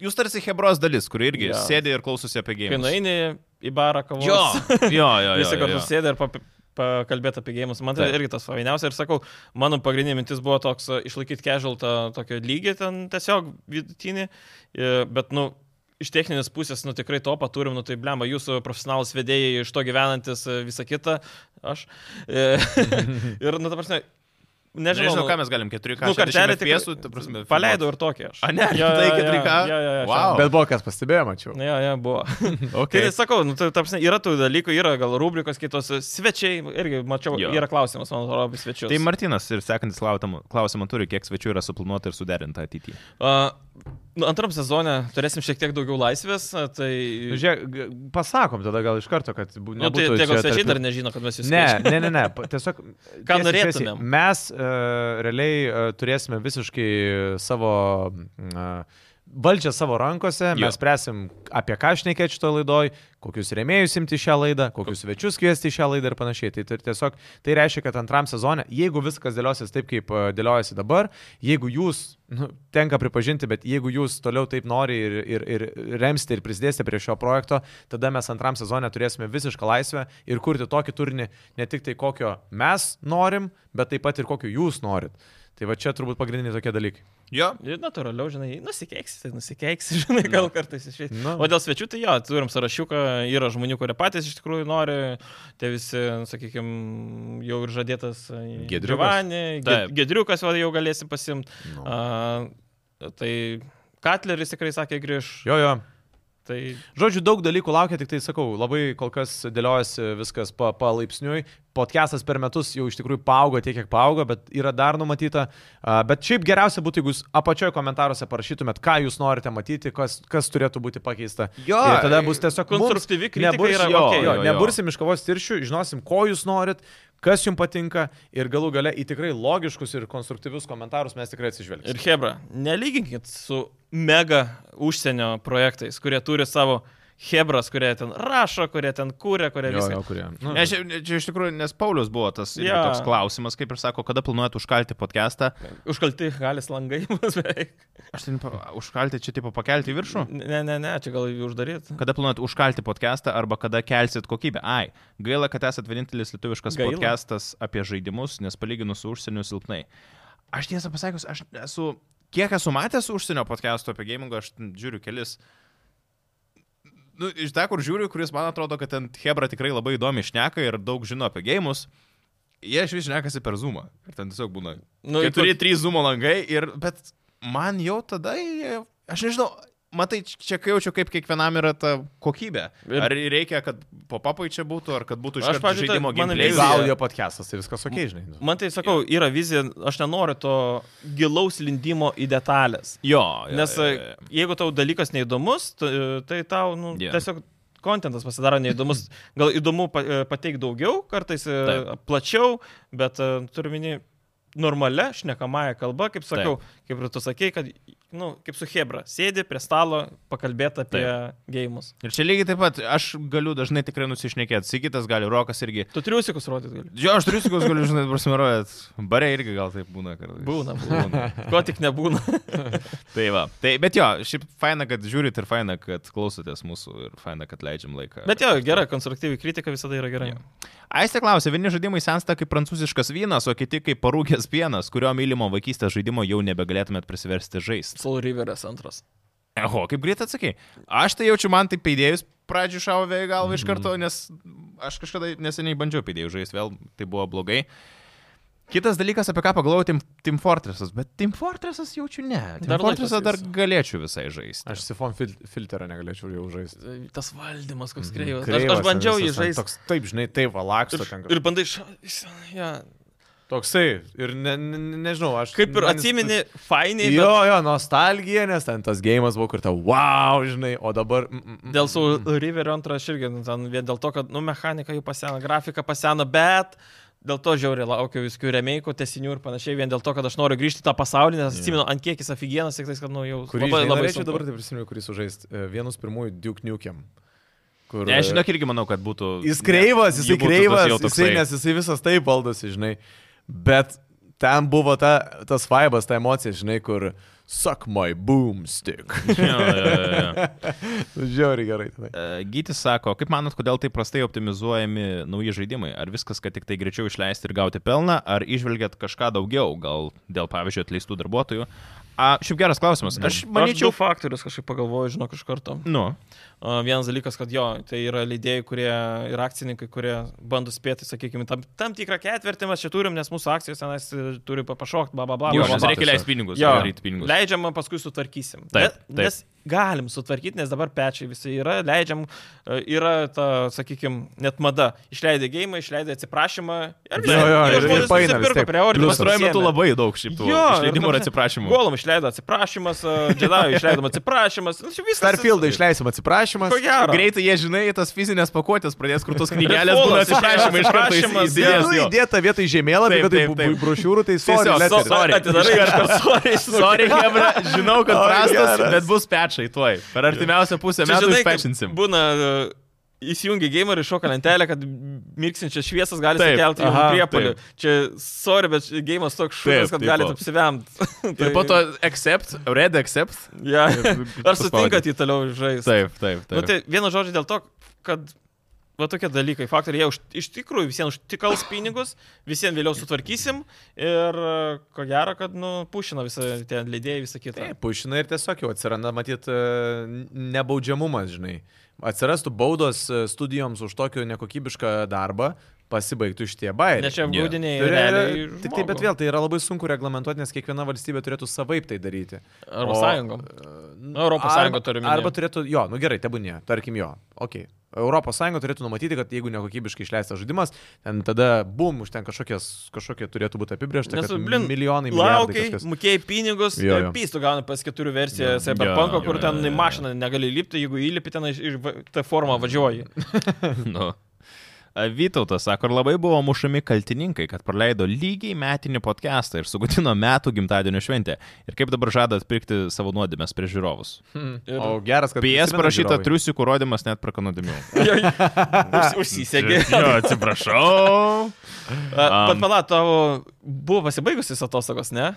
Speaker 1: jūs tarsi Hebros dalis, kuri irgi
Speaker 2: Jo.
Speaker 1: yeah. sėdi ir klausosi apie
Speaker 2: Kai
Speaker 1: gėjimus.
Speaker 2: nueini į barą kavos.
Speaker 1: Jo, jo, jo. jo,
Speaker 2: Visi
Speaker 1: jo,
Speaker 2: kartu
Speaker 1: jo.
Speaker 2: sėdė ir pap- pakalbėti apie gėjimus. Man tai
Speaker 1: Taip.
Speaker 2: irgi tas fainiausia. Ir sakau, mano pagrindinė mintis buvo toks e, išlaikyti casual tą tokį lygį ten tiesiog vidutinį. E, Bet, nu, iš techninės pusės, nu, tikrai to paturim, nu, tai blemba, jūsų profesionalus vedėjai, iš to gyvenantis e, visą kitą. Aš. E, ir, nu, ta prasme, nežinau.
Speaker 1: Nežinau,
Speaker 2: nu,
Speaker 1: ką mes galim, 4K.
Speaker 2: Nu, kartelė tik-
Speaker 1: tiesų, ta prasme.
Speaker 2: Paleidau ir tokį aš.
Speaker 1: A, ne,
Speaker 2: Jo,
Speaker 1: tai
Speaker 2: jo, jo,
Speaker 1: 4K?
Speaker 2: jo, jo, jo,
Speaker 1: Wow.
Speaker 3: Bet buvo kas pastebėjo, mačiau.
Speaker 2: šiandien- Jo, jo, buvo.
Speaker 1: Okay.
Speaker 2: Okay. Tai sakau, nu, tai, ta prasme, yra tų dalykų, yra gal rubrikos kitos, svečiai, irgi mačiau,
Speaker 1: Jo.
Speaker 2: jo. yra klausimas, man atrodo, apie svečius.
Speaker 1: Tai Martinas ir sekantis klausimą, klausimą turi, kiek svečių yra suplanuota ir suderinta ateityje.
Speaker 2: Uh, nu, antram sezone turėsim šiek tiek daugiau laisvės, a, tai...
Speaker 3: Nu, Žiūrėk, g- pasakom tada gal iš karto, kad būtų...
Speaker 2: Nu, tai tie gal svečiai dar nežino, kad mes jūs
Speaker 3: Ne, ne, ne, ne. pa- Tiesiog.
Speaker 2: Ką
Speaker 3: tiesiai šviesiai,
Speaker 2: norėtumėm?
Speaker 3: Mes uh, realiai uh, turėsime visiškai savo uh, valdžią savo rankose,
Speaker 1: Jo.
Speaker 3: jo. mes spręsim, apie ką šnekėti šito laidoj, kokius rėmėjus imti į šią laidą, kokius svečius kviesti į šią laidą ir panašiai. Tai, tai tiesiog tai reiškia, kad antram sezone, jeigu viskas dėliosis taip, kaip uh, dėliojasi dabar, jeigu jūs, nu, tenka pripažinti, bet jeigu jūs toliau taip nori ir, ir, ir remsite ir prisidėsite prie šio projekto, tada mes antram sezone turėsime visišką laisvę ir kurti tokį turinį, ne tik tai kokio mes norim, bet taip pat ir kokio jūs norit. Tai va čia turbūt pagrindiniai tokie dalykai.
Speaker 1: Jo.
Speaker 2: Ir natūraliau, žinai, nusikeiksi, tai nusikeiksi, žinai, gal kartais išėjai.
Speaker 3: Nu.
Speaker 2: O dėl svečių, tai jo, turim sąrašiuką, yra žmonių, kurie patys iš tikrųjų nori, tie visi, sakykime, jau ir žadėtas
Speaker 1: Giedriukas.
Speaker 2: Gedriukanė,
Speaker 1: Taip.
Speaker 2: Gedriukas va, jau galėsim pasimti.
Speaker 3: Nu.
Speaker 2: A, tai Katleris tikrai sakė grįž.
Speaker 3: Jo, jo.
Speaker 2: Tai
Speaker 3: Žodžiu, daug dalykų laukia, tik tai sakau, labai kol kas dėliojasi viskas pa- palaipsniui. Podcastas per metus jau iš tikrųjų paaugo tiek, kiek paaugo, bet yra dar numatyta. A, Bet šiaip geriausia būtų, jeigu jūs apačioje komentaruose parašytumėt, ką jūs norite matyti, kas, kas turėtų būti pakeista.
Speaker 1: Jo,
Speaker 3: Ir tada bus tiesiog
Speaker 2: konstruktyvi
Speaker 3: mums
Speaker 2: kritika
Speaker 3: nebus-
Speaker 2: yra
Speaker 3: jo,
Speaker 2: okei.
Speaker 3: jo,
Speaker 1: Jo, jo.
Speaker 3: Nebursim iš kavos tiršių, žinosim, ko jūs norit, kas jums patinka ir galų gale į tikrai logiškus ir konstruktyvius komentarus mes tikrai atsižvelgsime.
Speaker 2: ir Hebra, nelyginkit su mega užsienio projektais, kurie turi savo Hebras, kurie ten rašo, kurie ten kūrė, kurie viską.
Speaker 3: kurie. Nu,
Speaker 1: Ne, čia, čia iš tikrųjų, nes Paulius buvo tas irgi
Speaker 2: Jo.
Speaker 1: toks klausimas, kaip ir sako, kada planuojat užkalti podcastą.
Speaker 2: Užkalti galis langai bus beveik.
Speaker 1: Aš tai nepa- užkalti čia tipo pakelti į viršų.
Speaker 2: Ne, ne, ne, čia gal jų uždaryt.
Speaker 1: Kada planuojat užkalti podcastą arba kada kelsit kokybę? Ai, gaila, kad esat vienintelis lietuviškas
Speaker 2: Gaila.
Speaker 1: gaila. podcastas apie žaidimus, nes palyginus su užsieniu silpnai. Aš tiesą pasakius, aš esu, kiek esu matęs užsienio podcastų apie gamingą, aš ten žiūriu kelis. Nu, iš ten, kur žiūriu, kuris man atrodo, kad ten Hebra tikrai labai įdomi šneka ir daug žino apie gėjimus, jie iš vis šnekasi per zoomą. Ir ten tiesiog būna.
Speaker 2: Nu,
Speaker 1: Nu,
Speaker 2: ir
Speaker 1: ir turi
Speaker 2: tu-
Speaker 1: trys zoomo langai, ir, bet man jau tada, jie- aš nežinau, matai, čia kai jaučiu, kaip kiekvienam yra ta kokybė.
Speaker 2: Ir-
Speaker 1: Ir... Ar reikia, kad popapai čia būtų, ar kad būtų iš
Speaker 2: Aš,
Speaker 1: karto
Speaker 2: pavyzdžiui,
Speaker 1: žaidimo
Speaker 2: ta- mano
Speaker 1: gameplay.
Speaker 2: vizija-
Speaker 3: Gal jo podcastas, tai viskas ok, žinai. nu.
Speaker 2: Man tai sakau, yra vizija, aš nenoriu to gilaus lindimo į detalės.
Speaker 1: Jo, jo,
Speaker 2: Nes e,
Speaker 1: jo, jo, jo.
Speaker 2: jeigu tau dalykas neįdomus, t- tai tau nu,
Speaker 1: Jo.
Speaker 2: yeah. tiesiog kontentas pasidaro neįdomus. Gal įdomu pa- e, pateikti daugiau, kartais e,
Speaker 1: Taip.
Speaker 2: plačiau, bet e, turiu minį normalia šnekamąją kalbą, kaip sakiau, kaip ir tu sakei, kad, nu, kaip su Hebra, sėdi prie stalo, pakalbėti apie gėjimus.
Speaker 1: Ir čia lygiai taip pat, aš galiu dažnai tikrai nusišnekėti, Sigitas gali, Rokas irgi.
Speaker 2: Tu triusikus rodyti gali.
Speaker 1: Jo, aš turiu sikus, galiu, žinai, prasimeruojat. Bare irgi gal taip būna kartais.
Speaker 2: Būna, būna. Ko tik nebūna.
Speaker 1: Tai va. Tai, bet jo, šiaip faina, kad žiūrit ir faina, kad klausotės mūsų ir faina, kad leidžiam laiką.
Speaker 2: Bet jo, gera, konstruktyvi kritika visada yra gerai.
Speaker 1: Jo. Aistė klausė, vieni žaidimai sensta kaip prancūziškas vynas, o kiti kaip parūkęs pienas, kurio mylimo vaikystės žaidimo jau nebegalėtumėt prisiversti žaisti.
Speaker 2: Soul Riveras antras.
Speaker 1: Eho, kaip greit atsakai. Aš tai jaučiu, man tai pėdėjus pradžių šauvė į
Speaker 3: Mhm.
Speaker 1: galvą iš karto, nes aš kažkada neseniai bandžiau pėdėjus žaisti, vėl tai buvo blogai. Kitas dalykas, apie ką pagalvojau, Team, Team Fortressas, bet Team Fortressas jaučiu ne. Team
Speaker 2: Dar
Speaker 1: dar Fortressą
Speaker 2: laikas
Speaker 1: dar
Speaker 2: jūsų.
Speaker 1: galėčiau visai žaisti.
Speaker 3: Aš sifon fil filterą negalėčiau jau žaisti.
Speaker 2: Tas valdymas koks kreivas. Mhm. kreivas aš, aš
Speaker 3: ten
Speaker 2: bandžiau jį
Speaker 3: visas ten
Speaker 2: žaisti.
Speaker 3: Toks, taip, žinai, taip, valaksto ten.
Speaker 2: Ir, ir bandai iš... iš- Ja.
Speaker 3: Toksai, ir ne, ne, nežinau, aš.
Speaker 2: Kaip ir
Speaker 3: man jis-
Speaker 2: atsimeni, fainiai,
Speaker 3: Jo,
Speaker 2: bet
Speaker 3: jo, nostalgija, nes ten tas gėjimas buvo kur ta, wow, žinai, o dabar... mm, mm, mm.
Speaker 2: dėl Soul Riverio antrą aš irgi nu, ten vien dėl to, kad, nu, mechanika jau pasena, grafika pasena, bet dėl to žiauriai laukiu viskių remėjų, tesinių ir panašiai, vien dėl to, kad aš noriu grįžti į tą pasaulį, nes atsimenu, ant kiek jis afigienas, tik tais, kad, nu, jau
Speaker 3: Kurį
Speaker 2: labai, labai
Speaker 3: norėčiau
Speaker 2: sunku.
Speaker 3: dabar, tai prisimenu, kurį sužaisti. Vienus pirmųjų Duke Nukem. Kur,
Speaker 1: Ne, žinok, irgi manau, kad būtų.
Speaker 3: Jis kreivas,
Speaker 1: ne, jų
Speaker 3: jisai
Speaker 1: būtų tas
Speaker 3: kreivas,
Speaker 1: jau
Speaker 3: jisai,
Speaker 1: toksai-
Speaker 3: nes jisai visas taip valdosi, žinai. Bet ten buvo ta, tas vibas, ta emocija, žinai, kur suck my boomstick.
Speaker 1: Jo, jo, jo, jo.
Speaker 3: Žiauri gerai. Tenai.
Speaker 1: E, Gytis sako, kaip manot, kodėl taip prastai optimizuojami nauji žaidimai? Ar viskas, kad tik tai greičiau išleisti ir gauti pelną, ar išvelgiat kažką daugiau, gal dėl, pavyzdžiui, atleistų darbuotojų? A, šiaip geras klausimas. Aš manyčiau...
Speaker 2: Aš du faktorius kažkaip pagalvoju, žinok, iš karto.
Speaker 1: Nu,
Speaker 2: A, Vienas dalykas, kad jo, tai yra leidėjai, kurie ir akcininkai, kurie bando spėti, sakykime, tam, tam tikrą ketvirtį mes čia turim, nes mūsų akcijos tenais e, turi pa- pašokti, bla, bla, bla.
Speaker 1: jo,
Speaker 2: bla,
Speaker 1: nes
Speaker 2: bla,
Speaker 1: reikia leisti pinigus,
Speaker 2: Jo.
Speaker 1: daryti
Speaker 2: bla.
Speaker 1: pinigus.
Speaker 2: Leidžiam, paskui sutvarkysim.
Speaker 1: Taip,
Speaker 2: Ne- Nes galim sutvarkyti, nes dabar pečiai visi yra, leidžiam, e, yra ta, sakykime, net mada. Išleidai gėjimą, išleidai atsiprašymą. Ir,
Speaker 3: Jo, jo, ir- ir paeina vis tiek.
Speaker 2: prie ordino.
Speaker 3: Pliusas.
Speaker 1: Pastaruoju metu labai daug šiaip tų
Speaker 2: Jo,
Speaker 1: išleidimų
Speaker 2: ir ta
Speaker 1: ir
Speaker 2: prasme,
Speaker 1: atsiprašymų.
Speaker 2: Golom išleido atsiprašymas, Džedavui išleidom atsiprašymas. Nu, čia Viskas.
Speaker 3: Starfieldą išleisim atsiprašymas.
Speaker 2: Ko gero.
Speaker 1: Greitai jie, žinai, tas fizinės pakuotės pradės, kur tos knygelės
Speaker 2: Refolas
Speaker 1: būna
Speaker 2: išėjo,
Speaker 1: atsiprašymai iš karto
Speaker 2: atsiprašymas,
Speaker 1: įs-
Speaker 3: Jie
Speaker 1: įdėjęs.
Speaker 3: nu,
Speaker 1: jo.
Speaker 3: įdėta vietoj žemėlapį,
Speaker 1: Taip,
Speaker 3: vietoj
Speaker 1: taip,
Speaker 3: bu-
Speaker 1: taip.
Speaker 3: bu- brošiūrų, tai sorry,
Speaker 1: Tiesiog,
Speaker 3: letter.
Speaker 1: so- Sorry.
Speaker 2: Atidarai kažką, sorry,
Speaker 1: Sorry, Hebra, žinau, kad
Speaker 3: Oi,
Speaker 1: prastas,
Speaker 3: geras.
Speaker 1: bet bus pečai tuoj. Per artimiausią pusę
Speaker 2: Čia,
Speaker 1: metų
Speaker 2: žinai, kaip
Speaker 1: išpečinsim.
Speaker 2: Būna, e, įsijungi gamer ir šoka lentelę, kad mirksinčias šviesas gali
Speaker 1: Taip,
Speaker 2: sukelti jum
Speaker 1: aha,
Speaker 2: priepolį.
Speaker 1: taip.
Speaker 2: Čia, sorry, bet gėjimas toks šūdas,
Speaker 1: Taip,
Speaker 2: kad
Speaker 1: tipo.
Speaker 2: galite apsivemti.
Speaker 1: Ir po to accept, red accept.
Speaker 2: Ja. Ar
Speaker 1: paspaudi.
Speaker 2: sutinkat jį toliau žaisti?
Speaker 1: Taip, taip, taip.
Speaker 2: Nu, tai vienas žodžiu dėl to, kad va tokie dalykai, faktoriai, jie už, iš tikrųjų visiems užtikals pinigus, visiems vėliau sutvarkysim ir e, ko gero, kad, nu, pušina visą tie leidėjai, visą kitą.
Speaker 3: Taip, pušina ir tiesiog jau atsiranda, matyt, e, nebaudžiamumas, žinai. Atsirastų baudos e, studijoms už tokį nekokybišką darbą, pasibaigtų šitie bairiai.
Speaker 2: Nes čia
Speaker 1: Jo.
Speaker 2: būdiniai.
Speaker 3: Tai yra-
Speaker 2: realiai
Speaker 3: Tik taip, bet
Speaker 2: žmogų.
Speaker 3: vėl tai yra labai sunku reglamentuoti, nes kiekviena valstybė turėtų savaip tai daryti.
Speaker 2: Europos
Speaker 3: O,
Speaker 2: Sąjungom.
Speaker 3: n-
Speaker 2: Nu, Europos
Speaker 3: arba-
Speaker 2: Sąjunga turiu omeny.
Speaker 3: Arba turėtų, jo, nu gerai, tebūnie, tarkim jo, ok. Europos Sąjunga turėtų numatyti, kad jeigu nekokybiškai išleistas žaidimas, ten tada, bum, už ten kažkokias, kažkokie turėtų būti apibriešta,
Speaker 2: Nes,
Speaker 3: tai kad
Speaker 2: blin,
Speaker 3: milijonai,
Speaker 2: Laukiai,
Speaker 3: milijardai. Kažkas.
Speaker 2: mokėjai pinigus, tai
Speaker 3: Jo,
Speaker 2: ir
Speaker 3: jo.
Speaker 2: pystų gauna pas keturių versiją
Speaker 3: Jo.
Speaker 2: Cyberpunko,
Speaker 1: Jo,
Speaker 2: kur
Speaker 1: jo,
Speaker 2: ten
Speaker 1: jo,
Speaker 2: į
Speaker 1: jo.
Speaker 2: mašiną negali lipti, jeigu įlipi ten iš, iš va- tą formą važiuoji.
Speaker 1: Nu. A, Vytautas sako, ir labai buvo mušami kaltininkai, kad praleido lygiai metinį podcastą ir sugutino metų gimtadienio šventę. Ir kaip dabar žada atpirkti savo nuodėmės prie žiūrovus.
Speaker 2: Ir-
Speaker 3: O geras, kad...
Speaker 1: PS
Speaker 3: prisimena
Speaker 1: parašyta
Speaker 3: žiūrovai.
Speaker 1: triusikų rodimas net prakanodimiau.
Speaker 2: Už- Užsisegė.
Speaker 1: atsiprašau.
Speaker 2: A,
Speaker 3: Um.
Speaker 2: Bet
Speaker 1: Am.
Speaker 2: pala, tavo buvo pasibaigusios atostogos, ne?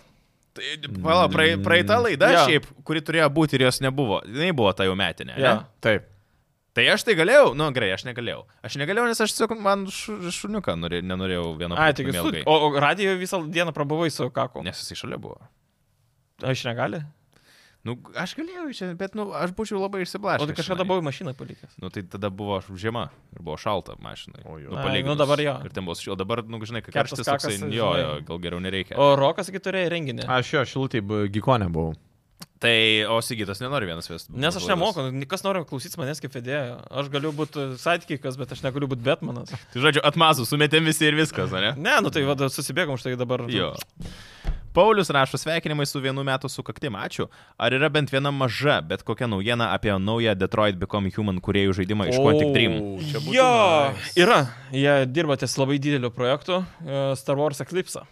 Speaker 1: Tai, pala, prae, praeita laida
Speaker 2: Jo.
Speaker 1: yeah. šiaip, kuri turėjo būti ir jos nebuvo. Jis buvo ta jau metinė.
Speaker 2: Jo.
Speaker 1: Yeah.
Speaker 3: Taip.
Speaker 1: Tai aš tai galėjau, nu gerai, aš negalėjau. Aš negalėjau, nes aš tiesiog man šu, šuniuką norė, nenorėjau vieną
Speaker 2: Ai, tik jūs. O, o radio visą dieną prabuvai su kaku.
Speaker 1: Nes jisai šalia buvo.
Speaker 2: Aš negali.
Speaker 1: Nu, aš galėjau, čia, bet, nu, aš būčiau labai
Speaker 2: O
Speaker 1: išsiblaškęs.
Speaker 2: tu kažkada
Speaker 1: žinai.
Speaker 2: buvai mašiną palikęs.
Speaker 1: tai Nu, tai tada buvo žiema ir buvo šalta mašinai.
Speaker 3: O, jo.
Speaker 1: nu,
Speaker 2: Ai,
Speaker 1: palyginus.
Speaker 2: nu, dabar jo.
Speaker 1: Ir ten buvo, šil- o dabar, nu, žinai, kai karštas
Speaker 2: Karštas
Speaker 1: toksai,
Speaker 2: kakas,
Speaker 1: jo, jo,
Speaker 2: žinai.
Speaker 1: gal geriau nereikia. O...
Speaker 2: O Rokas, kai turėjo renginį.
Speaker 3: Aš jo, šilutėje gikonė buvau.
Speaker 1: Tai, o Sigitas nenori vienas vest.
Speaker 2: Nes aš nemoku, nu, kas nori klausytis manęs kaip fedėjo. Aš galiu būti sidekikas, bet aš negaliu būti Batmanas.
Speaker 1: Tai, žodžiu, atmazų, sumetėm visi ir viskas, ar ne?
Speaker 2: Ne, nu tai vada, susibėgom štai dabar.
Speaker 1: Jo. Paulius rašo sveikinimai su vienu metu sukaktim, ačiū. Ar yra bent viena maža, bet kokia naujiena apie naują Detroit Become Human kuriejų žaidimą iš Quantic Dream?
Speaker 3: Čia būtų
Speaker 2: Jo,
Speaker 3: nice.
Speaker 2: yra. Jie dirba ties labai dideliu projektu e, Star Wars Eclipse.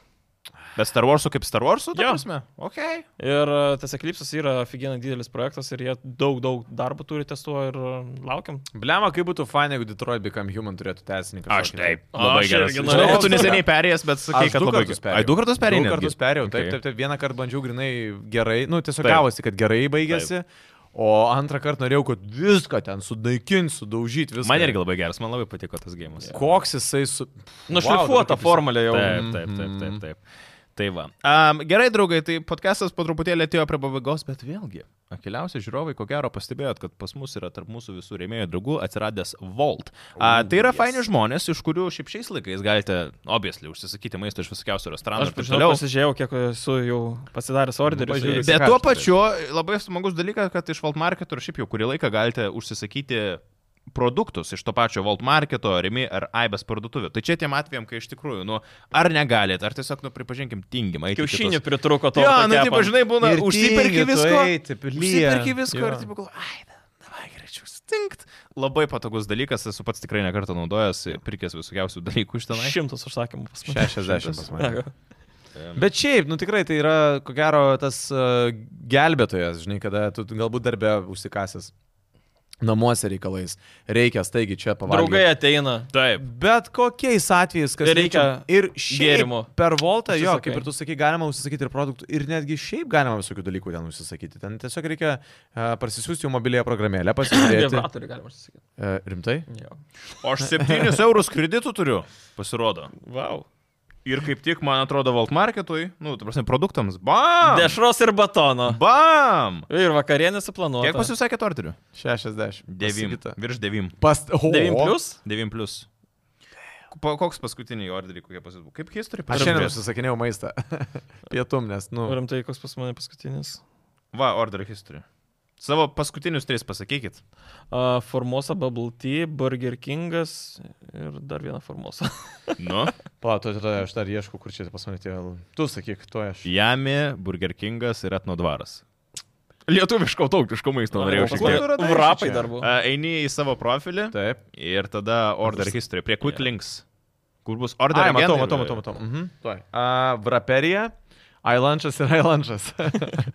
Speaker 1: Bet Star Warsų kaip Star Warsų,
Speaker 2: Jo.
Speaker 1: ta prasme? Okay.
Speaker 2: Ir e, tas Eclipse yra aфиgenai didelis projektas ir jie daug, daug darbo turi ties tuo ir e, laukiam.
Speaker 3: Blema, kaip būtų fain, jeigu Detroit Become Human turėtų tai- tęsininką.
Speaker 1: Aš taip.
Speaker 2: Labai
Speaker 1: Labai
Speaker 2: geras.
Speaker 1: geras.
Speaker 2: Žinau,
Speaker 1: Žinau, kad tu neseniai perėjęs, bet sakai,
Speaker 3: Aš
Speaker 1: kad
Speaker 3: du
Speaker 1: labai
Speaker 3: kartus
Speaker 1: Ai, du kartus perėjai.
Speaker 3: Du kartus perėjau, taip,
Speaker 1: Okay.
Speaker 3: taip, taip, vieną kartą bandžiau grinai gerai, nu tiesiog
Speaker 1: Taip.
Speaker 3: gavosi, kad gerai baigėsi, o antrą kartą norėjau, kad viską ten sudaikinti, sudaužyti, viską.
Speaker 1: Man irgi labai geras, man labai patiko tas gėjimas.
Speaker 3: Koks jisai su...
Speaker 1: Nu,
Speaker 3: Nu,
Speaker 2: Nušlifuota wow, formulė jau.
Speaker 1: Taip, taip, taip, taip. taip. Tai va. Um, Mhm, gerai, draugai, tai podcastas po truputėlį atėjo prie pabaigos, bet vėlgi, akiliausi žiūrovai, ko gero pastebėjot, kad pas mus yra tarp mūsų visų rėmėjų draugų atsiradęs Volt. Uh, tai yra yes. faini žmonės, iš kurių šiaip šiais laikais galite, obviously, užsisakyti maisto iš visokiausių restoranų
Speaker 2: Aš
Speaker 1: ir taip
Speaker 2: žinau,
Speaker 1: toliau.
Speaker 2: pasižiūrėjau, kiek esu jau pasidaręs orderį.
Speaker 3: Nu, pažiūrėk.
Speaker 1: Bet
Speaker 3: Ką
Speaker 1: tuo
Speaker 3: aš
Speaker 1: pačiu labai smagus dalykas, kad iš Volt Marketo ir šiaip jau kurį laiką galite užsisakyti produktus iš to pačio Volt Marketo, Rimi ar Aibės parduotuvių. Tai čia tiem atvejam, kai iš tikrųjų, nu, ar negalit, ar tiesiog, nu, pripažinkim, tingimai.
Speaker 2: Kiaušinių pritruko to.
Speaker 1: to. Jo, nu, taip, žinai, būna,
Speaker 3: Ir
Speaker 1: užsiperki
Speaker 3: tingi tu
Speaker 1: visko.
Speaker 3: eit, taip, lyja.
Speaker 1: Užsiperki visko
Speaker 3: Jo.
Speaker 1: ir taip, galvoju, ai, da- davai greičiau, stinkt. Labai patogus dalykas, esu pats tikrai nekartą naudojęs, pirkęs visokiausių dalykų iš tenai.
Speaker 2: Šimtas užsakymų pas mane.
Speaker 3: 60 pas mane.
Speaker 2: Jo.
Speaker 3: Bet šiaip, nu tikrai tai yra, ko gero, tas uh, gelbėtojas, žinai, kada tu galbūt darbę užsikasęs namuose reikalais, reikia staigi čia pavalgyti.
Speaker 2: Draugai ateina.
Speaker 1: Taip.
Speaker 3: Bet kokiais atvejais, kas
Speaker 2: Ir reikia
Speaker 3: liečia- ir šiaip
Speaker 2: gėrimo.
Speaker 3: Per voltą, jo,
Speaker 2: Užsisakai.
Speaker 3: kaip ir tu sakai, galima užsisakyti ir produktų, ir netgi šiaip galima visokių dalykų ten užsisakyti. Ten tiesiog reikia uh, parsisiųsti jų mobilėje programėlę, pasižiūrėti.
Speaker 2: Vibratorių galima užsakyti.
Speaker 3: uh, rimtai?
Speaker 2: Jo.
Speaker 1: O aš 7 eurus kreditų turiu, pasirodo.
Speaker 2: Wow.
Speaker 1: Ir kaip tik, man atrodo, Volt Marketui, nu, tu prasme, produktams, bam!
Speaker 2: Dešros ir batono.
Speaker 1: Bam!
Speaker 2: Ir vakarienė suplanuota.
Speaker 1: Kiek pas jūs sakė torterių?
Speaker 3: 60.
Speaker 1: 9.
Speaker 3: Pasakyta.
Speaker 1: Virš 9.
Speaker 3: Pas... O,
Speaker 2: 9 plus?
Speaker 1: 9 plus. Pa, koks paskutiniai orderiai, kokie pas jūs buvo? Kaip history
Speaker 3: Aš šiandien
Speaker 1: pažiūrėjau?
Speaker 3: užsisakinėjau maistą. Pietum, nes, nu.
Speaker 2: Rimtai, koks pas mane paskutinis?
Speaker 1: Va, order history. Savo paskutinius tris pasakykit.
Speaker 2: Uh, Formosa Bubble Tea, Burger Kingas ir dar viena Formosa.
Speaker 1: Nu.
Speaker 3: Palato, tu, tu, aš dar ieškau, kur čia pas mane tie. Tu sakyk, tu aš.
Speaker 1: Jami, Burger Kingas ir Atnodvaras. Lietuviško, tautiško maisto norėjau šiek
Speaker 3: Kur
Speaker 1: tiek.
Speaker 3: tu radai šičia?
Speaker 2: Vrapai dar buvo.
Speaker 1: A, Eini į savo profilį
Speaker 3: Taip.
Speaker 1: ir tada order history prie quick links. Kur bus order
Speaker 3: Ai,
Speaker 1: again
Speaker 3: matau,
Speaker 1: ir-
Speaker 3: matau, matau, matau. Mhm. Tuoj. Uh, Vraperija. Ailančas ir Ailančas.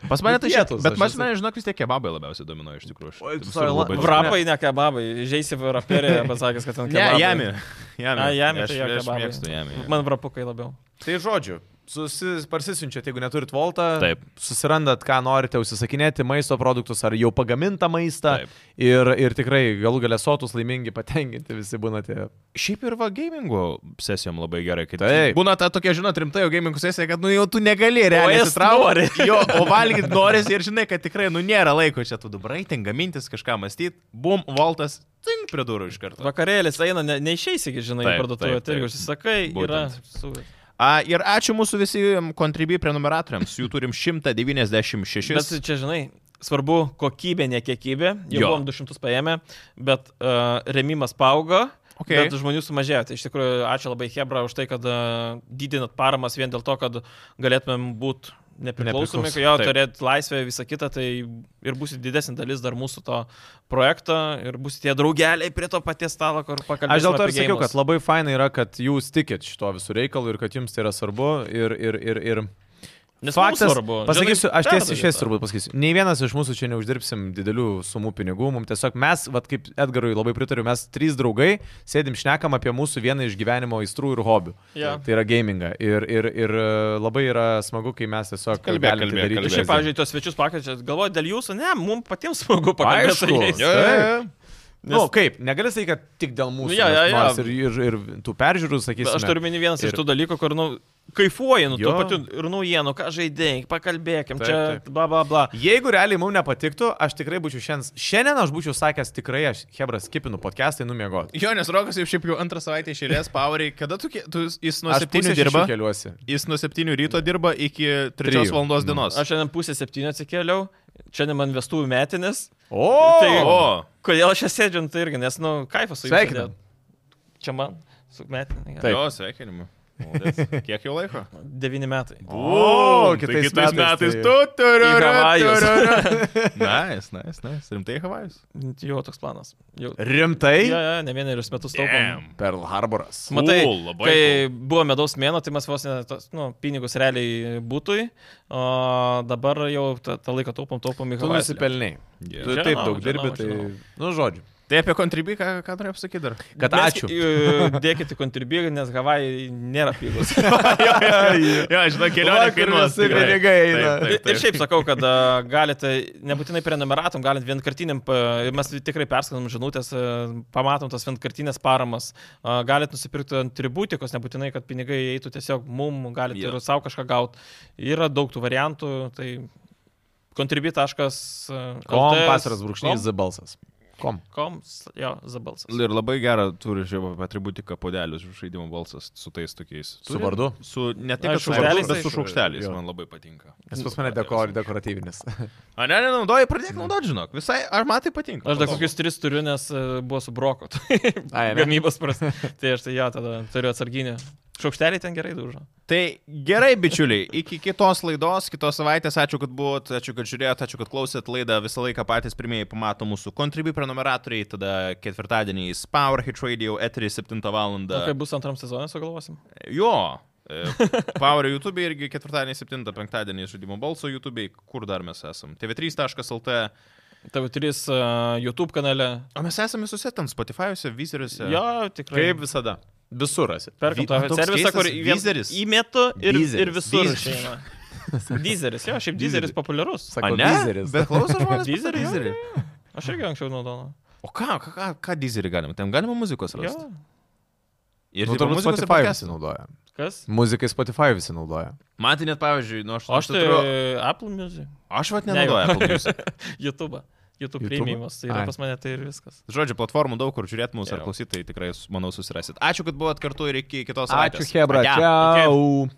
Speaker 1: Pas mane tai šietus.
Speaker 3: Pietus,
Speaker 1: Bet
Speaker 3: aš
Speaker 1: pas
Speaker 3: esu.
Speaker 1: mane, žinok, vis tiek kebabai labiausiai domino iš tikrųjų. Aš
Speaker 3: Oi, tu
Speaker 1: visur
Speaker 3: savo la-
Speaker 1: labai-
Speaker 2: Vrapai, ne kebabai. Žaisi raperį pasakęs, kad ten
Speaker 1: Ne,
Speaker 2: kebabai.
Speaker 1: jami. Jami.
Speaker 2: A, jami,
Speaker 1: Aš-
Speaker 2: tai jo
Speaker 1: aš
Speaker 2: kebabai.
Speaker 1: mėgstu jami. jami.
Speaker 2: Man vrapukai labiau.
Speaker 3: Tai žodžiu, susis, parsisiunčiat, jeigu neturit voltą,
Speaker 1: Taip.
Speaker 3: susirandat, ką norite užsisakinėti, maisto produktus ar jau pagamintą maistą.
Speaker 1: Taip.
Speaker 3: Ir, ir tikrai galų galę sotus, laimingi, patenkinti visi būnate.
Speaker 1: Šiaip ir va gamingo sesijom labai gerai. Kai
Speaker 3: Taip.
Speaker 1: Būna ta tokia, žinot, rimta jau gamingų sesija, kad nu jau tu negali realiai
Speaker 2: est nori.
Speaker 1: atsitraukti. Jo, o valgyti norisi ir žinai, kad tikrai nu nėra laiko čia tu dabar ten gamintis, kažką mąstyti. Bum, voltas, tink prie durų iš karto.
Speaker 2: Vakarėlis eina, ne, neišeisi, gi, žinai,
Speaker 1: Taip,
Speaker 2: į parduotuvę,
Speaker 1: taip,
Speaker 2: tai jeigu
Speaker 1: taip.
Speaker 2: užsisakai, yra.
Speaker 1: Būtent.
Speaker 2: Su...
Speaker 1: A, ir ačiū mūsų visiems kontribui prenumeratoriams. Jų turim 196.
Speaker 2: Bet čia, žinai, svarbu kokybė, ne kiekybė. Jau
Speaker 1: Jo.
Speaker 2: buvom 200 paėmę, bet uh, remimas augo.
Speaker 1: Okei.
Speaker 2: Bet žmonių sumažėjo. Tai iš tikrųjų ačiū labai Hebra už tai, kad a, didinat paramas vien dėl to, kad galėtumėm būti nepriklausomi,
Speaker 1: Nepriklausomi,
Speaker 2: jo
Speaker 1: taip.
Speaker 2: turėti laisvę, visą kitą, tai ir bus didesnė dalis dar mūsų to projekto ir bus tie draugeliai prie to paties stalo, kur pakalbėsime.
Speaker 3: Aš dėl to ir
Speaker 2: apie
Speaker 3: sakiau,
Speaker 2: geimus.
Speaker 3: kad labai fainai yra, kad jūs tikit šito visų reikalų ir kad jums tai yra svarbu. Ir, ir, ir, ir...
Speaker 2: Nes mums
Speaker 3: Faktas,
Speaker 2: svarbu.
Speaker 3: pasakysiu,
Speaker 2: Žinai,
Speaker 3: aš tiesiai
Speaker 2: perdavė
Speaker 3: išės
Speaker 2: tą.
Speaker 3: turbūt pasakysiu. Nei vienas iš mūsų čia neuždirbsim didelių sumų pinigų, mums tiesiog mes, vad kaip Edgarui labai pritariu, mes trys draugai sėdim šnekam apie mūsų vieną iš gyvenimo aistrų ir hobių.
Speaker 2: Jo.
Speaker 3: Tai yra gamingą. Ir, ir, ir e, labai yra smagu, kai mes tiesiog
Speaker 1: Kalbėk,
Speaker 3: galim tai
Speaker 1: kalbėk,
Speaker 3: daryti
Speaker 1: kalbėk.
Speaker 2: Ir šiaip,
Speaker 3: kasdien.
Speaker 2: pavyzdžiui, tuos svečius pakviečiat, galvoju, dėl jūsų, ne, mums patiems smagu pakalbėti. su
Speaker 3: Aišku.
Speaker 2: jais.
Speaker 1: Jo, jo, jo.
Speaker 3: Na, nu, kaip, negali sakyti, kad tik dėl mūsų.
Speaker 2: Jo, jo,
Speaker 3: nes
Speaker 2: jo.
Speaker 3: nors Ir, ir, ir tų peržiūrų,
Speaker 2: Bet
Speaker 3: sakysim.
Speaker 2: Aš turiu meni vienas ir...
Speaker 3: Ir-
Speaker 2: iš tų dalykų, kur, nu, kaifuoji, nu,
Speaker 3: Jo.
Speaker 2: tuo pačiu ir naujienų, ką žaidėjai, pakalbėkim, taip,
Speaker 3: Taip,
Speaker 2: čia,
Speaker 3: taip.
Speaker 2: taip. bla, bla, bla.
Speaker 3: Jeigu realiai mums nepatiktų, aš tikrai būčiau šiandien, šiandien aš būčiau sakęs, tikrai aš Hebras kipinu podcast'ai numiegoti.
Speaker 1: Jo, nes Rokas jau šiaip jau antrą savaitę išėlės, Pauriai, kada tu, kie- tu jis nuo
Speaker 3: Aš
Speaker 1: 7
Speaker 3: pusę
Speaker 1: dirba?
Speaker 3: šešių keliuosi.
Speaker 1: Jis nuo 7 ryto dirba iki 3
Speaker 3: Trijų.
Speaker 1: valandos
Speaker 3: Nu.
Speaker 1: dienos.
Speaker 2: Aš šiandien pusę septynių atsikėliau, šiandien man vestuvių metinės.
Speaker 3: O,
Speaker 2: Tai-
Speaker 1: O,
Speaker 2: Kodėl aš čia sėdžiu, nu, tai irgi, nes, nu, kaifas su jumis
Speaker 3: Sveikinam.
Speaker 2: sėdėt. Čia man, su metinė.
Speaker 3: Taip.
Speaker 1: jo, sveikinimu. Maldas. Kiek jau laiko?
Speaker 2: Devyni metai.
Speaker 1: Tai
Speaker 3: O, kitais
Speaker 1: kitais
Speaker 3: metais,
Speaker 1: metais
Speaker 3: tai-
Speaker 1: tu turi.
Speaker 2: Į Havajus.
Speaker 1: Nice, nice, nice. Rimtai į Havajus.
Speaker 2: Jo toks planas. Jau.
Speaker 3: rimtai?
Speaker 2: Jo, jo, ne vienerius metus taupom.
Speaker 1: Damn.
Speaker 3: Pearl Harboras.
Speaker 1: Ma-
Speaker 2: Matai,
Speaker 1: Cool, labai
Speaker 2: kai buvo medaus mėno, tai mes vos ne tos, nu, pinigus realiai būtui, o dabar jau tą, tą laiką taupom, taupom į
Speaker 3: Tu
Speaker 2: Havajų.
Speaker 3: nusipelnai. Tu
Speaker 1: Yeah.
Speaker 2: Žinau,
Speaker 3: taip
Speaker 2: žinau,
Speaker 3: daug dirbi, tai...
Speaker 2: žinau.
Speaker 3: Nu, žodžiu.
Speaker 1: Tai apie kontribį, ką, ką norėjau pasakyti dar?
Speaker 3: Kad
Speaker 2: Mes-
Speaker 3: ačiū.
Speaker 2: i- Dėkite kontribį, nes Havajai nėra pigus.
Speaker 1: Jo, žinau, kelionė
Speaker 3: Vakar
Speaker 1: kainuos.
Speaker 3: visi
Speaker 1: tikrai.
Speaker 3: pinigai
Speaker 1: Taip,
Speaker 3: eina.
Speaker 1: taip, taip.
Speaker 2: Ir šiaip sakau, kad a, galite, nebūtinai prenumeratom, galint vienkartiniam, pa- ir mes tikrai perskanom žinutės, a, pamatom tas vienkartinės paramas, a, galit nusipirkti atributikos, nebūtinai, kad pinigai eitų tiesiog mum, galite
Speaker 1: Jo.
Speaker 2: ir savo kažką gauti. Yra daug tų variantų, tai kontribit.lt.
Speaker 3: Kom pasaras brūkšnys Z balsas. Kom.
Speaker 2: Kom, s- jo, zabalsas.
Speaker 1: Ir labai gerą turi šiaip atributiką podelius žaidimo balsas su tais tokiais.
Speaker 3: Su vardu.
Speaker 1: Su ne tik kad
Speaker 2: Ai,
Speaker 1: su
Speaker 2: šaukšteliais,
Speaker 1: vardu, bet
Speaker 2: tai-
Speaker 1: su šaukšteliais.
Speaker 3: Jo.
Speaker 1: Man labai patinka.
Speaker 3: Nes pas mane dekor, dekoratyvinis.
Speaker 1: A ne, nenaudoji, pradėk naudoti, žinok. Visai, ar man tai patinka.
Speaker 2: Aš dar
Speaker 1: Patogu.
Speaker 2: kokius tris turiu, nes e, buvo su broku.
Speaker 3: Ai, ne?
Speaker 2: Gamybos prasme. Tai aš tai jo, tada turiu atsarginį. Šaukšteliai ten gerai dužo.
Speaker 1: Tai gerai, bičiuliai, iki kitos laidos, kitos savaitės. Ačiū, kad buvot, ačiū, kad žiūrėjot, ačiū, kad klausėt laidą. Visą laiką patys pirmieji pamato mūsų kontribui prenumeratoriai, tada ketvirtadieniais Powerhit Radio eterį 7 val.
Speaker 2: O kai bus antram sezonui, sugalvosim.
Speaker 1: Jo. e, Power YouTube irgi ketvirtadienį, 7, penktadienį žaidimo balso YouTube, kur dar mes esam. tv3.lt.
Speaker 2: TV3 e, YouTube kanale.
Speaker 1: O mes esame visuose ten, Spotify'uose, Vizeriuose.
Speaker 2: Jo, tikrai.
Speaker 3: Kaip visada. Visur esi.
Speaker 2: Perkam
Speaker 1: Vi- nu,
Speaker 2: tą
Speaker 1: toks
Speaker 2: servisą,
Speaker 1: keistas
Speaker 2: kur į vien-
Speaker 1: Deezeris.
Speaker 2: įmetu ir, ir
Speaker 3: Deezeris,
Speaker 2: visur.
Speaker 1: Deezeris.
Speaker 2: išeina. Deezeris, jo, šiaip Deezeris populiarus.
Speaker 1: A,
Speaker 3: Sako,
Speaker 1: ne?
Speaker 3: dizeris.
Speaker 1: Bet klauso žmonės.
Speaker 2: Deezerį, jo,
Speaker 1: Deezerį.
Speaker 2: Aš irgi anksčiau naudojau.
Speaker 1: O ką, ką, ką, ką Deezerį galima? Ten galima muzikos
Speaker 2: Jo,
Speaker 1: rasti. Ir
Speaker 3: Ir nu,
Speaker 1: tipo
Speaker 3: turbūt
Speaker 1: muzikos ir
Speaker 3: Spotify
Speaker 1: podcastų.
Speaker 3: visi naudoja.
Speaker 2: kas?
Speaker 3: Muzikai Spotify visi naudoja.
Speaker 1: Man tai net, pavyzdžiui, nu aš...
Speaker 2: O aš tai
Speaker 1: turiu-
Speaker 2: Apple Music.
Speaker 1: Aš vat
Speaker 2: Ne,
Speaker 1: nenaudoju
Speaker 2: jo.
Speaker 1: Apple Music.
Speaker 2: YouTube. YouTube
Speaker 3: YouTube?
Speaker 2: prieimimas. Tai
Speaker 3: Ai.
Speaker 2: yra pas mane tai ir viskas.
Speaker 1: Žodžiu, platformų daug, kur žiūrėt mūsų ar
Speaker 2: Jo.
Speaker 1: klausyt, tai tikrai, manau, susirasit. Ačiū, kad buvot kartu ir iki kitos
Speaker 3: Ačiū,
Speaker 1: savaitės.
Speaker 3: Hebra.
Speaker 1: Ate.
Speaker 3: Čiau.